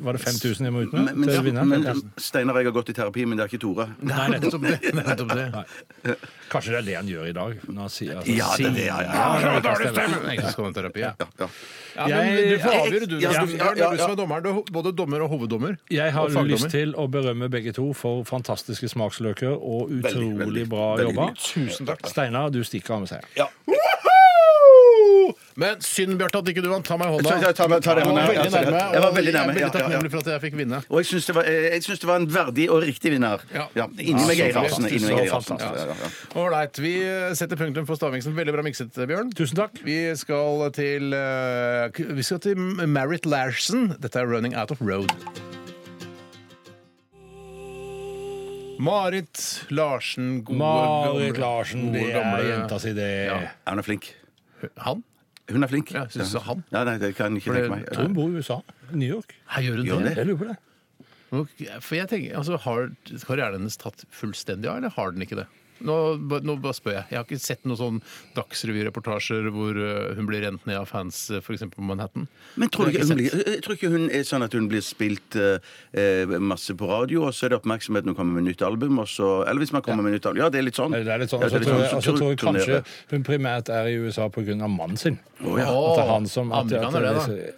[SPEAKER 4] Var det 5000 jeg må ut med?
[SPEAKER 5] Men, men,
[SPEAKER 4] til vinneren?
[SPEAKER 5] men Steinar, jeg har gått i terapi, men det er ikke Tore.
[SPEAKER 4] Nei, nettopp det.
[SPEAKER 3] Nettopp det.
[SPEAKER 4] Nei. Kanskje det er det han gjør i dag. Når han sier, altså,
[SPEAKER 5] Ja, det er det, ja, ja, ja.
[SPEAKER 4] sier-
[SPEAKER 3] Egentlig skal man terapi, ja.
[SPEAKER 5] Ja.
[SPEAKER 3] Ja, men du får avgjøre, du. Ja,
[SPEAKER 5] Ja, ja,
[SPEAKER 3] det er
[SPEAKER 5] ja,
[SPEAKER 3] du
[SPEAKER 5] ja.
[SPEAKER 3] som er dommeren. Du er ho- både dommer og hoveddommer.
[SPEAKER 4] Jeg har
[SPEAKER 3] Og fagdommer.
[SPEAKER 4] lyst til å berømme begge to for fantastiske smaksløker og utrolig
[SPEAKER 5] Veldig, veldig,
[SPEAKER 4] bra
[SPEAKER 5] veldig
[SPEAKER 4] jobba.
[SPEAKER 5] mye.
[SPEAKER 3] Tusen takk.
[SPEAKER 4] Steinar, du stikker av med seieren.
[SPEAKER 3] Men synd, Bjarte, at ikke du vant. Ta meg i hånda.
[SPEAKER 5] Ta- ta- ta- ta det
[SPEAKER 3] Jeg
[SPEAKER 5] i hånda,
[SPEAKER 3] var
[SPEAKER 5] ja,
[SPEAKER 3] veldig
[SPEAKER 5] ta det.
[SPEAKER 3] nærme,
[SPEAKER 5] Jeg var
[SPEAKER 3] og
[SPEAKER 5] veldig nærme,
[SPEAKER 3] Jeg er
[SPEAKER 5] ja,
[SPEAKER 3] veldig
[SPEAKER 5] ja, ja.
[SPEAKER 3] takknemlig for at jeg fikk vinne.
[SPEAKER 5] Og jeg syns det, var- eh, jeg syns det var en verdig og riktig vinner.
[SPEAKER 3] Ja.
[SPEAKER 5] Ja. Inni meg
[SPEAKER 3] Ja,
[SPEAKER 5] Geir Arsen.
[SPEAKER 3] så
[SPEAKER 5] Inni meg Geir Arsen.
[SPEAKER 3] fantastisk.
[SPEAKER 5] Ja, ja, ja.
[SPEAKER 3] Ålreit. Vi setter punktum for Stavmiksen. Veldig bra mikset, Bjørn.
[SPEAKER 4] Tusen takk.
[SPEAKER 3] Vi skal til eh, k- Vi skal til Marit Larsen. Dette er 'Running Out of Road'. Marit Larsen, gode
[SPEAKER 4] Marit
[SPEAKER 3] gamle-
[SPEAKER 4] Larsen,
[SPEAKER 3] gode
[SPEAKER 4] det er
[SPEAKER 3] gamle-
[SPEAKER 4] jenta si, det.
[SPEAKER 5] Han er flink.
[SPEAKER 3] Han?
[SPEAKER 5] Hun er flink.
[SPEAKER 3] Ja, synes du han?
[SPEAKER 5] Ja, nei, det kan jeg ikke
[SPEAKER 3] For det-
[SPEAKER 5] tenke meg.
[SPEAKER 4] Jeg tror hun bor i USA. New York.
[SPEAKER 3] Her gjør hun
[SPEAKER 5] Gjør
[SPEAKER 3] det?
[SPEAKER 5] det?
[SPEAKER 4] Jeg lurer på det.
[SPEAKER 3] Ok, For jeg tenker, altså, Har karrieren hennes tatt fullstendig av, eller har den ikke det? Nå, ba- nå bare spør jeg. Jeg har ikke sett noen sånn Dagsrevy-reportasjer hvor eh, hun blir rent ned av fans, eh, for eksempel på Manhattan.
[SPEAKER 5] Men tror du
[SPEAKER 3] Det
[SPEAKER 5] ikke
[SPEAKER 3] har
[SPEAKER 5] hun
[SPEAKER 3] jeg
[SPEAKER 5] blir, jeg tror ikke hun er sånn at hun blir spilt eh, eh, masse på radio, og så er det oppmerksomhet når hun kommer med nytt album, og så Eller hvis man kommer med nytt album. Ja, det er litt sånn.
[SPEAKER 4] Det er litt sånn,
[SPEAKER 5] Ja,
[SPEAKER 4] og så tror jeg, og så
[SPEAKER 5] tur-
[SPEAKER 4] tror jeg kanskje
[SPEAKER 5] turnerer.
[SPEAKER 4] hun primært er i USA pga. mannen sin.
[SPEAKER 5] Å, ja.
[SPEAKER 4] At det er han som at,
[SPEAKER 3] Amerikaner,
[SPEAKER 4] at-
[SPEAKER 3] det,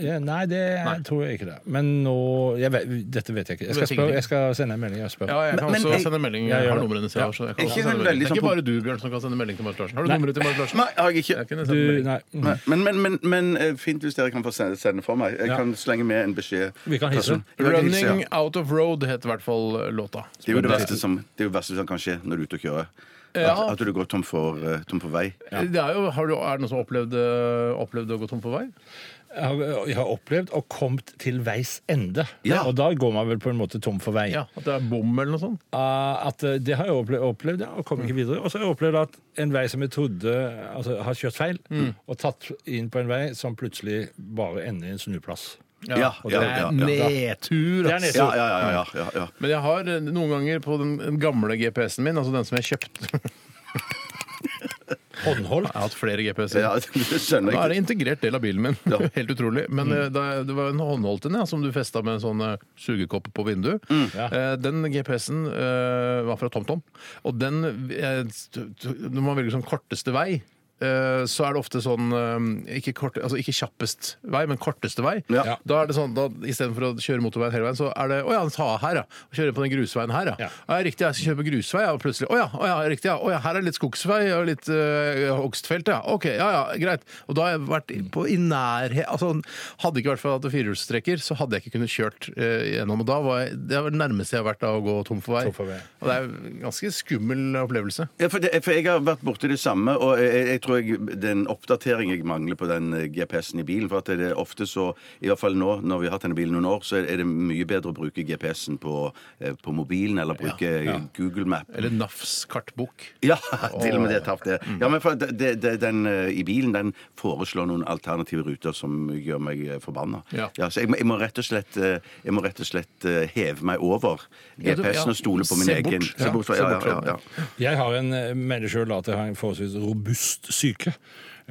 [SPEAKER 4] Ja, nei, det tror jeg ikke det. Men nå jeg vet, Dette vet jeg ikke. Jeg skal,
[SPEAKER 3] Vet ingenting.
[SPEAKER 4] spørre, jeg skal sende en melding. Jeg spør.
[SPEAKER 3] Ja, jeg kan
[SPEAKER 5] Men-
[SPEAKER 3] også
[SPEAKER 5] men jeg-
[SPEAKER 3] sende melding.
[SPEAKER 4] Jeg
[SPEAKER 3] Jeg
[SPEAKER 4] gjør
[SPEAKER 3] har
[SPEAKER 4] det.
[SPEAKER 3] numrene sine. så jeg kan
[SPEAKER 5] Er
[SPEAKER 3] også
[SPEAKER 5] ikke
[SPEAKER 3] sende melding. Det
[SPEAKER 5] hun veldig
[SPEAKER 3] er ikke
[SPEAKER 5] sånn på-
[SPEAKER 3] bare du, Bjørn, som kan sende melding til Marit Larsen. Har du
[SPEAKER 4] Nei.
[SPEAKER 3] nummeret til Marit Larsen?
[SPEAKER 5] Nei, har jeg ikke.
[SPEAKER 3] Jeg kunne sende
[SPEAKER 4] Du,
[SPEAKER 3] melding.
[SPEAKER 4] nei. mm.
[SPEAKER 5] Nei, Men, men, men, men eh, fint hvis dere kan få sende, sende for meg. Jeg
[SPEAKER 4] Ja.
[SPEAKER 5] kan slenge med en beskjed.
[SPEAKER 4] Vi kan hilse.
[SPEAKER 5] Person. Jeg kan hilse, ja.
[SPEAKER 3] Running Out of Road het i hvert fall låta.
[SPEAKER 5] Det er jo det verste som, det er jo det verste som kan skje når du er ute og kjører. At,
[SPEAKER 3] Ja.
[SPEAKER 5] at du går tom for, eh, tom for vei.
[SPEAKER 3] Det er, jo, har du, er det noen som har opplevd, eh, opplevd å gå tom for vei?
[SPEAKER 4] Jeg har- jeg har opplevd og kommet til veis ende.
[SPEAKER 5] Ja.
[SPEAKER 4] Og da går man vel på en måte tom for vei.
[SPEAKER 3] Ja, At det er bom eller noe sånn?
[SPEAKER 4] Uh, at eh, Det har jeg opplevd, opplevd ja, og kom
[SPEAKER 3] Mm.
[SPEAKER 4] ikke videre. Og så har jeg opplevd at en vei som jeg trodde altså, har kjørt feil,
[SPEAKER 3] Mm.
[SPEAKER 4] og tatt inn på en vei som plutselig bare ender i en snuplass.
[SPEAKER 5] Ja,
[SPEAKER 4] og
[SPEAKER 5] ja,
[SPEAKER 4] det
[SPEAKER 5] ja, ja.
[SPEAKER 3] Nedtur,
[SPEAKER 4] Det er
[SPEAKER 3] ass!
[SPEAKER 4] nedtur.
[SPEAKER 5] Ja, ja, ja, ja, ja, ja.
[SPEAKER 3] Men jeg har eh, noen ganger på den den gamle GPS-en min, altså den som jeg kjøpte Jeg
[SPEAKER 4] Håndholdt.
[SPEAKER 3] har hatt flere GPS-er.
[SPEAKER 5] ja det skjønner
[SPEAKER 3] Da er det
[SPEAKER 5] jeg.
[SPEAKER 3] integrert del av bilen min.
[SPEAKER 5] Ja. Mm.
[SPEAKER 3] Helt utrolig. Men eh, da, det var en håndholdt en ja, som du festa med en sånn eh, sugekopp på vinduet.
[SPEAKER 5] Mm.
[SPEAKER 4] Ja.
[SPEAKER 3] Eh, Den GPS-en eh, var fra TomTom, og den eh, t- t- Når man velger sånn korteste vei eh, så er det ofte sånn eh, ikke, kort, altså ikke kjappest vei, men korteste vei.
[SPEAKER 5] Ja.
[SPEAKER 3] Da er det sånn, da, Istedenfor å kjøre motorveien hele veien, så er det 'Å ja, ta av her, ja'. Kjøre på den grusveien her, ja. ja. riktig, jeg skal kjøre på grusvei, ja. Og plutselig 'Å ja, å, ja riktig, ja. Å, ja. Her er det litt skogsvei og litt eh, hogstfelt, ja. OK, ja ja, greit. Og da har jeg vært på, i nærhet altså, Hadde ikke vært for at det er firehjulstrekker, så hadde jeg ikke kunnet kjørt eh, gjennom. Og da var jeg, det er det nærmeste jeg har vært av å gå tom for vei.
[SPEAKER 5] Tom for vei.
[SPEAKER 3] Og det er en ganske skummel opplevelse.
[SPEAKER 5] Ja, for, det, for jeg har vært borti det samme, og jeg, jeg- jeg tror jeg, den oppdatering jeg mangler på den eh, GPS-en i bilen For at det er ofte så, i hvert fall nå når vi har hatt denne bilen noen år, så er det mye bedre å bruke GPS-en på, eh, på mobilen eller bruke
[SPEAKER 3] ja.
[SPEAKER 5] Google Map.
[SPEAKER 3] Eller NAFs kartbok.
[SPEAKER 5] Ja, til og med det tapte jeg. Ja, men for det, det, det, den eh, i bilen den foreslår noen alternative ruter som gjør meg eh, forbanna.
[SPEAKER 3] Ja.
[SPEAKER 5] så jeg, må- jeg må rett og slett eh, Jeg må rett og slett eh, heve meg over
[SPEAKER 4] Ja, du- ja.
[SPEAKER 5] GPS-en og stole på min
[SPEAKER 4] Se bort.
[SPEAKER 5] egen
[SPEAKER 4] Ja,
[SPEAKER 5] fra-
[SPEAKER 4] se
[SPEAKER 5] ja,
[SPEAKER 4] bort fra
[SPEAKER 5] ja,
[SPEAKER 4] den.
[SPEAKER 5] ja, ja.
[SPEAKER 4] Jeg har en, eh, mener sjøl at jeg har en forholdsvis robust syke.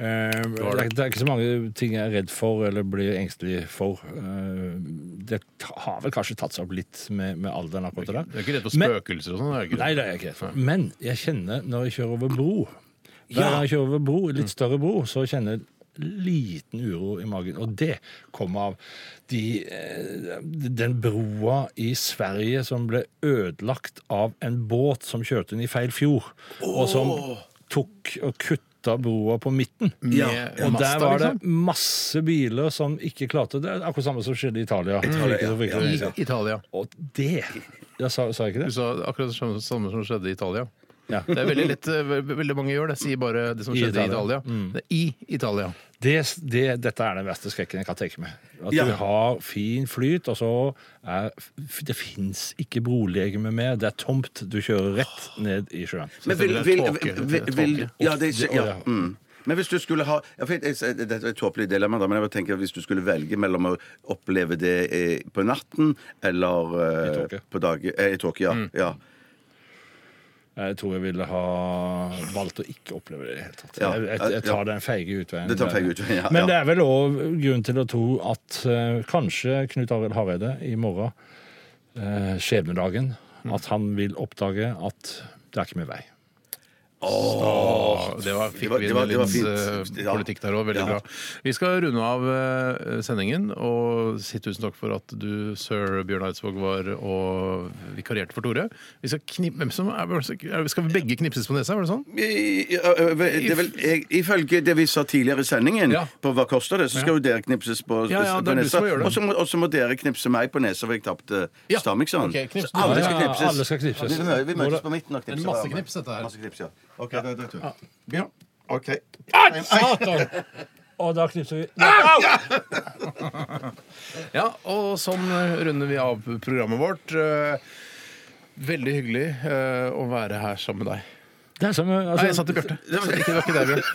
[SPEAKER 4] Eh, det,
[SPEAKER 5] har
[SPEAKER 4] er,
[SPEAKER 5] det.
[SPEAKER 4] det er ikke så mange ting jeg er redd for eller blir engstelig for. Eh, det ta- har vel kanskje tatt seg opp litt med, med alderen akkurat der.
[SPEAKER 3] Du er ikke redd for
[SPEAKER 4] Men-
[SPEAKER 3] spøkelser og sånn? er du ikke
[SPEAKER 4] Nei, det er jeg ikke redd for. Men jeg kjenner når jeg kjører over bro Hver
[SPEAKER 3] Ja.
[SPEAKER 4] gang jeg kjører over bro, litt større bro, så kjenner jeg liten uro i magen. Og det kommer av de, eh, den broa i Sverige som ble ødelagt av en båt som kjørte inn i feil fjord, og som tok og kutta broa på midten.
[SPEAKER 3] Med
[SPEAKER 4] og
[SPEAKER 3] masta,
[SPEAKER 4] der var det
[SPEAKER 3] Mm. liksom?
[SPEAKER 4] masse biler som ikke klarte det. Det er Akkurat samme som skjedde i Italia.
[SPEAKER 3] Italia,
[SPEAKER 4] For ikke så
[SPEAKER 3] ja.
[SPEAKER 4] lenge siden.
[SPEAKER 3] I Italia.
[SPEAKER 4] Og det Jeg sa, sa jeg ikke det?
[SPEAKER 3] Du sa akkurat det samme, samme som skjedde i Italia.
[SPEAKER 4] Ja.
[SPEAKER 3] Det er veldig lett, eh, ve- veldig mange gjør det. Sier bare det som
[SPEAKER 4] I
[SPEAKER 3] skjedde i
[SPEAKER 4] Italia.
[SPEAKER 3] Italia. Mm. Det er I Italia.
[SPEAKER 4] det, det, dette er den verste skrekken jeg kan tenke meg. At
[SPEAKER 3] Ja.
[SPEAKER 4] du har fin flyt, og så er f- Det fins ikke brolegeme mer. Det er tomt. Du kjører rett ned i sjøen.
[SPEAKER 5] Men vil, vil, vil, vil Ja, det er, ja. Mm. Men hvis du skulle ha ja, for jeg, jeg, Dette er et tåpelig dilemma, da, men jeg bare tenker hvis du skulle velge mellom å oppleve det eh, på natten eller eh, på dag, eh, i tåke,
[SPEAKER 4] Mm.
[SPEAKER 5] ja, ja.
[SPEAKER 4] Jeg tror jeg ville ha valgt å ikke oppleve det i det hele tatt.
[SPEAKER 5] Ja.
[SPEAKER 4] Jeg, jeg, jeg tar den feige utveien.
[SPEAKER 5] Du tar den feige utveien, ja,
[SPEAKER 4] Men
[SPEAKER 5] ja.
[SPEAKER 4] det er vel òg grunn til å tro at eh, kanskje Knut Arild Hareide i morgen, eh, skjebnedagen,
[SPEAKER 5] Mm.
[SPEAKER 4] at han vil oppdage at det er ikke mer vei.
[SPEAKER 3] Åh, det var,
[SPEAKER 4] Det
[SPEAKER 3] fikk
[SPEAKER 4] var-
[SPEAKER 3] vi
[SPEAKER 4] det
[SPEAKER 3] inn
[SPEAKER 4] var-
[SPEAKER 3] i
[SPEAKER 4] det var
[SPEAKER 3] litt
[SPEAKER 4] fint.
[SPEAKER 3] eh,
[SPEAKER 4] Ja.
[SPEAKER 3] politikk der òg.
[SPEAKER 4] Ja.
[SPEAKER 3] Veldig bra. Vi skal runde av eh, sendingen og si tusen takk for at du, sir Bjørn Eidsvåg, var og vikarierte for Tore. Vi skal, knip, hvem som er, er- skal vi begge knipses på nesa, var det sånn?
[SPEAKER 5] I- i- ø- ø- Det er vel, jeg, ifølge det vi sa tidligere i sendingen, på Hva koster det, så skal jo dere knipses på,
[SPEAKER 3] Ja, ja, det
[SPEAKER 5] på
[SPEAKER 3] er du
[SPEAKER 5] nesa.
[SPEAKER 3] som gjør det.
[SPEAKER 5] Og så må- Og så må dere knipse meg på nesa, for jeg tapte
[SPEAKER 3] Ja.
[SPEAKER 5] Stamikson.
[SPEAKER 3] Ok, knips.
[SPEAKER 5] Så alle
[SPEAKER 3] Ja,
[SPEAKER 5] skal
[SPEAKER 3] ja,
[SPEAKER 5] knipses.
[SPEAKER 3] alle skal knipses.
[SPEAKER 5] Ja, vi mø- vi
[SPEAKER 3] Nå er
[SPEAKER 5] møtes
[SPEAKER 3] det-
[SPEAKER 5] på midten og
[SPEAKER 3] Det er
[SPEAKER 5] knipser.
[SPEAKER 3] masse
[SPEAKER 5] hverandre.
[SPEAKER 3] knips, dette her.
[SPEAKER 5] Masse knips, ja. OK, da er det tur.
[SPEAKER 3] Bjørn.
[SPEAKER 5] OK.
[SPEAKER 4] Ah, satan! Og da knipser vi.
[SPEAKER 3] Ja, og sånn runder vi av programmet vårt. Eh, Veldig hyggelig eh, å være her sammen med deg.
[SPEAKER 4] Det er som, altså-
[SPEAKER 3] nei, jeg sa til Bjarte. Det var ikke, det var ikke deg, Bjørn.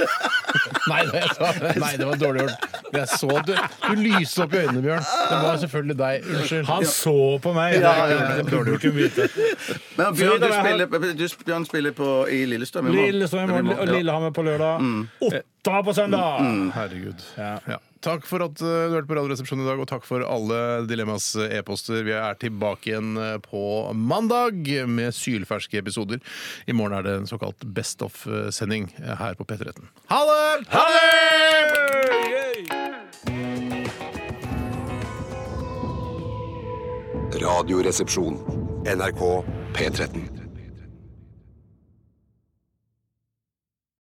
[SPEAKER 3] Nei, det, jeg sa, nei, det var dårlig gjort. Jeg så du, du lyste opp i øynene, Bjørn. Det var selvfølgelig deg. Unnskyld.
[SPEAKER 4] Han så på meg.
[SPEAKER 3] Ja, ja, ja.
[SPEAKER 4] Det publikum vite.
[SPEAKER 5] Men
[SPEAKER 4] Før
[SPEAKER 5] Bjørn,
[SPEAKER 4] da
[SPEAKER 5] du
[SPEAKER 4] var jeg-
[SPEAKER 5] spiller, du, Bjørn spiller på, i Lillestrøm i morgen.
[SPEAKER 4] Lillestrøm i
[SPEAKER 5] Ja, i
[SPEAKER 4] morgen, og
[SPEAKER 5] ja.
[SPEAKER 4] Lillehammer på lørdag. Mm,
[SPEAKER 5] Mm.
[SPEAKER 4] Otta på søndag!
[SPEAKER 3] Herregud. Ja. Takk for at eh, du hørte på Radioresepsjonen i dag, og takk for alle Dilemmas eh, e-poster. Vi er tilbake igjen eh, på mandag med sylferske episoder. I morgen er det en såkalt Best of-sending eh, her på P13. Ha det! Ha det!
[SPEAKER 13] Radioresepsjon. NRK P13.